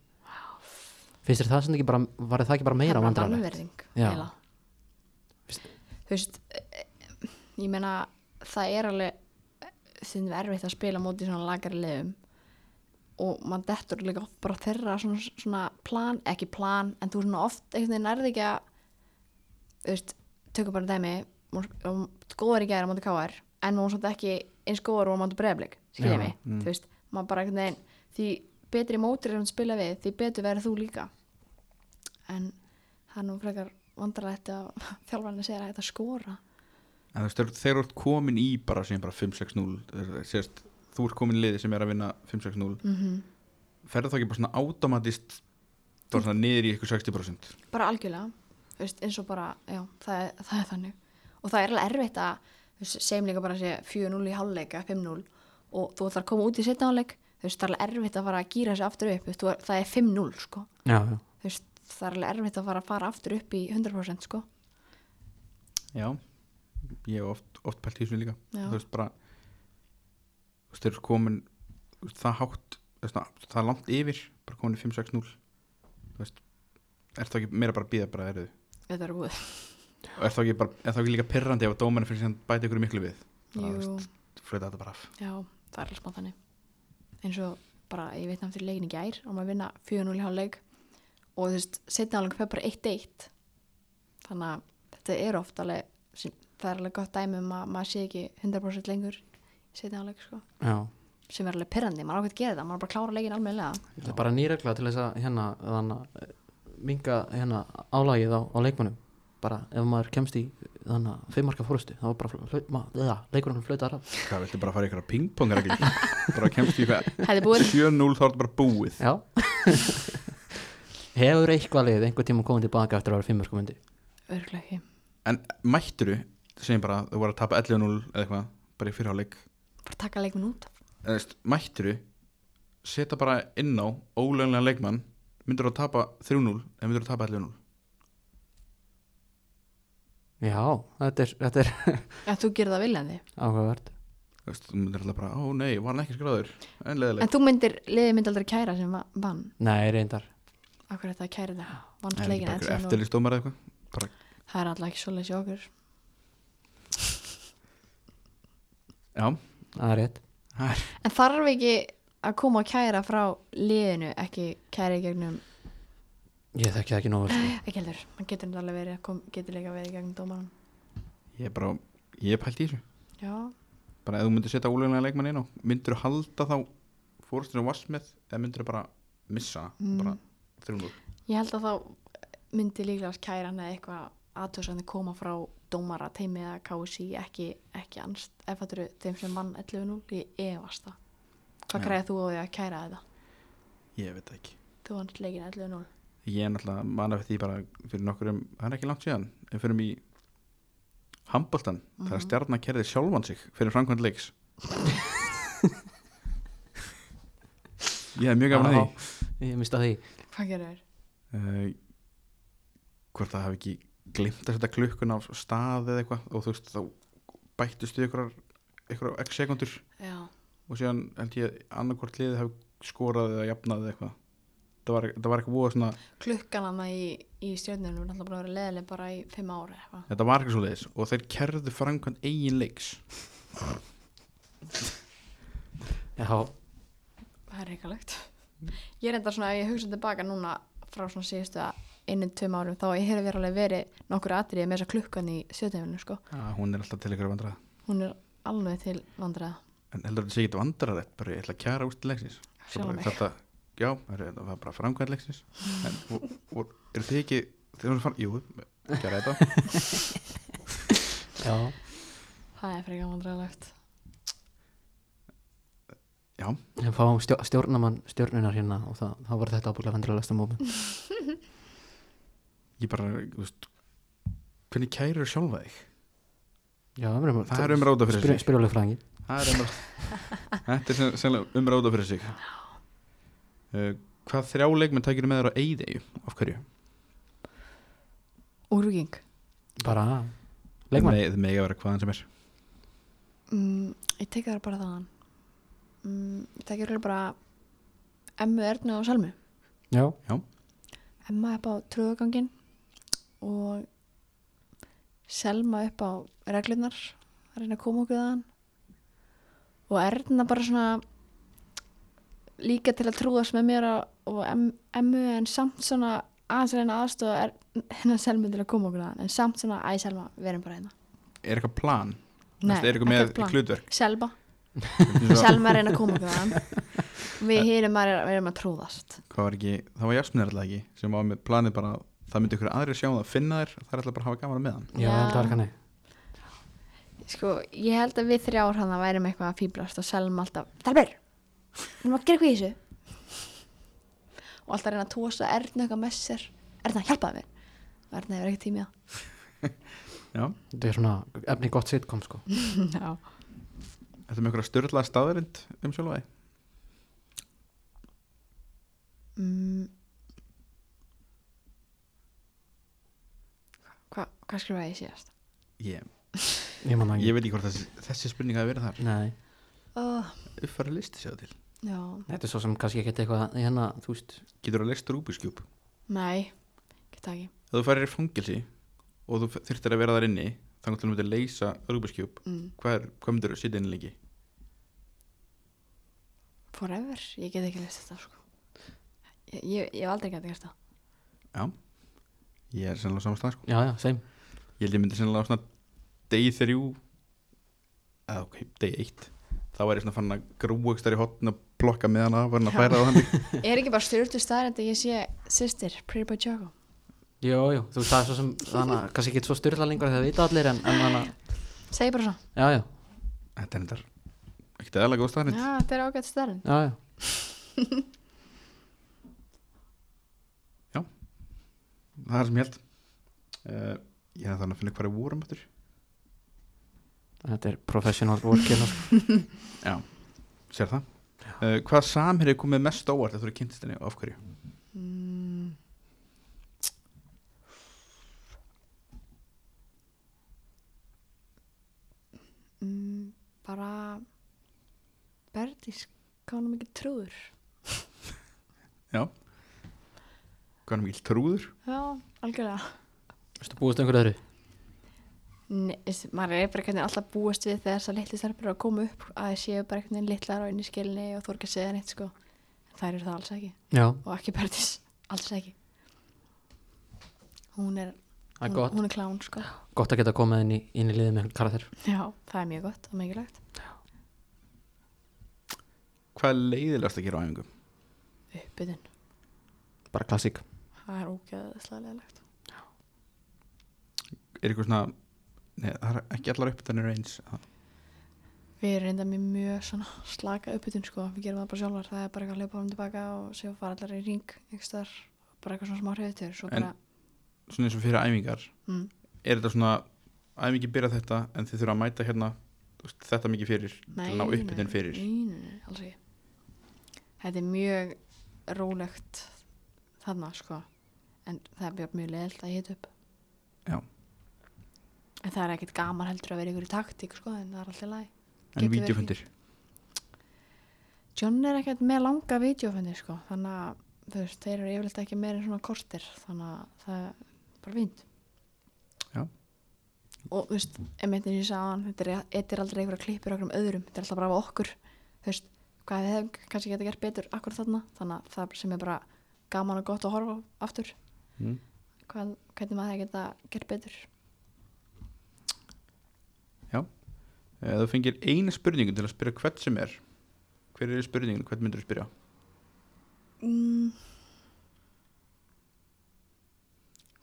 B: finnst þér það sem ekki bara var það ekki bara meira
C: Það er bara
B: vandrarlegt
C: vanvirðing,
B: Já.
C: eiginlega. Þú veist eh, ég meina það er alveg þinn verfið að spila móti svona lagari liðum og mann dettur líka oft bara þeirra svona, svona plan, ekki plan en þú svona oft einhvern veginn nærði ekki að þú veist, tökum bara dæmi hún- hún góður í gæra móti káar en hún svolítið ekki eins góður og hún móti breyðblik
B: Já,
C: skiljið mig, þú veist, maður bara einhvern veginn því betri mótir sem spila við því betur verður þú líka en það er nú frekar vandrarætt að þjálfarni segir að þetta skora
A: En þú veist, þegar þú ert komin í bara sem bara 5-6-0 þegar- sérst, þú ert komin í liði sem er að vinna 5-6-0
C: mm
A: ferðu þá ekki bara svona automatist bara svona niður í ykkur 60%
C: bara algjörlega þú veist, eins og bara, já, það er, það er þannig og það er alveg erfitt að þú veist, segjum líka bara að segja 4-0 í háluleika 5-0 og þú ætlar að koma út í setna háluleik þú veist, það er alveg erfitt að fara að gýra sig aftur upp þú veist, þú er- það er 5-0 sko
B: já, já.
C: Þú veist, það er alveg erfitt að fara að fara aftur upp í 100% sko
A: Já Ég hef oft, oft pælt í þessu líka
C: Já.
A: Þú veist bara Þú veist, þeir eru komin þú veist, það hátt, þú veist, það, það er langt yfir bara komin í 5-6-0 Þú veist, er það ekki meira bara að býða bara erðu
C: þetta er búið
A: og er það ekki, bara, er það ekki líka pirrandi ef að dómarinn fyrir sem bæti ykkur miklu við bara, þú
C: Jú,
A: veist, flöta þetta bara af
C: já, það er alveg smá þannig eins og bara, ég veit náttúrulega leikin í gær og maður vinna 4-0 í háluleik og þú veist, setna háluleik fer bara 1-1 þannig að þetta er oft alveg sem- það er alveg gott dæmi um að maður sé ekki 100% lengur setna háluleik sko
B: já.
C: sem er alveg pirrandi, maður ákveð að gera þetta maður bara klára leikin almennilega
B: þetta er bara nýregla til þess að hérna, þannig að minga hérna, álagið á, á leikmunum bara ef maður kemst í þannig að fimmarka fórustu þá er bara flaut, maður, eða, leikurinn flautar af
A: Hvað, viltu bara fara ykkur að pingpongaregli bara kemst í hvað
C: Hefði búið,
A: 7-0 þá er þetta bara búið
B: Já Hefur eitthvað lið einhver tíma komið tilbaka eftir að vera fimmur sko myndi
C: örgulega ekki
A: en mætturu, segjum bara þú voru að tapa 11-0 eða eitthvað bara í fyrirháleik
C: bara taka leikmin út
A: mætturu, setja bara inn á ólögnlega leikmann myndur að tapa 3-0 eða myndur að tapa 11-0
B: Já, þetta er, þetta er
C: Já, þú gerir það viljandi
B: áhugavert
A: Þú veist, þú myndir alltaf bara, ó nei, var hann ekki skráður en
C: En
A: leðileg,
C: þú myndir, liðið myndi aldrei kæra sem va- vann
B: Nei, reyndar
C: Akkur þetta að kæra þetta, vannst
A: en
C: leikin
A: bara
C: en
A: ykkur
C: síðan nú-
A: eftirlýstómar eða eitthvað bara,
C: Það er alltaf ekki svoleiðis í okkur
A: já,
B: Það er rétt
A: það er
C: En þarf ekki að koma að kæra frá liðinu, ekki kæra í gegnum
B: Ég þekki það ekki nógu vel, sko.
C: ekki heldur, mann getur þetta alveg verið að kom, getur líka verið í gegnum dómaran
A: ég er bara, ég er pælt í þessu
C: Já,
A: bara ef þú myndir setja ólögnlega leikmann inn á myndur að halda þá fórstinu vassmið eða myndur að bara missa mm.
C: Mm.
A: bara 3-0
C: ég held að þá myndi líklega kæra hann eða eitthvað aðtöðsandi koma frá dómara teimi eða KSI, ekki, ekki anst ef þetta eru þeim sem vann 11-0 ég efast það Hvað
A: Já.
C: græði þú á því að kæra þetta?
A: ég veit það ekki
C: Þú vannst leikin 11-0
A: ég er náttúrulega manna fyrir því bara fyrir nokkurum, það er ekki langt síðan við fyrir í handbóltan mm -hmm. það er stjarnakerði sjálfan sig fyrir framkvæmt leiks ég er mjög gafna því
B: Já, Ég mista því
C: Hvað gerir þér?
A: uh, hvort það hafi ekki glimt að setja klukkun af stað eða eitthvað og þú veist þá bættist við ykkur ykkur x sekundur
C: Já,
A: og síðan held ég annarkvort liðið hafi skorað eða jafnað eða eitthvað það var, það var eitthvað voða svona
C: klukkan hann í, í stjórnunum er alltaf búin að vera leðileg bara í fimm ára eitthvað.
A: Þetta var ekki svo leiðis og þeir kerðu framkvæmt eigin leiks
B: Já,
C: Það er reykalegt. Ég er enda svona, ef ég hugsa tilbaka núna frá svona síðustu að einu, tveim árum, þá ég hefur verið alveg verið nokkur atriði með þessa klukkan í stjórnunum, sko.
A: ah, Hún er alltaf til ykkur vandræða
C: Hún er alveg til vandræða.
A: En heldur þetta sé ekki vandræðarætt bara ég ætla að kæra úst leiksins Svo
C: Sjálfa
A: bara
C: mig.
A: Þetta, já, það er- það var bara framkvæmt leiksins En og, og, er þið ekki þeir eru fann, Jú, kæra þetta
B: já
C: Það er frekar vandræðalegt.
A: Já,
B: Ég fáum stjó, stjórnamann stjórnunar hérna og það, þá var þetta ábúinlega vandræðalegsta móment
A: ég bara, þú veist Hvernig kærur sjálfa þig?
B: Já, við erum
A: Það er umráða fyrir sig
B: Spyrjuleg fræðingi
A: Það er umráða Þetta er sennilega umráða fyrir sig uh, hvað þrjá leikmenn tækir með þér á Eyðeyju af hverju?
C: Úrvíking
B: bara leikmann
A: Þeir mega vera hvaðan sem er
C: mm, Ég teki það bara þaðan mm, Ég teki það bara Emmu Ernu og Selmu
B: já,
C: Emma upp á tröðugangin og Selma upp á reglurnar að reyna að koma okkur þaðan og Erna bara svona líka til að trúðast með mér á- og em, Emmu en samt svona aðeins að reyna að aðstofa er, hennar Selmu til að koma okkur þaðan en samt svona, æ Selma, við erum bara hérna
A: er eitthvað plan?
C: Nei,
A: Þú veist, er eitthvað
C: ekkert
A: með
C: plan.
A: klutverk?
C: Selma,
A: Svo-
C: Selma er að reyna að koma okkur þaðan við hinum að, við erum að trúðast
A: hvað var ekki, það var Jasmine alltaf ekki sem var með planið bara að það myndi ykkur aðrir sjá það finna þær, það er alltaf bara að hafa gaman með hann
B: já,
C: Já.
B: það var kanni
C: Sko, ég held að við þrjár hann að værum eitthvað að fýblast og selma alltaf Dalbjör, við erum að gera eitthvað í þessu og alltaf reyna að tósa Erna eitthvað með sér Erna, hjálpaði mér og Erna hefur ekki tími að
A: já,
B: þetta er svona efni gott sitcom sko
C: Já,
A: þetta með ykkur að styrla staðarind um sjálfa þig
C: mm. Hva, Hvað skrifaði ég síðast?
A: ég,
B: ég man það
A: ég
B: ekki
A: veit ekki hvort þessi, þessi spurning hafi verið þar
B: Nei.
C: Oh,
A: uppfæra listi sér til,
C: já,
B: þetta er svo sem kannski ekki eitthvað í hérna, þú veist
A: getur að leggst rúbiskjúb
C: nei, geta ekki
A: ef þú farir í fangilsi og þú þurftir að vera þar inni þannig til þú myndir leysa rúbiskjúb
C: mm.
A: hvað, er, hvað myndir þú sitja inn lengi?
C: Forever, ég get ekki list þetta sko. ég, ég, ég hef aldrei gæti gert það
A: já, ég er sennilega á sama stað sko.
B: já, já, same
A: ég held ég myndi sennilega á svona degi þrjú eða ok, degi eitt þá er ég svona fann að grúvöxtar í hotn að plokka með hana, var hann að færa á hann
C: Er ekki bara styrtu staðrænt að ég sé sýstir, Pretty Boy Jago?
B: jú, jú, þú veist það er svo sem þannig að kannski ekki svo styrla lengur þegar það vita allir en, en þannig
C: Segði bara svona.
B: að já, já,
A: Þetta er endar ekkert eðalega góð staðnitt
C: Já, þetta er ágætt
B: já,
C: staðrænt.
B: já
A: Það er það sem ég held uh, Ég hef þannig að finna hvað er vorum eftir
B: þetta er professional work hérna, sko.
A: Já, sér það uh, Hvað samherið komið mest á óvart þegar þú eru kynntist henni og af hverju?
C: Mm. Mm, bara Berdís, hvað hann mikið trúður.
A: Hvað er mikil trúður?
C: Já, algjörlega.
B: veistu búist einhverju öðru
C: Nei, veist, maður er bara hvernig alltaf búast við þegar þessar litli stelpur eru að koma upp að þið séu bara hvernig litlar og inn í skilni og þú er ekki að segja neitt sko. Þær eru það alls ekki.
B: já,
C: og ekki Berdís, alls ekki hún er
B: það er
C: hún,
B: gott,
C: hún er klán sko
B: gott að geta komið inn í, inn í liðið með karakter
C: já, það er mjög gott og mikilvægt
A: Hvað er leiðilegast að gera á æfingum?
C: uppbytun,
B: bara klassík
C: það er ógeðslega leðilegt
A: Er eitthvað svona Nei, það er ekki allar uppbytanir eins Það-
C: við erum reynda með mjög svona slaka uppbytun sko, við gerum það bara sjálfar það er bara eitthvað að hlaupa um tilbaka og séu fara allar í ring einhvers þar, bara eitthvað svona smá hreifitur svo
A: En-
C: bara,
A: Svona eins og fyrir æfingar
C: mm,
A: Er þetta svona Æfingi byrja þetta en þið þurfa að mæta hérna þú veist, Þetta mikið fyrir
C: nei,
A: Til að ná uppbytun fyrir
C: nei, nei, nei, alls ekki þetta er mjög rólegt þarna sko en það er bara mjög leðilt að hita upp
A: Já.
C: En það er ekkert gaman heldur að vera ykkur í taktík sko, en það er alltaf læg.
A: En
C: Getur verið
A: vídeofundir
C: John er ekkert með langa vídeofundi sko, þannig að þú veist, þeir eru yfirleitt ekki meira en svona kortir, þannig að það er bara fínt.
A: Já.
C: Og þú veist, einmitt eins og ég sagði hann, þetta er, e-, þetta er aldrei einhverja klippur okkur um öðrum, þetta er alltaf bara af okkur, þú veist, hvað við hefum kannski geta gert betur akkur þarna, þannig að það sem er bara gaman og gott að horfa á aftur,
A: mm.
C: hvað, hvernig maður hefði geta gert betur.
A: Ef Eh, þú fengir eina spurningu til að spyrja hvert sem er Hver er spurningin, hvern myndir spyrja?
C: Mm.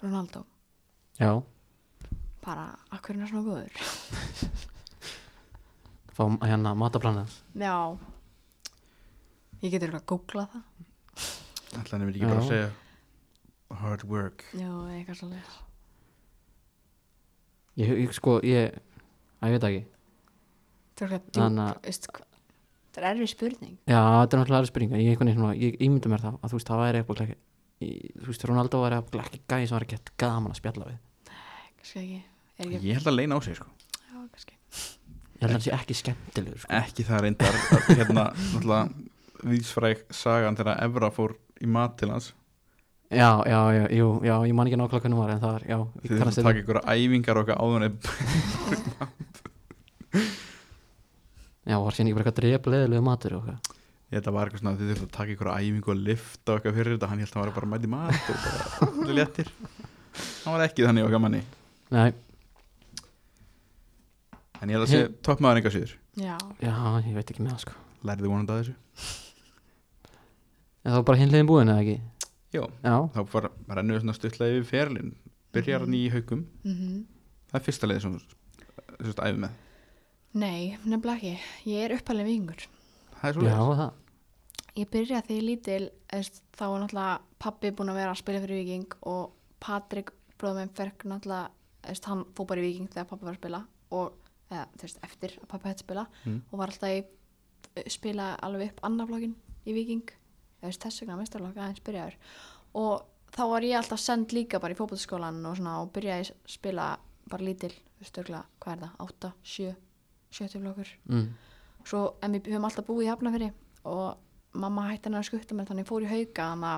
C: Ronaldo
B: já,
C: bara, akkur er hann svona góður
B: fá hérna mataplanið
C: Já Ég getur eitthvað að googla það
A: Ætlaði hann myndi ekki bara
B: Já.
A: að segja Hard work
C: Já, eitthvað svolítið
B: ég, ég sko, ég, að ég veit það ekki
C: Þetta er eitthvað
B: Þannig
C: djúb
B: að-
C: veist, hva- þetta er erfið spurning
B: Já, þetta er náttúrulega aðra spurning Ég, einhvern veginn svona- ég ímynda mér það að þú veist, það væri eitthvað ekki í- Þú veist, Ronaldo væri eitthvað ekki gæði sem var ekki gaman að spjalla við
C: kannski ekki, er ekki,
A: ég held að leina á sig sko
C: já, kannski.
B: Ég held að hann sé ekki skemmtilegur sko.
A: ekki það reyndar að, hérna náttúrulega vísfræk sagan þegar Evra fór í mat til hans
B: Já, já, já, jú, já, ég man ekki nákvæmlega hvernig hún var En það var, já, ég
A: því
B: kannast
A: þess að
B: við
A: taka ykkur æfingar okkar áður en
B: Já, var síðan ekki bara eitthvað drefleðilegu matur og eitthvað
A: þetta var eitthvað svona þið þurftu að taka ykkur æfingu og lifta okkar fyrir þetta hann held að hann var bara að mæti mat og bara allir léttir hann var ekki þannig okkar manni
B: Nei,
A: en ég held að sé toppmaður enga síður
C: já,
B: já, ég veit ekki með það sko
A: lærði vonandi að þessu
B: En það var bara hinlegin búin eða ekki
A: já
B: Já,
A: þá var rennur við svona stuttlega yfir ferlin byrjar hann í haukum
C: mhm
A: það er fyrsta leið sem þú sem þú veist æfi með
C: nei, nefnilega ekki ég er uppalega vingur
A: það er svo
B: já, það
C: Ég byrja því lítil, eðst, þá var náttúrulega pappi búinn að vera að spila fyrir Viking og Patrik bróðum einn ferk náttúrulega, eðst, hann fór bara í Viking þegar pappi var að spila og eða, þú veist, eftir að pappi hætti að spila
A: Mm.
C: og var alltaf í eh, spila alveg upp annar blokkin í Viking eðst, þess vegna mestarlokk aðeins byrjaður og þá var ég alltaf send líka bara í fótbollskólan og svona og byrjaði að spila bara lítil, þú veist, örugglega, hvað er það, 8, 7, 70 blokkur
B: mm.
C: svo, en við höfum alltaf búið í Hafnafyrir og mamma hætti hennar að skutta mér þannig ég fór í hauka þannig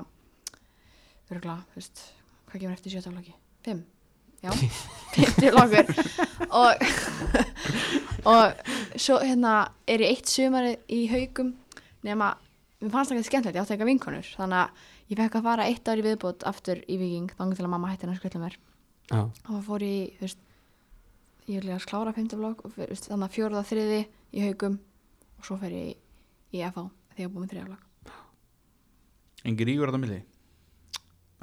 C: að örgla, veist, hvað kemur eftir sjötaflokki? Fimm? Já, fimmti flokkur og, og svo hérna er ég eitt sumari í haukum nema, mér fannst það ekki skemmtilegt ég átti eitthvað vinkonur, þannig að ég fekk að fara eitt ár í viðbót aftur í Viking þannig til að mamma hætti hennar að skutta mér
B: já,
C: og það fór í þú veist, ég vil að klára 5. blokk og þú veist, þannig að fjóruða þriði í haugum og svo fer ég í, í FH þegar ég er búin með þriða blokk
A: engin ríkur þetta milli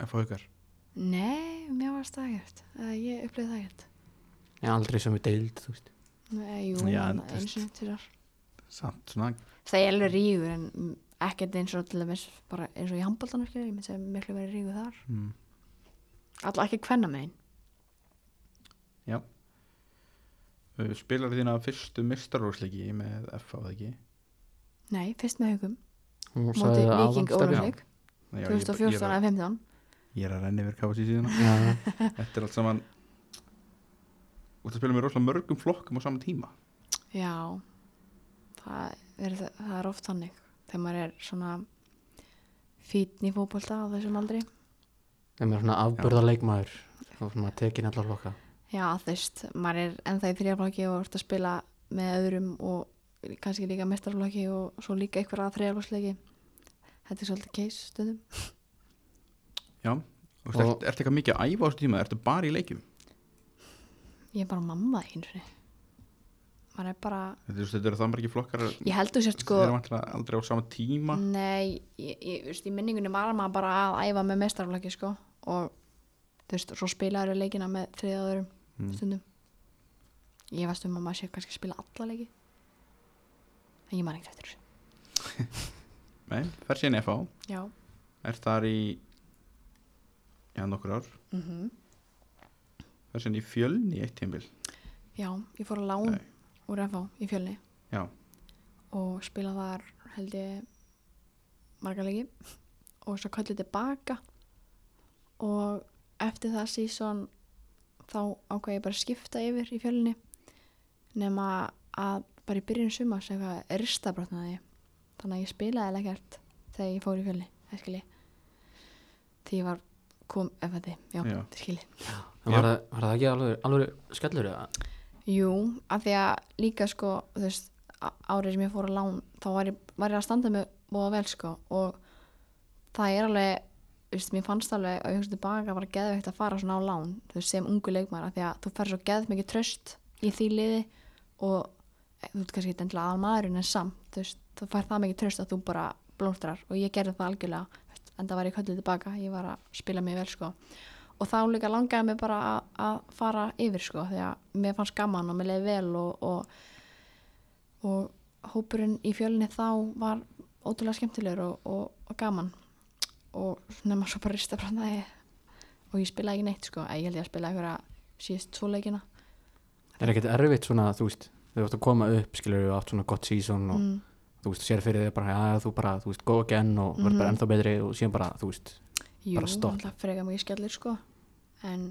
A: FH haukar
C: nei, mér varst það ekkert uh, ég upplýði það ekkert
B: ég aldrei sem við deild, þú veist
C: nei, jú,
A: Já,
C: þarna
A: en þú
C: einu
A: veist.
C: sinni til þar
A: samt svona
C: það er alveg rígur en mm, ekkert eins og til dæmis bara eins og í handbóltan ég myndi segja miklu verið rígur þar
A: mm.
C: alltaf ekki hvenna megin
A: já Uh, spilar þína fyrstu mistarúrsleiki með FH eða ekki
C: nei, fyrst með haugum
B: Hún
C: móti
B: sagði það
C: Viking
B: áðan, Stebbi.
C: Ólafsvík
A: Nei, já, ég- ég,
C: 2014
A: er að-
C: eða 15
A: ég er að renni yfir KFC síðan
B: Já, já.
A: Þetta er allt saman Þú ert að spila með rosalega mörgum flokkum á sama tíma
C: Já, það er, það er oft þannig þegar maður er svona fítn í fótbolta á þessum aldri.
B: Þegar maður er svona afburða leikmaður og svona tekin allar loka
C: Já, þú veist, maður er ennþá í þrjaflokki og ert að spila með öðrum og kannski líka mestarflokki og svo líka einhver að þrjaflokksleiki. Þetta er svolítið case stundum.
A: Já Þú veist,
B: Og-
A: Ertu ert eitthvað mikið að æfa á þessu tíma, ertu bara í leikjum
C: Ég er bara mamma einu sinni. Maður er bara,
A: Þetta, þú veist, þetta eru það margir flokkar
C: ég held þú sért sko, Mm.
A: Þeir eru vantlega aldrei á sama tíma
C: nei, ég, ég, þú veist, í minningunni var maður bara að æfa með mestarflokki sko og þú veist, svo spilaður leikina með þriða og öðrum.
A: mm.
C: stundum ég veist um að maður sé kannski að spila alla leiki en ég man ekkert eftir þessu
A: Nei, fer síðan í FH,
C: já
A: ert þar í Já, nokkur ár
C: mm
A: Fer síðan í fjölni í eitt tímbil
C: já, ég fór að lán
A: Nei.
C: úr FH í fjölni
A: Já,
C: og spila þar held ég marga leiki og svo kallið tilbaka og eftir það síðan þá ákvað ég bara að skipta yfir í fjölni nema að bara í byrjun sumars eitthvað ristabrotnaði þannig að ég spilaði eiginlega ekkert þegar ég fór í fjölni, það skilji því ég var kom, ef þetta, já,
A: Já.
C: þið skilji
B: En var, það- var það ekki alveg, alveg skellur eða?
C: Jú, af því að líka sko, þú veist, á- árið sem ég fór að lán, þá var ég, var ég að standa mig búa vel sko og það er alveg, þú veist, mér fannst alveg að ég hugsa tilbaka að var geðveikt að fara svona á lán, þú veist, sem ungu leikmæra því að þú fer svo geð mikið tröst í því liði og e, þú veist kannski ekki endilega aðal maðurinn en samt, þú veist, þú fær það mikið tröst að þú bara blómstrar og ég gerði það algjörlega, þú veist, en það var ég kallið tilbaka, ég var að spila mig vel sko og þá líka langaði mig bara að, að fara yfir sko því að mér fannst gaman og mér leiði vel og, og, og hópurinn í fjölinni þá var ótrúlega skemmtilegur og, og, og gaman og nema svo bara rista brandaði og ég spilaði ekki neitt sko að ég held ég að spila einhverja síðust svo leikina
B: Er ekkert erfitt svona, þú veist, þau varst að koma upp skilur við átt svona gott sísón og
C: mm.
B: þú þú veist, sér fyrir þig bara, já, þú bara, þú veist, go again og verður bara ennþá betri og síðan bara, þú veist,
C: Jú,
B: Bara stopp.
C: alltaf frekar mikið skellir sko en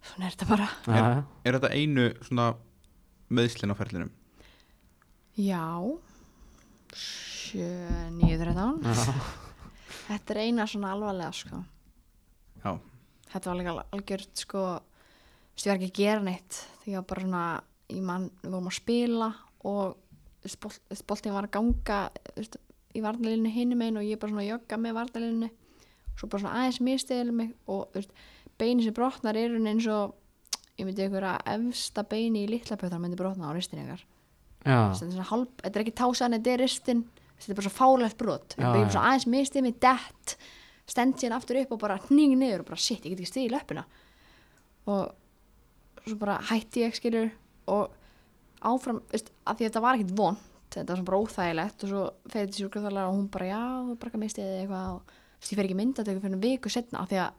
C: svona er þetta bara
A: Er-
B: já, já,
A: Er þetta einu svona meðslinn á ferlinum?
C: já 7, 9, 13
B: já,
C: þetta er eina svona alvarlega sko
A: Já,
C: þetta var líka al- algjört sko þú veist, ég var ekki að gera neitt því ég var bara svona í mann, við vorum að spila og spoltin var að ganga þú veist, í varnalínu hinum einu og ég bara svona að jogga með varnalínu svo bara svona aðeins mistiðileg mig og þú veist, beini sem brotnar er eins og ég myndi ykkur að efsta beini í litla pötar myndi brotna á ristin ykkar
B: já,
C: þetta er svona hálp, þetta er ekki tásan þetta er ristin, þetta er bara svo fálegt brot
B: Já,
C: ég er
B: já.
C: svona aðeins mistið mig dett stend síðan aftur upp og bara hning niður og bara shit, ég get ekki stið í löppina og svo bara hætti ég skilur og áfram, veist, að því þetta var ekkit vond þetta var svona bara óþægilegt og svo fer þetta sjúkraþálega og hún bara já, þú bara ekki mistið eða eitthvað og þú veist, ég fer ekki myndatöku fyrir viku setna af því að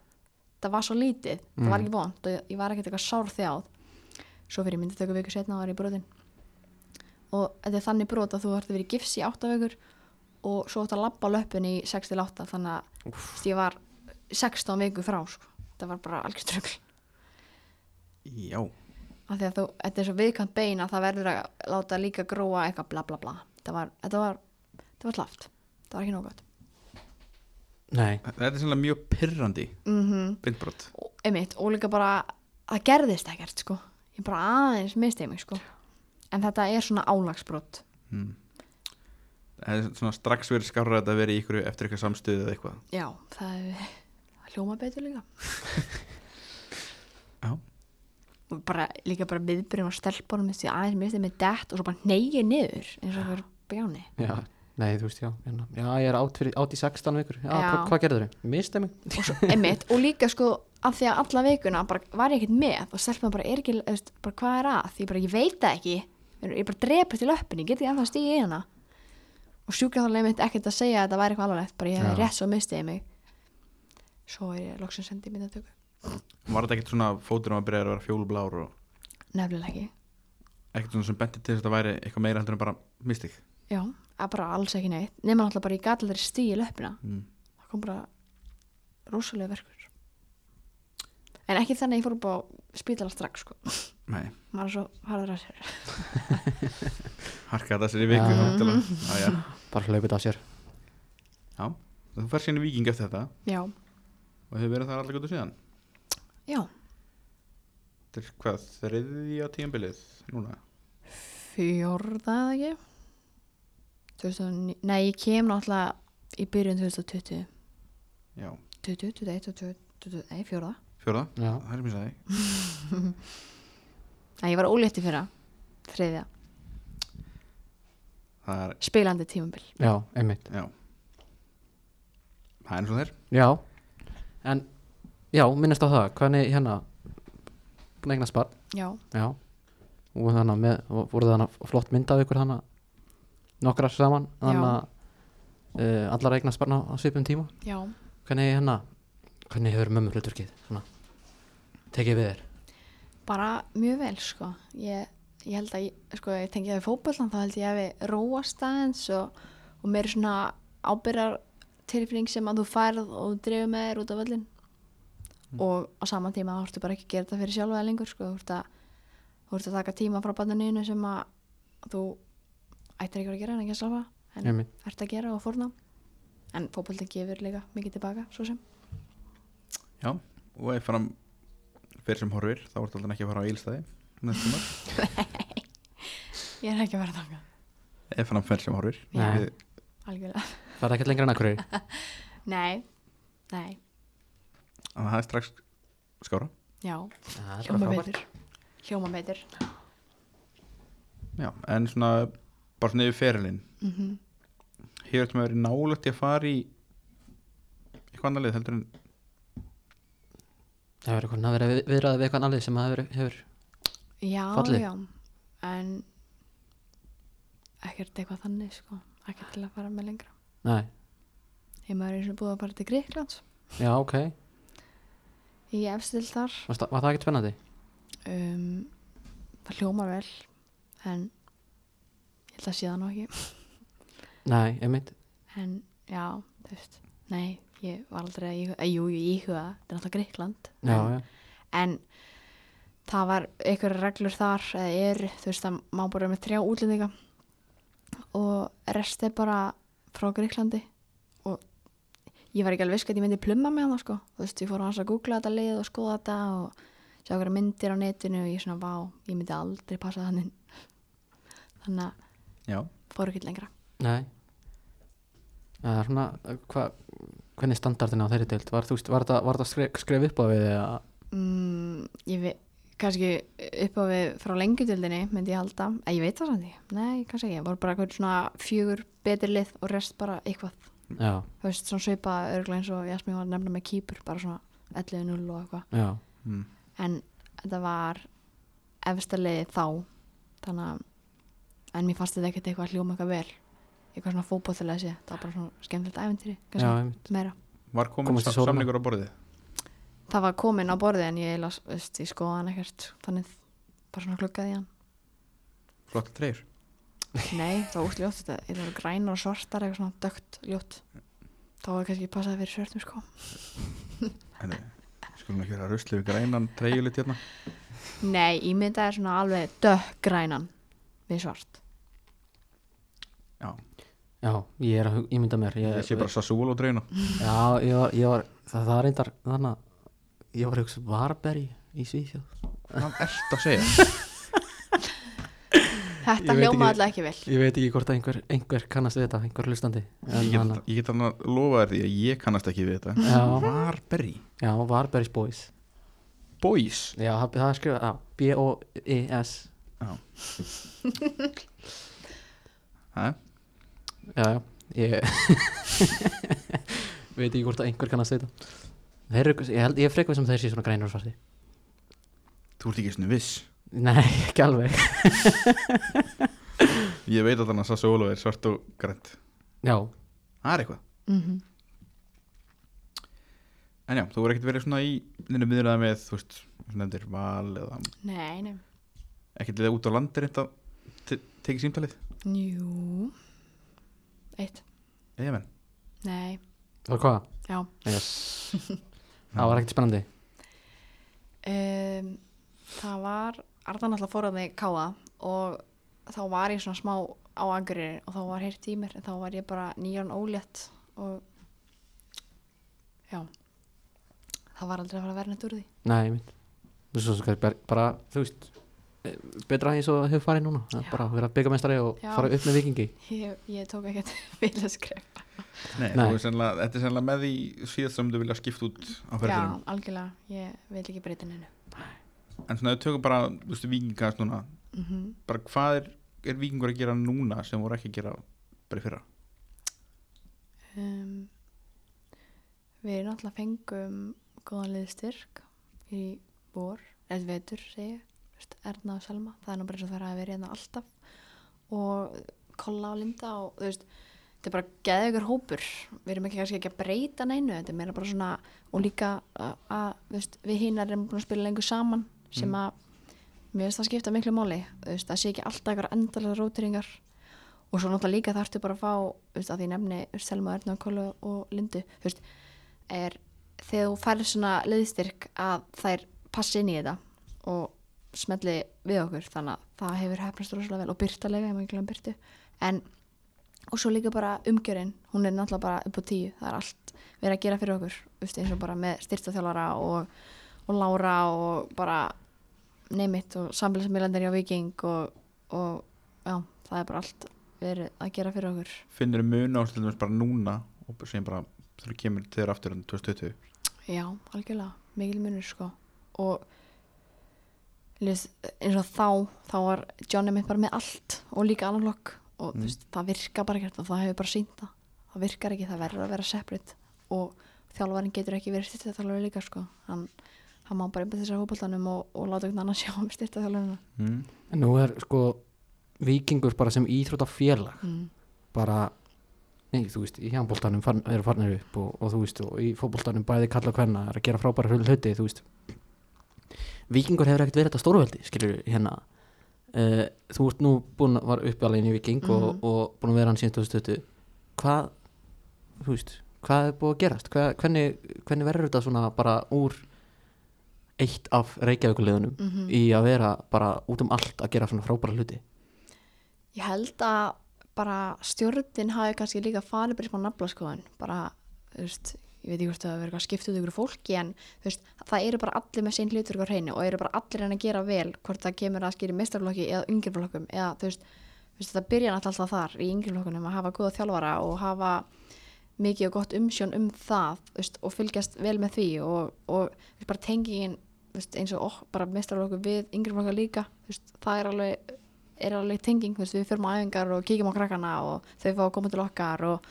C: það var svo lítið, það
B: Mm.
C: var ekki vond og ég- ég var ekkit eitthvað sár þjáð svo fyrir myndatöku viku setna og var ég brotin og þetta er þannig brot að þú ætti að vera í gifs í áttavegur og svo ætti að labba löppin í 6-8 þannig að þú veist, ég var 16 viku frá sko. þetta var bara algjör trögl
A: já
C: af því að þú, þetta er svo viðkant bein að það verður að láta líka gróa eitthvað bla bla bla þetta var, þetta var, þetta var slaft þetta var ekki nóg gott
B: nei,
A: Þetta er sannlega mjög pyrrandi
C: mm
A: bindbrot
C: og, einmitt, og líka bara það gerðist ekkert sko ég bara aðeins misti mig sko en þetta er svona álagsbrot
A: hmm. Það er svona strax verið skárra að þetta verið í ykkur eftir eitthvað samstöðu eða eitthvað
C: já, það er það hljóma betur líka
A: Já,
C: og bara, líka bara viðbyrjum á stelpunum þessi aðeins misti með dett og svo bara neyja niður eins og fyrir bjáni
B: já, nei, þú veist, já, hérna, já, ég er átt, fyrir, átt í 16 vikur, já,
C: Já.
B: já. hvað gerður þau? Mistið mig,
C: og svo emitt og líka sko af því að alla veikuna bara var ég ekkert með og stelpunum bara er ekki, þú veist, bara hvað er að því ég bara ég veit það ekki ég bara drepist í löppinni, get ekki ennþá stíði í hana og sjúkraþálega mitt ekkert að segja að þetta væri eitthvað alvarlegt, bara ég hefði
B: Já.
C: rétt svo mistiði mig svo er ég loksins sendið mitt að tökku
A: var þetta ekkert svona fótur að byrja að vera fjólublár og
C: nefnilega ekki,
A: ekkert svona sem benti til þess að þetta væri eitthvað meira heldur en bara mistig
C: já, að bara alls ekki neitt nema náttúrulega bara ég gat aldrei stíði í löppina
A: mm.
C: það kom bara rosalega verkur en ekki þannig að ég fór upp á spítala strax sko,
A: Nei,
C: maður er svo harður að sér
A: harka þetta sér í viku
B: Já.
A: þá væntanlega. Já, já.
B: bara hlaupið af sér,
A: já Þú fær sérni viking eftir þetta
C: já,
A: og hefur verið þar allir gott síðan
C: já,
A: Þetta er hvað, þriðja tímabilið núna
C: fjórða eða ekki 2009, nei ég kem náttúrulega í byrjun 2020
A: Já,
C: 20, 21 og 20, 20, nei fjórða
A: fjórða,
B: já,
A: það er mér sæði
C: nei ég var ólétti fyrra, þriðja
A: Það er,
C: spilandi tímabil,
B: já, einmitt,
A: já Það er eins og þeir
B: já, en, já, minnast á það, hvernig, hérna, búin að eignast barn,
C: já,
B: já, og þannig að með, voru það þannig flott mynd af ykkur þannig að nokkrar saman, þannig
C: Já.
B: að uh, allar að eignast barn á, á svipum tíma,
C: já
B: hvernig, hérna, hvernig hefur mömmu hluturkið, svona, tekið við þér,
C: bara mjög vel sko ég, ég held að ég, sko, ég tengi að við fótbollan þá held ég að við róast aðeins og, og meir svona ábyrjar tilfinning sem að þú færð og þú drefur með þér út af völlin og á sama tíma þá ertu bara ekki að gera þetta fyrir sjálfa þig lengur sko, þú ert að þú ert að taka tíma frá bandanínu sem að þú ættir ekki að gera en ekki að slafa en
B: einmitt,
C: ert að gera og fórna en fótbolti gefur líka mikið tilbaka svo sem
A: Já, og ef fram fyrir sem horfir, þá ertu alltaf ekki að fara á ílstæði næstum að
C: ég er ekki að vera þangað,
A: Ef fram fyrir sem horfir
B: Nei.
A: Við-
C: algjörlega
B: það er ekkert lengra en akkur
C: Nei, nei,
A: að Það er strax skára
C: já,
B: Það er bara
C: hljóma
B: frábært.
C: beitur Hljóma beitur
A: Já, en svona bara svona yfir ferilinn
C: mm
B: Mhm.
A: hefur þetta verið nálægt í að fara í eitthvað annað lið heldur en
B: Það hefur eitthvað verið við- viðræði við eitthvað annað sem það hefur, hefur
C: Já,
B: Fallið?
C: já, en ekkert eitthvað þannig sko ekkert til að fara með lengra
B: Nei,
C: Ég maður eins og búið að fara til Gríklands
B: já ok
C: í efstil þar
B: Varst það- Var það ekkert spennandi?
C: um, Það hljómar vel en ég held að sé það nú ekki
B: Nei, einmitt
C: en já, þú veist nei, ég var aldrei að íhuga eh, jú, ég íhuga, það. þetta er náttúrulega Greikland
B: Já,
C: en,
B: já,
C: en það var einhverja reglur þar eða er, þú veist, það má bara vera með þrjá útlendinga og rest er bara frá Greiklandi og ég var ekki alveg visk að ég myndi plumma með það sko, þú veist, ég fór hans að googla þetta lið og skoða þetta og sjá okkur myndir á netinu og ég svona, vá, ég myndi aldrei passa þannig þannig að
A: já,
C: fór ekki lengra
B: nei Já, Það er svona, hva, hvernig er standardin á þeirri deild? Var, þú veist, var þetta var þetta skref, skref upp á við eða
C: Mm, ég veit, kannski upp á við frá lengjutildinni myndi ég halda, en ég veit það samt ekki, nei, kannski ekki, voru bara eitthvað svona fjögur betri lið og rest bara eitthvað,
B: Já,
C: þú veist, svona svipa örgla eins og Jasmín var að nefna með kýpur, bara svona 11-0 og eitthvað,
B: já,
A: mm.
C: en þetta var efsta liðið þá, þannig að, en mér fannst þetta ekkert eitthvað að hljóma eitthvað vel, eitthvað svona fótbolltilega sé, það var bara svona skemmtilegt æventýri,
B: já,
C: kannski,
B: einmitt
C: meira.
A: var komin
B: Komast í
A: sa-
B: sólina.
A: samningur á borðið
C: það var komin á borði en ég, las, veist, ég skoða hann ekkert þannig bara svona klukkaði í hann
A: flott treyr
C: nei, það var útljótt, þetta þetta voru grænar og svartar eitthvað svona dögt ljótt þá var kannski passaði fyrir svörtum sko
A: en eh, skulum ekki vera að rusli við grænan treyjulit hérna
C: nei, ég mynda er svona alveg dögt grænan við svart
B: Já, ég er að hug- ímynda mér ég,
A: ég sé bara Sassuolo treyjuna
B: Já, ég var, ég var það, það var reyndar þannig að ég var að hugsa Varberg í Svíþjóð
A: hvað ert að segja
C: þetta
B: Ég veit
C: hljómaði
B: ekki-
C: alltaf ekki vel
B: Ég veit ekki hvort að einhver, einhver kannast við þetta, einhver hlustandi en,
A: ég
B: hana-
A: get- ég get hann að lofa þér því að ég kannast ekki við þetta
B: Já,
A: Varberg
B: já Varbergs Boys
A: Boys
B: Já, það, það er skrifað, já, E B-O-I-S
A: ha?
B: Já, já, ég veit ekki hvort að einhver kannast við þetta Þeir eru, ég held, ég er frekvið sem þeir sé svona grænur og svarti
A: þú ert ekki svona viss
B: Nei, ekki alveg
A: ég veit að hann að Sassuolo er svart og grænt
B: Já,
A: það er eitthvað
C: mm
A: en já, þú er ekkert verið svona í nynnu miðurlega með þú veist, svona nefndir val eða
C: nei, nei,
A: ekkert liða út á landir þetta te- tekið símtalið
C: jú eitt,
A: eða menn
C: nei,
B: og hvað?
C: já
B: Yes. Það var ekkert spennandi
C: um, það var Arðan alltaf fóraði káða og þá var ég svona smá á angri og þá var heyrt í mér en þá var ég bara nýjan ólétt og já það var aldrei að fara að vera neitt úr því
B: Nei, ég mynd Þú svo skal ber- bara, þú veist eh, betra eins og hefur farið núna Það er bara að vera byggamestari og
C: Já.
B: fara upp með vikingi
C: ég, ég tók ekkert vilja skref
A: Nei,
B: Nei.
A: Nei. Er sennilega, þetta er sennilega með því síðast sem þú vilja skipta út á
C: já,
A: ferðinum
C: algjörlega, ég vil ekki breyta neinu
A: en svona þau tökum bara, þú veist, vikingast núna
C: mm
A: bara hvað er, er vikingur að gera núna sem voru ekki að gera bara í fyrra
C: um, við náttúrulega fengum góðan liðstyrk í vor, eða vetur segi ég, þú veist, Erna og Selma það er nú bara eins og það er að vera hérna alltaf og kolla og linda og þú veist, þetta er bara geða ykkur hópur við erum ekki kannski ekki að breyta neinu þetta er meira bara svona og líka að, að þú veist, við hinar erum búin að spila lengur saman sem að mér finnst það skipta miklu máli þú veist, það sé ekki alltaf ykkur endalega rótýringar og svo náttúrulega líka þarftu bara að fá þú veist, að því ég nefni þú veist, Selma Örn og Kólu og Lindu þú veist, er þegar þú færð svona liðstyrk að þær passi inn í þetta og smelli við okkur þannig að það hefur hefnast rosalega vel og byrtalega, ég maður ekki glemma byrtu en, og svo líka bara umgjörinn hún er náttúrulega bara upp á tíu það er allt verið að gera fyrir okkur þú veist, eins og bara með styrtaþjálfara og, og Lára og bara neymit og samfélagsmiðlandir hjá Viking og, og já, það er bara allt verið að gera fyrir okkur
A: finnur þau mun ástöldum bara núna og sem bara þú kemur til þér aftur en 2020
C: Já, algjörlega, mikil munur sko og lið, eins og þá þá var Johnny mitt bara með allt og líka analog og þú veist, það virka bara ekki og það hefur bara sínt það það virkar ekki, það verður að vera separate og þjálfarinn getur ekki verið styrtaþjálfari líka sko, hann, hann má bara einbæð þessar hópaldanum og, og láta einhvern annan sjá um styrtaþjálfarina
A: mm.
B: En nú er sko vikingur bara sem íþróttafélag
C: mm.
B: bara Nei, þú veist, í handbóltanum farn, eru farnir upp og, og þú veist, og í fótbóltanum bæði kalla og hvenna er að gera frábæra hlut hluti, þú veist Víkingur hefur ekkert verið þetta stórveldi, skilur hérna Eh, uh, Þú ert nú búin að var uppi alveg í Víking og,
C: Mhm.
B: og búin að vera hann síðan 2020 hvað þú veist, hvað er búið að gerast hvað, hvernig, hvernig verður þetta svona bara úr eitt af reykjavíkuleðunum í að vera bara út um allt að gera svona frábæra hluti
C: Ég held að bara stjórnin hafi kannski líka farið bara í smá naflaskoðun bara, þú veist, ég veit ekki hvort það verður eitthvað skipt út ykkur fólki en þú veist, það eru bara allir með sín hlutverk á hreinu og eru bara allir henni að gera vel hvort það kemur að skýri mestarflokki eða yngjörflokkum eða þú veist, þú veist, það byrja náttúrulega alltaf þar í yngjörflokkunum að hafa góða þjálfara og hafa mikið og gott umsjón um það þú veist, og fylgjast vel með því og, og þú veist, bara tengingin þú veist, eins og ok, bara mestarflokkur við yngjörflokkar líka þú veist, það er alveg er alveg tenging, þú veist, við förum á æfingar og kíkjum á krakkana og þau fá að koma til okkar og,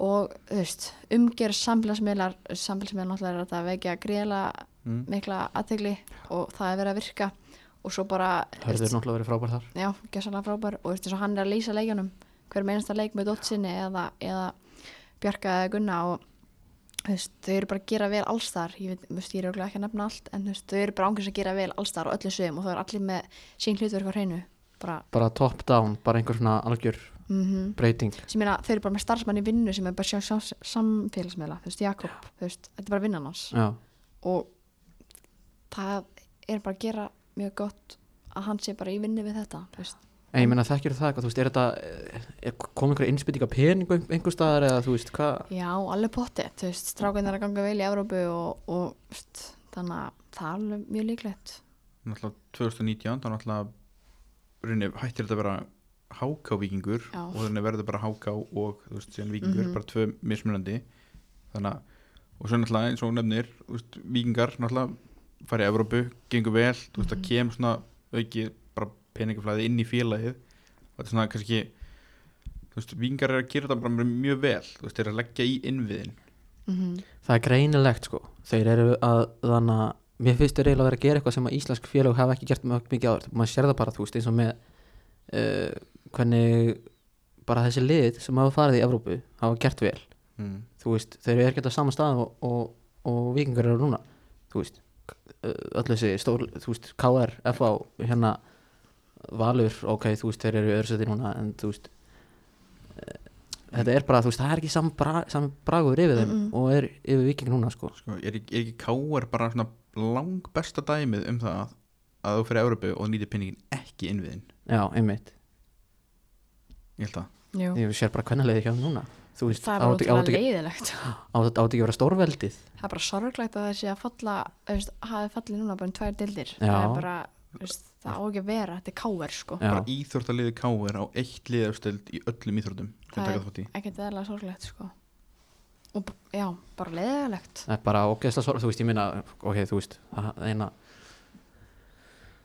C: og þú veist, umgerð samfélagsmiðlar samfélagsmiðlar náttúrulega er að þetta vekja greiðlega
A: Mm.
C: mikla aðtegli og það er verið að virka og svo bara þú
B: það
C: veist,
B: verður náttúrulega verið frábæra þar
C: já, gæsalega frábær og þú veist, eins og hann er að lýsa leikjunum hver meinasta leik með Dotsinni eða, eða Bjarka eða Gunna og þú veist, þau eru bara að gera vel alls þar ég veit, þú veist, ég er örugglega ekki að nefna allt en þú veist, þau eru bara ángjörs að gera vel alls þar og öllu sögum og þau eru allir með sín hlutverk á hreinu bara,
B: bara top down, bara einhver svona algjör
C: mhm
B: breyting
C: sem meina, þau eru bara með starfsmann í vinnu sem er bara sjá, sjá samfélagsmiðla, þú veist, Jakob þú veist, þetta er bara vinnan hans
B: já,
C: og það er bara að gera mjög gott að hann sé bara í vinnu við þetta þú veist,
B: en ég meina þekkir það eitthvað, þú veist, er þetta eh, er kom einhverja innspýting að peningu einhver staðar eða þú veist, hvað
C: já, alveg pottið þú veist, strákan er að ganga vel í Evrópu og, og þú veist, þannig að það er alveg mjög líklegt
A: náttúrulega 2019 þá náttúrulega runni, hættir þetta að vera háká vikingur
C: Já.
A: og þannig verður bara háká og þú veist, síðan vikingur,
C: Mhm.
A: bara tvö mismunandi þannig að, og svo náttúrulega eins og hún nefnir, þú veist, vikingar náttúrulega farið í Evrópu, gengur vel þú veist,
C: Mhm.
A: það kemur svona aukið bara peningaflæði inn í félagið og þetta er svona kannski þú veist, vikingar er að gera þetta bara mjög vel þú veist, þeir eru að leggja í innviðin
C: mm
B: Það er greinilegt sko Þeir eru að þannig að Mér finnst þeir eiginlega að vera að gera eitthvað sem að íslensk félög hafa ekki gert mjög mikið áður Maður sér það bara þú veist eins og með uh, Hvernig bara þessi lið sem hafa farið í Evrópu hafa gert vel
A: mm.
B: Þú veist, þeir eru ekkert á sama stað og, og, og vikingar eru núna Þú veist, eh, öll þessi stór Þú veist, KR, FH, hérna Valur, ok, þú veist, þeir eru í öðru seti núna En þú veist eh, Þetta er bara, þú veist, það er ekki sami bra, sami bragur yfir þeim
C: Mm-mm.
B: og er yfir viking núna, sko
A: sko, er, ekki- er ekki káar bara svona lang besta dæmið um það að, að þú fyrir Európu og nýtir pinningin ekki innviðin
B: Já, einmitt,
A: ég held að
C: jú,
B: ég sér bara hvernig leiði hjá þeim núna Þú veist,
C: það er bara
B: átti
C: ótrúlega
B: átti-
C: leiðilegt
B: átti- átti ekki að vera stórveldið
C: það er bara sorglegt að þessi að falla þú veist, hafi fallið núna bara um tvær dildir
B: Já.
C: það er bara, þú veist, það á ekki að vera þetta er káver, sko
B: Já,
A: bara íþórtaliði káar á eitt liðafstöld í öllum íþórtum sem
C: Það
A: taka
C: er-
A: þátt í
C: ekkert eðalega sorglegt sko og b- já, bara leðalegt
B: það er bara ógeðslega sorg, þú veist, ég minna ok, þú veist, það eina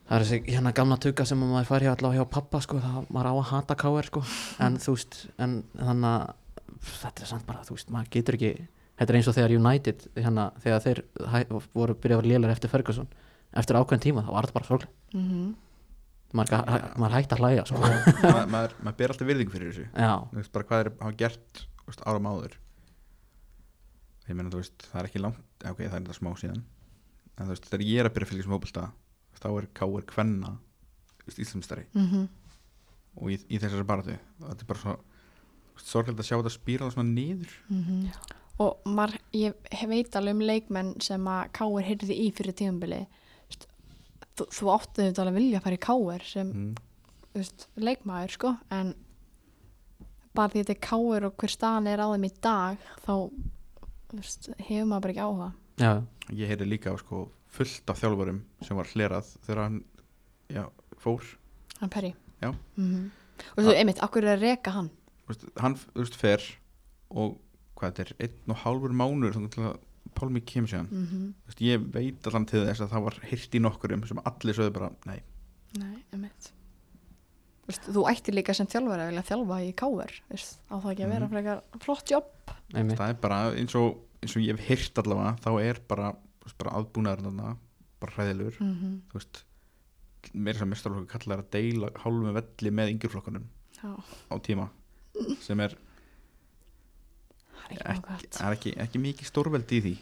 B: það er þessi hérna gamla tugga sem að maður fari allavega hjá pappa sko, það maður á að hata káir sko en þú veist, en þannig að þetta er samt bara, þú veist, maður getur ekki þetta er eins og þegar United hérna, þegar þeir hæ, voru byrjað að vera lélar eftir Ferguson eftir ákveðin tíma, þá var þetta bara sorglega
C: mm
B: maður, hæ, maður hætti að hlæja sko.
A: Ma, maður, maður ber alltaf virðingu fyrir þessu
B: já,
A: þú veist bara hvað er hafa gert þú veist, árum áður ég meina þú veist það er ekki langt eh, ok, það er þetta smá síðan en þú veist þegar ég er að byrja að fylgjast með fótbolta þú veist, þá er káar kvenna íslumstari
C: Mhm.
A: og í, í þessari baratu þetta er bara svo sorglega að sjá þetta spýra svona niður
C: Mhm. og maður, ég he- veit alveg um leikmenn sem að káir heyrði í fyrir tíðanbili þú, þú áttu þetta alveg að vilja að fara í káir sem
A: mm.
C: þú veist, leikmaður sko en bara því þetta er káir og hver staðan er á þeim í dag þá þú veist, hefur maður bara ekki áhuga
B: já,
A: ég heyrði líka af, sko, fullt af þjálfurum sem var hlerað þegar hann já, fór
C: hann perri
A: Já. Ah.
C: og þú, einmitt, akkur er að reka hann
A: Þú veist, hann þú veist, fer og hvað þetta er, einn og hálfur mánur þannig til að Pálmi kemur sér hann
C: mm
A: Þú veist, ég veit allan til þess að það var hirt í nokkurum sem allir sögðu bara, nei
C: Nei, emitt Þú ættir líka sem þjálfari að vilja þjálfa í káver veist, á það ekki að vera
A: Mhm.
C: frekar flott jobb
B: einmitt
A: það er bara eins og, eins og ég hef hirt allavega þá er bara, þú veist, bara aðbúnaður þarna, bara hræðilegur
C: mm -hmm.
A: þú veist, meira sem mestarlokku kallar að deila hálfum velli með yngjurflokkunum
C: Já,
A: á tíma sem er,
C: það er ekki mjög gott
A: er ekki, ekki mikið stórveldi í því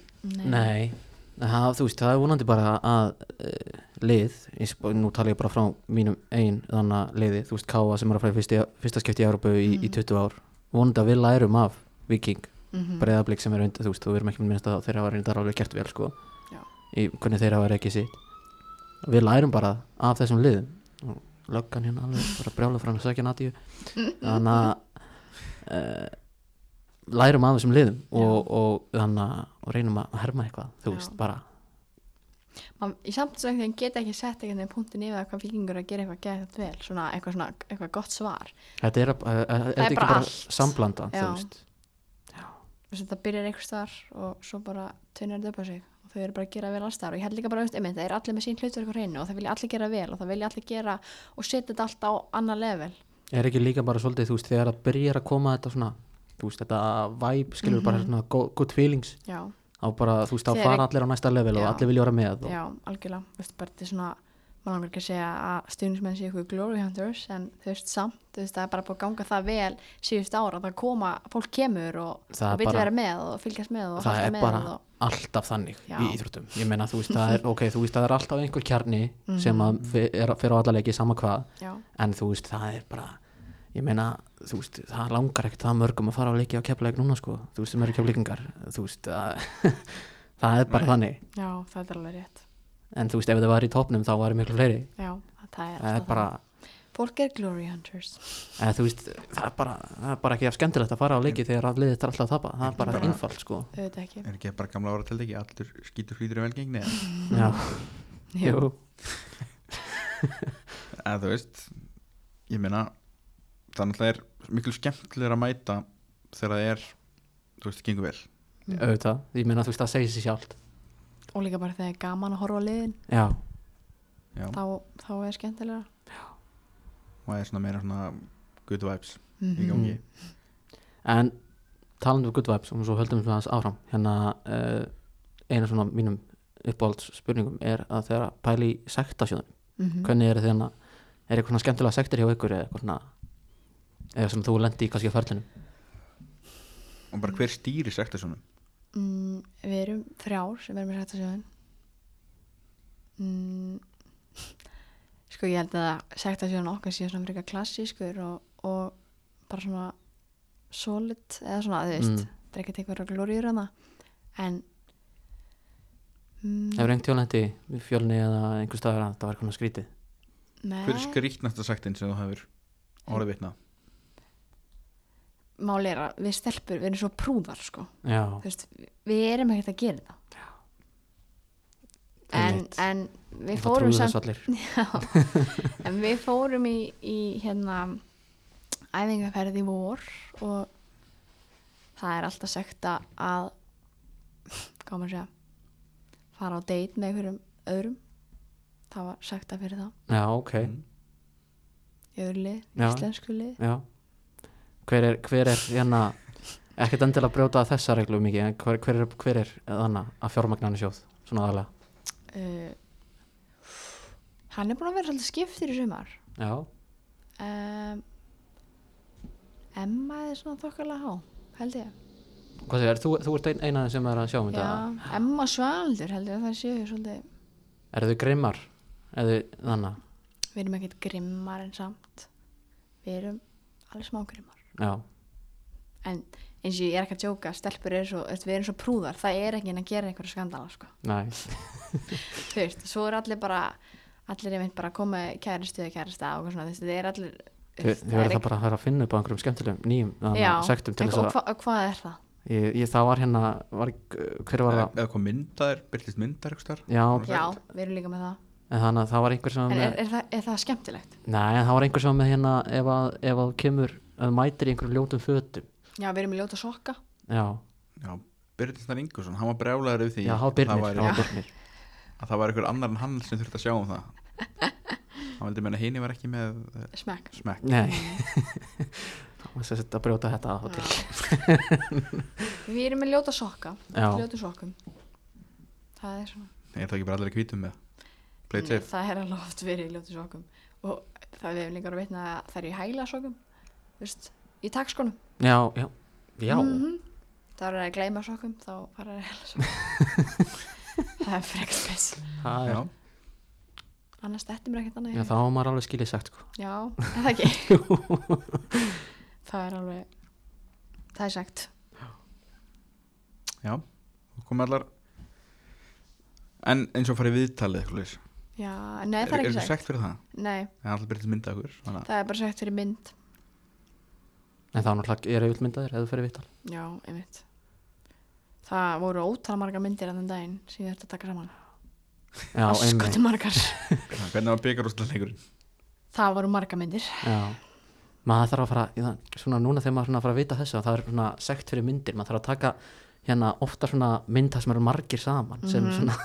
B: Nei, það, þú veist, það er vonandi bara að uh, lið, eins og- nú tala ég bara frá mínum einn þannig að liði, þú veist, Káa sem er að fara í fyrsti, fyrsta skipti í Európu í, í 20 ár vonandi að við lærum af Viking
C: Mhm.
B: breyðablík Mm. sem er undir þú veist þú verðum ekki með minnst að það þeirra var reyndar alveg gert vel sko
C: Já.
B: í hvernig þeirra var ekki sitt við lærum bara af þessum liðum Og löggan hérna alveg bara brjála fram að sökja Natíu þannig að uh, lærum af þessum liðum og, og þannig að og reynum að herma eitthvað þú
C: Já.
B: veist bara
C: Man- Í samt sem þeim geta ekki sett einhvern veginn punktin yfir að hvað vikingur er að gera eitthvað geðið vel, svona eitthvað, svona, eitthvað gott svar.
B: þetta er, uh, uh, þetta
C: er
B: ekki
C: bara
B: bara
C: allt.
B: samblanda þú
C: Já.
B: veist
C: Þess að það byrjar einhvers þar og svo bara tvinnir þetta upp á sig og þau eru bara að gera vel alls þar og ég held líka bara auðvitað, einmitt, það er allir með sín hlutverk á hreinu og það vilja allir gera vel og það vilja allir gera og setja þetta allt á annar level.
B: er ekki líka bara svolítið þú veist þegar það byrjar að koma þetta svona þú veist þetta vibe skilur
C: Mhm.
B: bara svona go- good feelings
C: Já,
B: á bara þú veist þá
C: Þegar
B: fara
C: ekki-
B: allir á næsta level og
C: Já.
B: allir vilja vera með og,
C: já, algjörlega. Þú veist, bara þetta er svona, maður langar ekki að segja að stuðnismenn séu ykkur glory hunters en þú veist samt, þú veist, það er bara búið að ganga það vel síðust ára, það koma, fólk kemur og,
B: Það
C: og
B: er
C: vil
B: bara-
C: vera með og fylgjast með og
B: það
C: halda
B: er
C: með
B: bara
C: og,
B: alltaf þannig
C: Já.
B: í íþróttum ég meina þú veist það er ok þú veist það er alltaf einhver kjarni
C: Mhm.
B: sem að fer, er, fer á alla leiki sama hvað
C: já.
B: en þú veist það er bara ég meina þú veist það langar ekkert það mörgum að fara á leiki á keflaug núna sko þú veist sem eru keflaugingar þú veist það, það er bara þannig
C: Já, það er alveg rétt.
B: en þú veist ef það var í topnum þá var miklu fleiri
C: Já, sko. það er
B: það er bara
C: það. Fólk er glory hunters.
B: eða, þú veist, það, er bara, það er bara ekki af skemmtilegt að fara á leiki þegar að liðið er alltaf að tapa það er bara
A: Bara-
B: einfalt sko
C: Auðvitað ekki.
A: er ekki bara gamla ára til ekki allur skítur hlýtur í velgengni en,
B: Já, jú,
A: en þú veist ég meina það náttúrulega er miklu skemmtilegur að mæta þegar það er þú veist, gengur vel
B: auðvitað, ég meina þú veist það segir sér sjálft
C: Og líka bara þegar er gaman að horfa á liðin,
B: Já,
A: Já,
C: þá, þá er skemmtilega.
A: og það er svona meira svona good vibes í
C: Mhm.
A: gangi
B: en talandi um good vibes og svo höldum við aðeins áfram hérna uh, eina svona mínum uppáhalds spurningum er að þegar að pæli í sektasjóðunum,
C: Mhm.
B: hvernig eru þeirna er eitthvað svona skemmtilega sektir hjá ykkur eða eitthvað svona eða sem þú lendi í kannski að ferlinu
A: og bara hver stýri sekta svona
C: Mm, við erum þrjár sem erum í sektasjóðin. Mm, sko, ég held að sektasjóðin okkar séu svona frekar klassískur og, og bara svona solid eða svona, þú veist,
B: Mm.
C: það er ekkert einhverja glóriður hana. hérna. En... Mm,
B: Hefur einhvern tíu lendi í fjölni eða einhver staðar að það var eitthvað svona skrítið
A: hver
C: nei.
A: er skrýtnasta sektin sem þú hefur orðið vitna
C: máli er að við stelpur, við erum svo prúðar sko.
B: Já,
C: Þú veist, við erum ekkert að gera það en,
B: Einmitt.
C: en við
B: það
C: fórum
B: trúðu
C: samt
B: þessu allir
C: en við fórum í, í hérna æfingarferð í vor og það er alltaf sagt að að hvað á maður að segja fara á date með einhverjum öðrum það var sagt að fyrir það
B: Já, ok,
A: Mm.
C: í öðru lið,
B: Já.
C: íslensku lið
B: já Hver er, hver er hérna ekkert endilega að brjóta þessa reglu mikið en hver, hver er, hver er þannig að fjármagnarni sjóð svona aðalega
C: uh, hann er búin að vera svolítið skiptir í sumar
B: Já,
C: um, Emma er svona þokkarlega há held ég
B: hvað segir, þú, þú ert ein, eina þeim sem er að sjá um þetta
C: Já, Emma Svaldur held ég að það séu svolítið,
B: Er þau grimmar? Er þau þannig?
C: við erum ekkert grimmar en samt við erum alveg smá grimmar
B: Já,
C: en eins og ég er ekki að djóka stelpur eru svo, þú veist, við erum svo prúðar það er ekki að gera einhverja skandala sko.
B: næ
C: þú veist, svo er allir bara allir er meint bara að koma með kæristu eða kærista og eitthvað svona, þú veist, þið er allir
B: Þau þau verður það bara að vera að finna upp á einhverjum skemmtilegum nýjum
C: já,
B: þannig sektum til
C: en
B: þess
C: og
B: að
C: hva, og hvað er það?
B: ég, ég, það var hérna, var, hver var
A: eða
B: það?
A: eða hvað myndaðir, byrtist myndar
B: Já,
C: Já, við erum líka með það
B: en þannig að það var einhver sem var
C: en
B: með
C: er, er, það, er það skemmtilegt?
B: Nei, en það var einhver sem var með hérna ef að, ef að kemur, að mætir í einhverjum ljótum fötum
C: Já, við erum með ljóta sokka
B: Já,
A: já, Birnir Snær Ingersson, hann var brjálæður yfir því
B: já, það var Birnir,
A: að væri-
B: það var Birnir.
A: að það var einhver annar en hann sem þurfti að sjá um það hann vildi meina hini var ekki með eh,
C: smekk
A: smekk
B: Nei Það var sem sagt að brjóta þetta á til
C: Við erum með ljóta sokka
B: Já.
C: Ljóta sokkum Það er svona
A: er það ekki bara allir í hvítum með play it safe
C: Það er alveg oft verið í ljóta sokkum Og það við hefum líka að veitna að það er í hæla sokkum Þú veist, í takskonum
B: Já, já, já
C: Mhm. Það er að gleyma sokkum, þá fara að hæla sokkum Það er frekar spes
B: Það
A: já,
B: er,
C: Annars þetta er ekkert annað
B: já,
C: í
B: þá var maður alveg skilið sagt sko.
C: Já, er það ekki Það er alveg það er sagt
A: Já, þú komið allar En eins og farið viðtalið eitthvað leys
C: já, nei það er ekki sagt,
A: fyrir það?
C: nei,
A: En alltaf byrjast mynda okkur svona.
C: það er bara sagt fyrir mynd
B: En það er náttúrulega, ég er auðvitað myndaðir eða þú fyrir vittal
C: já, einmitt það voru ótal margar myndir að þenn daginn sem ég þurfti að taka saman
B: Já, einmitt
C: Askutu margar
A: Já, Hvernig var byggarúsleikurinn?
C: það voru margar myndir
B: Já Maður þarf að fara, í það- svona núna þegar maður svona fara að vita þessu það er svona sekt fyrir myndir, maður þarf að taka hérna ofta svona mynda sem eru margir saman sem
C: Mhm.
B: svona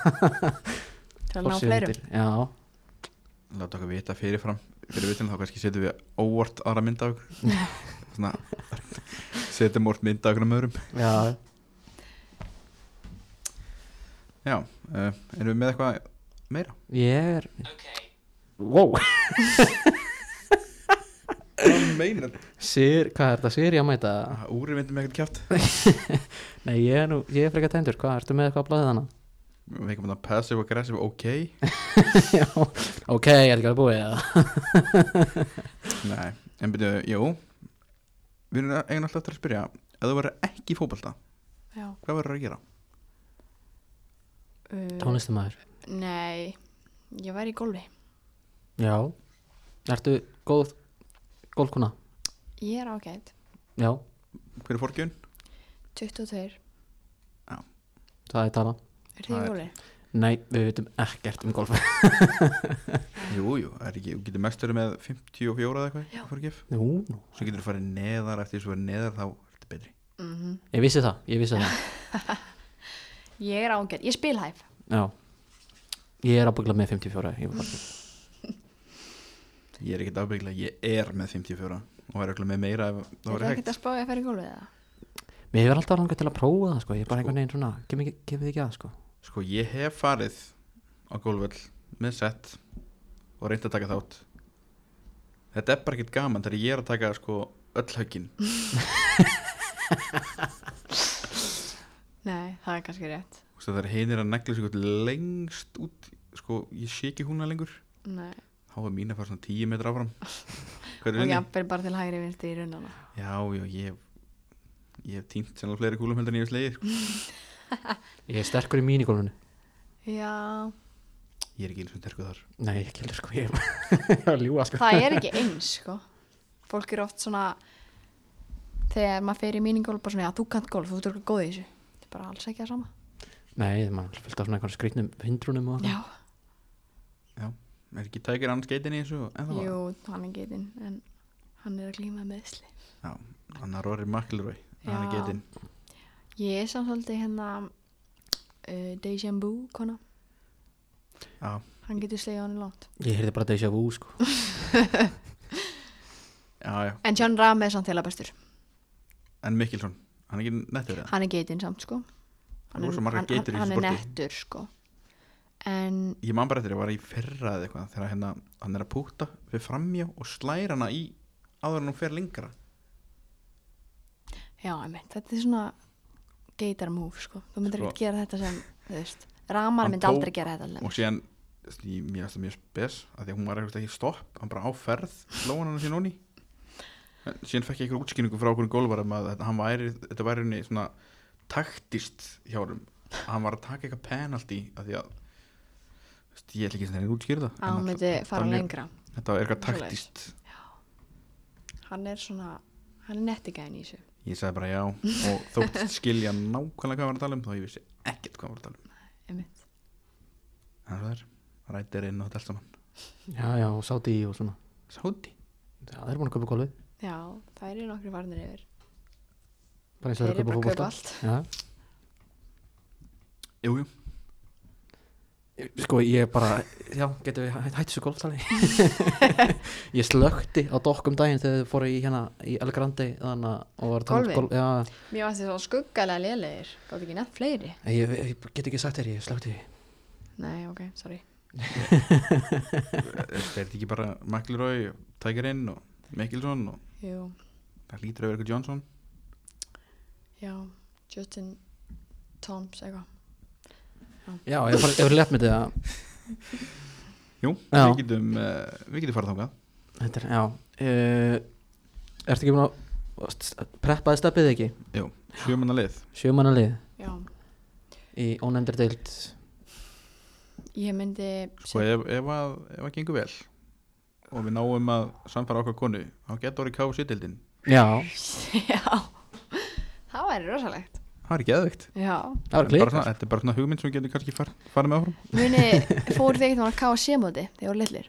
C: til að ná fleirum
B: forsíðumyndir. Já,
A: Láta okkur vita fyrirfram Fyrir viðtalið þá kannski setjum við óvart aðra mynda okkur Svona Setjum óvart mynda okkur um öðrum
B: já,
A: Já, uh, erum við með eitthvað meira?
B: ég er Wow,
A: Hvað meinar?
B: Sir, hvað er þetta, Sir, ég mæta
A: Úri myndum ekkert kjátt
B: Nei, ég er nú, ég er frekar tæmdur, hvað, ertu með eitthvað að blæðið hana?
A: Við veikum þetta passive aggressive, ok
B: Já, ok, er ekki að búið eða?
A: Nei, en byrju, jú Við erum eiginlega alltaf eftir að spyrja Ef þú verður ekki í fótbolta,
C: já,
A: hvað verður að gera?
C: uh,
B: Tónlistumæður
C: nei ég væri í gólfi
B: Já Ertu góð, gólkuna?
C: ég er ágætt,
B: Já,
A: Hver er fórgjön?
C: 22
B: það er tala
C: er þið
A: Það
C: í
A: er-
C: gólfi?
B: Nei, við vitum ekkert um golf
A: Jú, jú, það er ekki, þú getur mest verið með 54 eða eitthvað,
C: Já.
A: fór gif
B: Nú, nú
A: Svo getur þú farið neðar, eftir þessu verið neðar þá er þetta betri
C: Mm
B: Ég vissi það, ég vissi það
C: ég er ágætt, ég spil hæf
B: Já Ég er ábyggla með 54 ég var bara-
A: Ég er ekkert afbyggla, ég er með 54 og væri örugglega með meira ef það
C: er
A: verið
C: ekkert
A: hægt
C: að spá ég að fara í gólfi eða?
B: Mér hefur alltaf langað til að prófa það, sko Ég er bara einhvern veginn svona, gefið ekki, gefið ekki að, sko
A: Sko, ég hef farið á gólföll með sett og reynd að taka þátt Þetta er bara ekkert gaman þegar ég er að taka sko öll höggin
C: nei, það er kannski rétt
A: og það er heinir að negla sig eitthvað lengst út sko, ég sé ekki húnna lengur
C: nei.
A: þá er mín að fara svona 10 metra áfram Hver
C: og
A: er henni?
C: jafnvel bara til hægri vinstri í runnana
A: Já, já, ég hef ég hef týnt sennilega fleiri kúlum heldur en ég hef slegið sko.
B: Ég er sterkur í mínigolfinu
C: já,
A: ég er ekki eins og terkuð þar
B: Nei, ekki heldur, sko Ég er að ljúga, sko
C: það er ekki eins sko. fólk eru oft svona þegar maður fer í míningolf bara svona, já þú kant golf, þú ert örugglega góð í þessu þetta er bara alls ekki að sama
B: Nei, maður fylgta svona einhvern skrýtnum hindrunum og
C: já,
A: er ekki tækir annars geitin í þessu en það
C: jú, hann er getinn en hann er að glíma með þessli
A: var hann er Rory McIlroy hann er
C: Já.
A: geitin
C: ég er samt svolítið hérna uh, Dejan Bú, kona
A: Já.
C: hann getur slegið hann í langt
B: Ég heyrði bara déjà vu, sko
A: já, já
C: en John Ram er samt þeirra bestur
A: en Mikkelson hann er ekki nettur eða
C: hann er geitinn samt sko
A: Það eru svo margar geitur í
C: hann,
A: þessu
C: hann er
A: sporti.
C: nettur sko en
A: ég man bara eftir að ég var í fyrra eða eitthvað þegar hérna hann er að púta við framjá og slæra hana í áður en hún fer lengra
C: já, emitt, þetta er svona geitar move sko, þú myndir
A: Sko.
C: ekki gera þetta sem þú veist, Ramar
A: Hann
C: myndi
A: tók-
C: aldrei gera þetta alveg.
A: og síðan því, mér finnst það mjög spes að því að hún var eitthvað ekki stopp hann bara á ferð, lóan hann síðan onni síðan fekk ég einhver útskýringu frá okkur gólvarum um að þetta, hann væri, þetta væri henni svona taktist hjá hann hann var að taka eitthvað penalty að því að þú veist, ég ætla ekki sem þeirra útskýra það en
C: að hann
A: það-
C: myndi
A: það-
C: fara
A: það var mjög-
C: lengra
A: þetta var eitthvað
C: Svoleiðis.
A: taktist
C: hann er svona, hann er nettigæðin í þessu
A: ég sagði bara já og þótt skilja nákvæmlega hvað hann var að tala um þá ég vissi ekkert hvað hann var að tala um
C: emitt,
A: en svo það er, rætir inn og þetta allt saman
B: Já, já, og sáti í og svona
A: sáti,
B: Já, það er búin að köpa golfið
C: já, það eru nokkri varnir yfir
B: Bara eins og
C: þeir
B: það er
C: eru
B: að
C: bara að
B: köpa fólk
C: kaupa allt
B: Já,
A: jújú,
B: sko ég bara Já, getum við hæ- hætt þessu golftali Ég slökti á dokkum daginn þegar þið fóru í hérna í El Grande þannig að og var að tala um
C: Golfið?
B: golf- Já,
C: mér varst þið svona skuggalega lélegir gátt ekki nefn fleiri
B: en ég, ég get ekki sagt þér, ég slökti
C: nei, ok, sorry
A: Eh, er þetta ekki bara McIlroy, Tigerinn og Mikkelson og
C: Jú,
A: það lítur að vera eitthvað Johnson
C: já, Justin Toms, eitthvað
B: Já, ég var, ég var létt með þetta
A: Jú,
B: Já.
A: eh, við getum, uh, við getum farið þangað
B: Þetta er, já uh, Eh, Ertu ekki búin að Og st- preppaði steppið ekki
A: Jú, sjömanna lið
B: sjömanna lið
C: já,
B: í ónefndri deild
C: ég myndi
A: Sko ef, ef, að, ef að gengur vel og við náum að samfara okkar konu þá getur orðið káf sittildin
B: já,
C: já, það væri rosalegt
A: Það er ekki eðvikt
C: já,
B: það var klík
A: Þetta er bara svona hugmynd sem við getum kannski far, farið með áfram
C: muni fóru þið ekkert að káa sémóti þegar voru litlir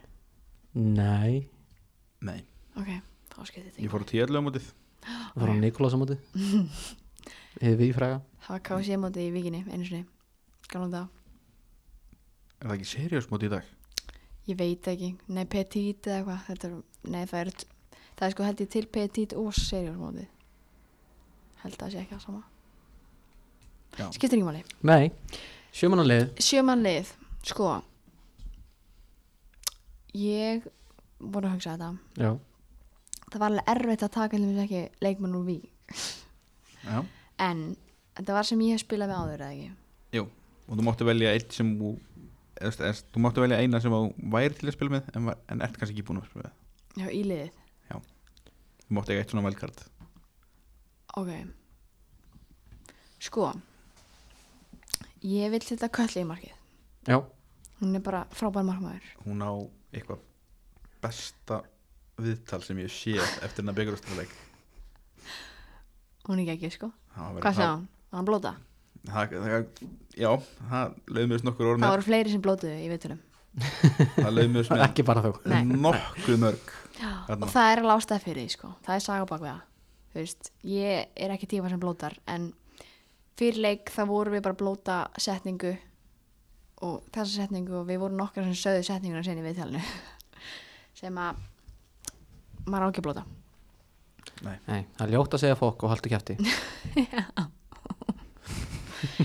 B: nei,
A: Nei,
C: ok, þá skiptir þetta
A: ég
C: engu.
A: fór á tíðlega á mótið
B: það var hann Nikolás á móti hefði við fræga
C: það var káa sémóti í vikinni einu sinni, kannan það
A: Er það ekki seriós mótið í dag?
C: Ég veit ekki, nei petit eða eitthvað Þetta er, nei það er það er sko held ég til petit og seriálsmótið held að það sé ekki að sama
A: Já.
C: skiptir ekki máli
B: nei, sjömanna lið
C: sjöman lið, sko ég voru að hugsa þetta
B: já,
C: það var alveg erfitt að taka alveg ekki leikmann úr vík
A: Já,
C: en þetta var sem ég hef spilað með áður eða ekki
A: jú Og þú máttu velja eitt sem þú eðst, eðst, Þú máttu velja eina sem þú væri til að spila með en, var, en ert kannski ekki búin að spila með
C: Já, í liðið,
A: Þú máttu eiga eitt svona velkart
C: ok sko ég vil setja köllu í markið
B: já,
C: hún er bara frábær markmaður
A: Hún á eitthvað besta viðtal sem ég sé eftir hennar byggurústuleik
C: Hún er ekki ekki, sko. Hvað sagði hann? Var hann blóta?
A: það, það, já, það lögumist nokkur orð
C: Það
A: með
C: voru fleiri sem blótuðu í vitunum.
A: það lögumist með
B: ekki bara þú
C: Nei.
A: nokkuð mörg Þarna.
C: Og það er lástað fyrir því, sko. Það er saga bak við það. Þú veist, ég er ekki tíma sem blótar, en fyrir leik þá vorum við bara að blóta setningu og þessa setningu og við vorum nokkar sem sögðu setninguna sinni í viðtalinu sem að maður á ekki að blóta.
B: nei, það er ljótt að segja fokk og haldu kæfti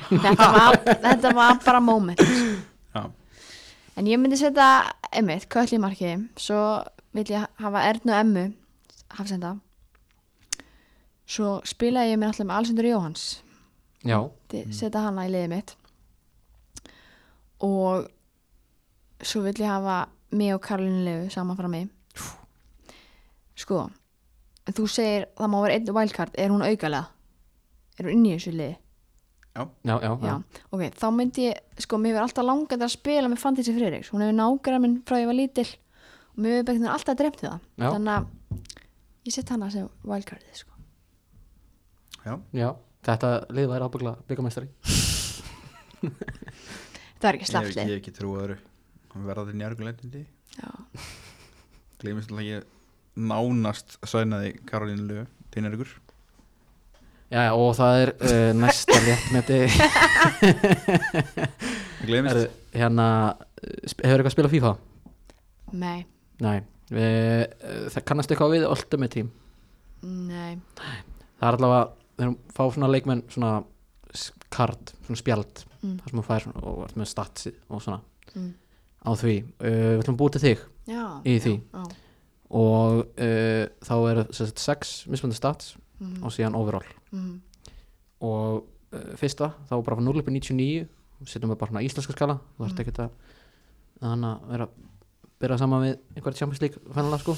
C: Þetta var, þetta var bara moment.
A: já,
C: En ég myndi setja emmitt, köll í marki svo vil ég hafa Ernu og Emmu hafsenda svo spilaði ég mér alltaf með Alessandur Jóhans
B: já,
C: Myndi setja hana í liðið mitt og svo vil ég hafa mig og Karolínu Legu saman frá mig sko en þú segir það má vera einn wildcard er hún aukalega er hún inn í þessu liði
B: já, já, já.
C: Já, ok, þá myndi ég, sko, mér hefur alltaf langað að spila með Fantasy Friðriks, hún hefur nágrað minn frá ég var lítil og mér hefur bara alltaf drefnt það,
B: Já.
C: þannig að ég sett hana sem wildcardið, sko
A: já,
B: já. þetta lið væri ábyggla byggamestari
C: það var
A: ég,
C: ekki
A: ég
C: slapslið,
A: hef ekki trú að öðru hann verða til njárgulegndi
C: já,
A: gleymist alltaf ég nánast sænaði Karolínu Löf til njárgur
B: já, já, og það er uh, næsta léttmeti
A: gleymist,
B: Herðu, hérna, eh, sp- hefur eitthvað að spila FIFA?
C: nei
B: Nei, við, eh, það kannast eitthvað við Ultimate Team,
C: nei,
B: það er allavega þegar hún fá svona leikmenn svona s- kart, svona spjald
C: Mm.
B: þar sem hún fær svona, og vart með statsi og svona
C: Mm.
B: á því, uh, við ætlum að búa til þig
C: já
B: í því
C: já,
B: og uh, þá eru sem sagt, sex mismöndi stats
C: mm,
B: og síðan overall
C: mm,
B: og uh, fyrsta þá bara frá 0 upp í 99 setjum við bara svona íslenska skala þú þarft
C: Mm.
B: ekkert að þannig að vera að byrja saman við einhverja Champions League fennilega sko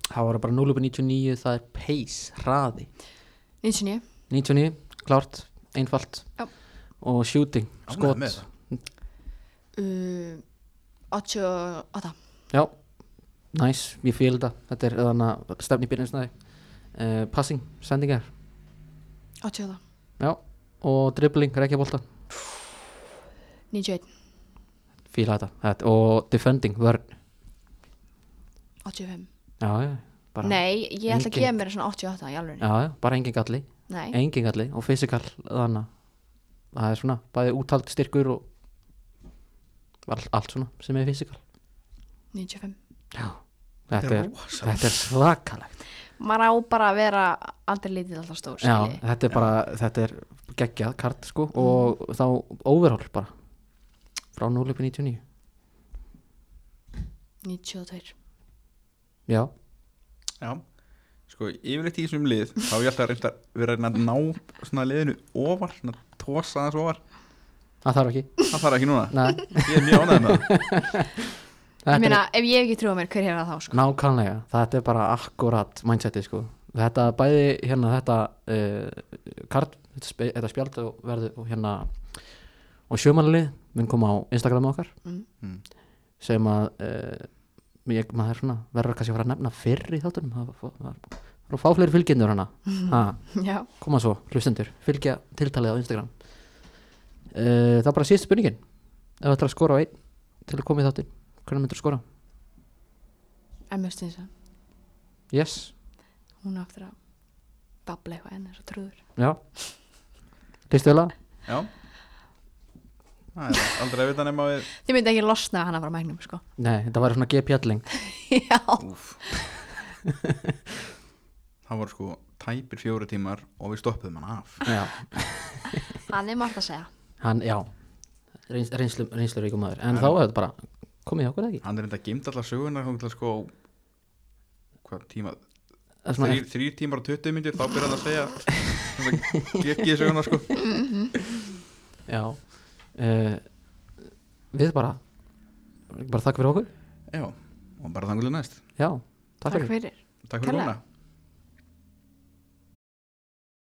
B: þá var það bara 0 upp í 99 það er pace, hraði
C: 99,
B: 99, klárt, einfalt
C: Já.
B: og shooting,
A: Ánægður
B: skot
A: með það.
C: uh, 88
B: já, nice, ég fíl þetta þetta er þannig að stefni byrjumstæði uh, passing, sendingar
C: 88,
B: já, og dribbling, reykjabolta
C: 91
B: fíla þetta, þetta og defending, vörn
C: 85,
B: já, já, bara
C: nei, ég ætla að
B: engin-
C: gefa mér svona 88 í alveg,
B: Já, já, bara engin galli,
C: nei,
B: engin galli og fysikal þannig að það er svona bæði úthald styrkur og all, allt svona sem er fysikal
C: 95
B: Já, þetta er,
A: rosa
B: þetta er svakalegt
C: maður á bara að vera aldrei lítið alltaf stór,
B: Já,
C: skiljiði.
B: þetta er bara, þetta er geggjað kart sko
C: Mm.
B: og þá overall bara frá 0 upp í 99
C: 92
B: Já,
A: já sko, yfirleitt í þessum lið þá hef ég alltaf reynd að vera að ná svona liðinu ofar, svona tosa aðeins ofar
B: það þarf ekki
A: það þarf ekki núna,
B: Nei,
A: ég er mjög ánægð með það
B: þetta
C: Ég
B: er
C: meina, ef ég ekki trúa mér, hver hefur það þá, sko?
B: nákvæmlega, þetta er bara akkurat mindseti sko þetta bæði hérna þetta uh, kart, þetta, spe, þetta spjald og verður og hérna og sjömanlið mun koma á Instagram okkar
C: Mm.
A: Mm.
B: sem að uh, ég, maður svona, verður kannski að fara að nefna fyrr í þáttunum það var- það var- það var að fá fleiri fylgjendur hana ha,
C: já,
B: koma svo, hlustendur, fylgja tiltalið á Instagram uh, það er bara síðst spurningin ef það ætlar að skora á einn til að koma í þáttin hvernig myndir að skora?
C: en mjög stins
B: Yes,
C: hún á eftir að babla eitthvað enn þess að trúður
B: já Listu vel að?
A: Já Það er aldrei að vita nema við
C: þið myndi ekki losna að hana var mægnum sko
B: Nei, þetta var svona gepjalling
C: já,
A: Það voru sko tæpir fjóri tímar og við stoppuðum hann af
B: Já,
C: hann er margt að segja
B: hann, já Reyns, reynslu, reynslu ríkum maður En þá er þetta bara, komið hjá okkur eða ekki
A: Hann er enda geimt allar söguna þá til sko hvað tíma
B: Það er svona,
A: þrýr, þrýr tímar og 20 myndir þá byrjar hann að segja gekkið söguna sko
B: já uh, Við bara bara þakka fyrir okkur
A: Já, og bara þangulega næst
B: Já, takk fyrir
C: takk fyrir
A: Takk fyrir
C: Kærlega.
A: góna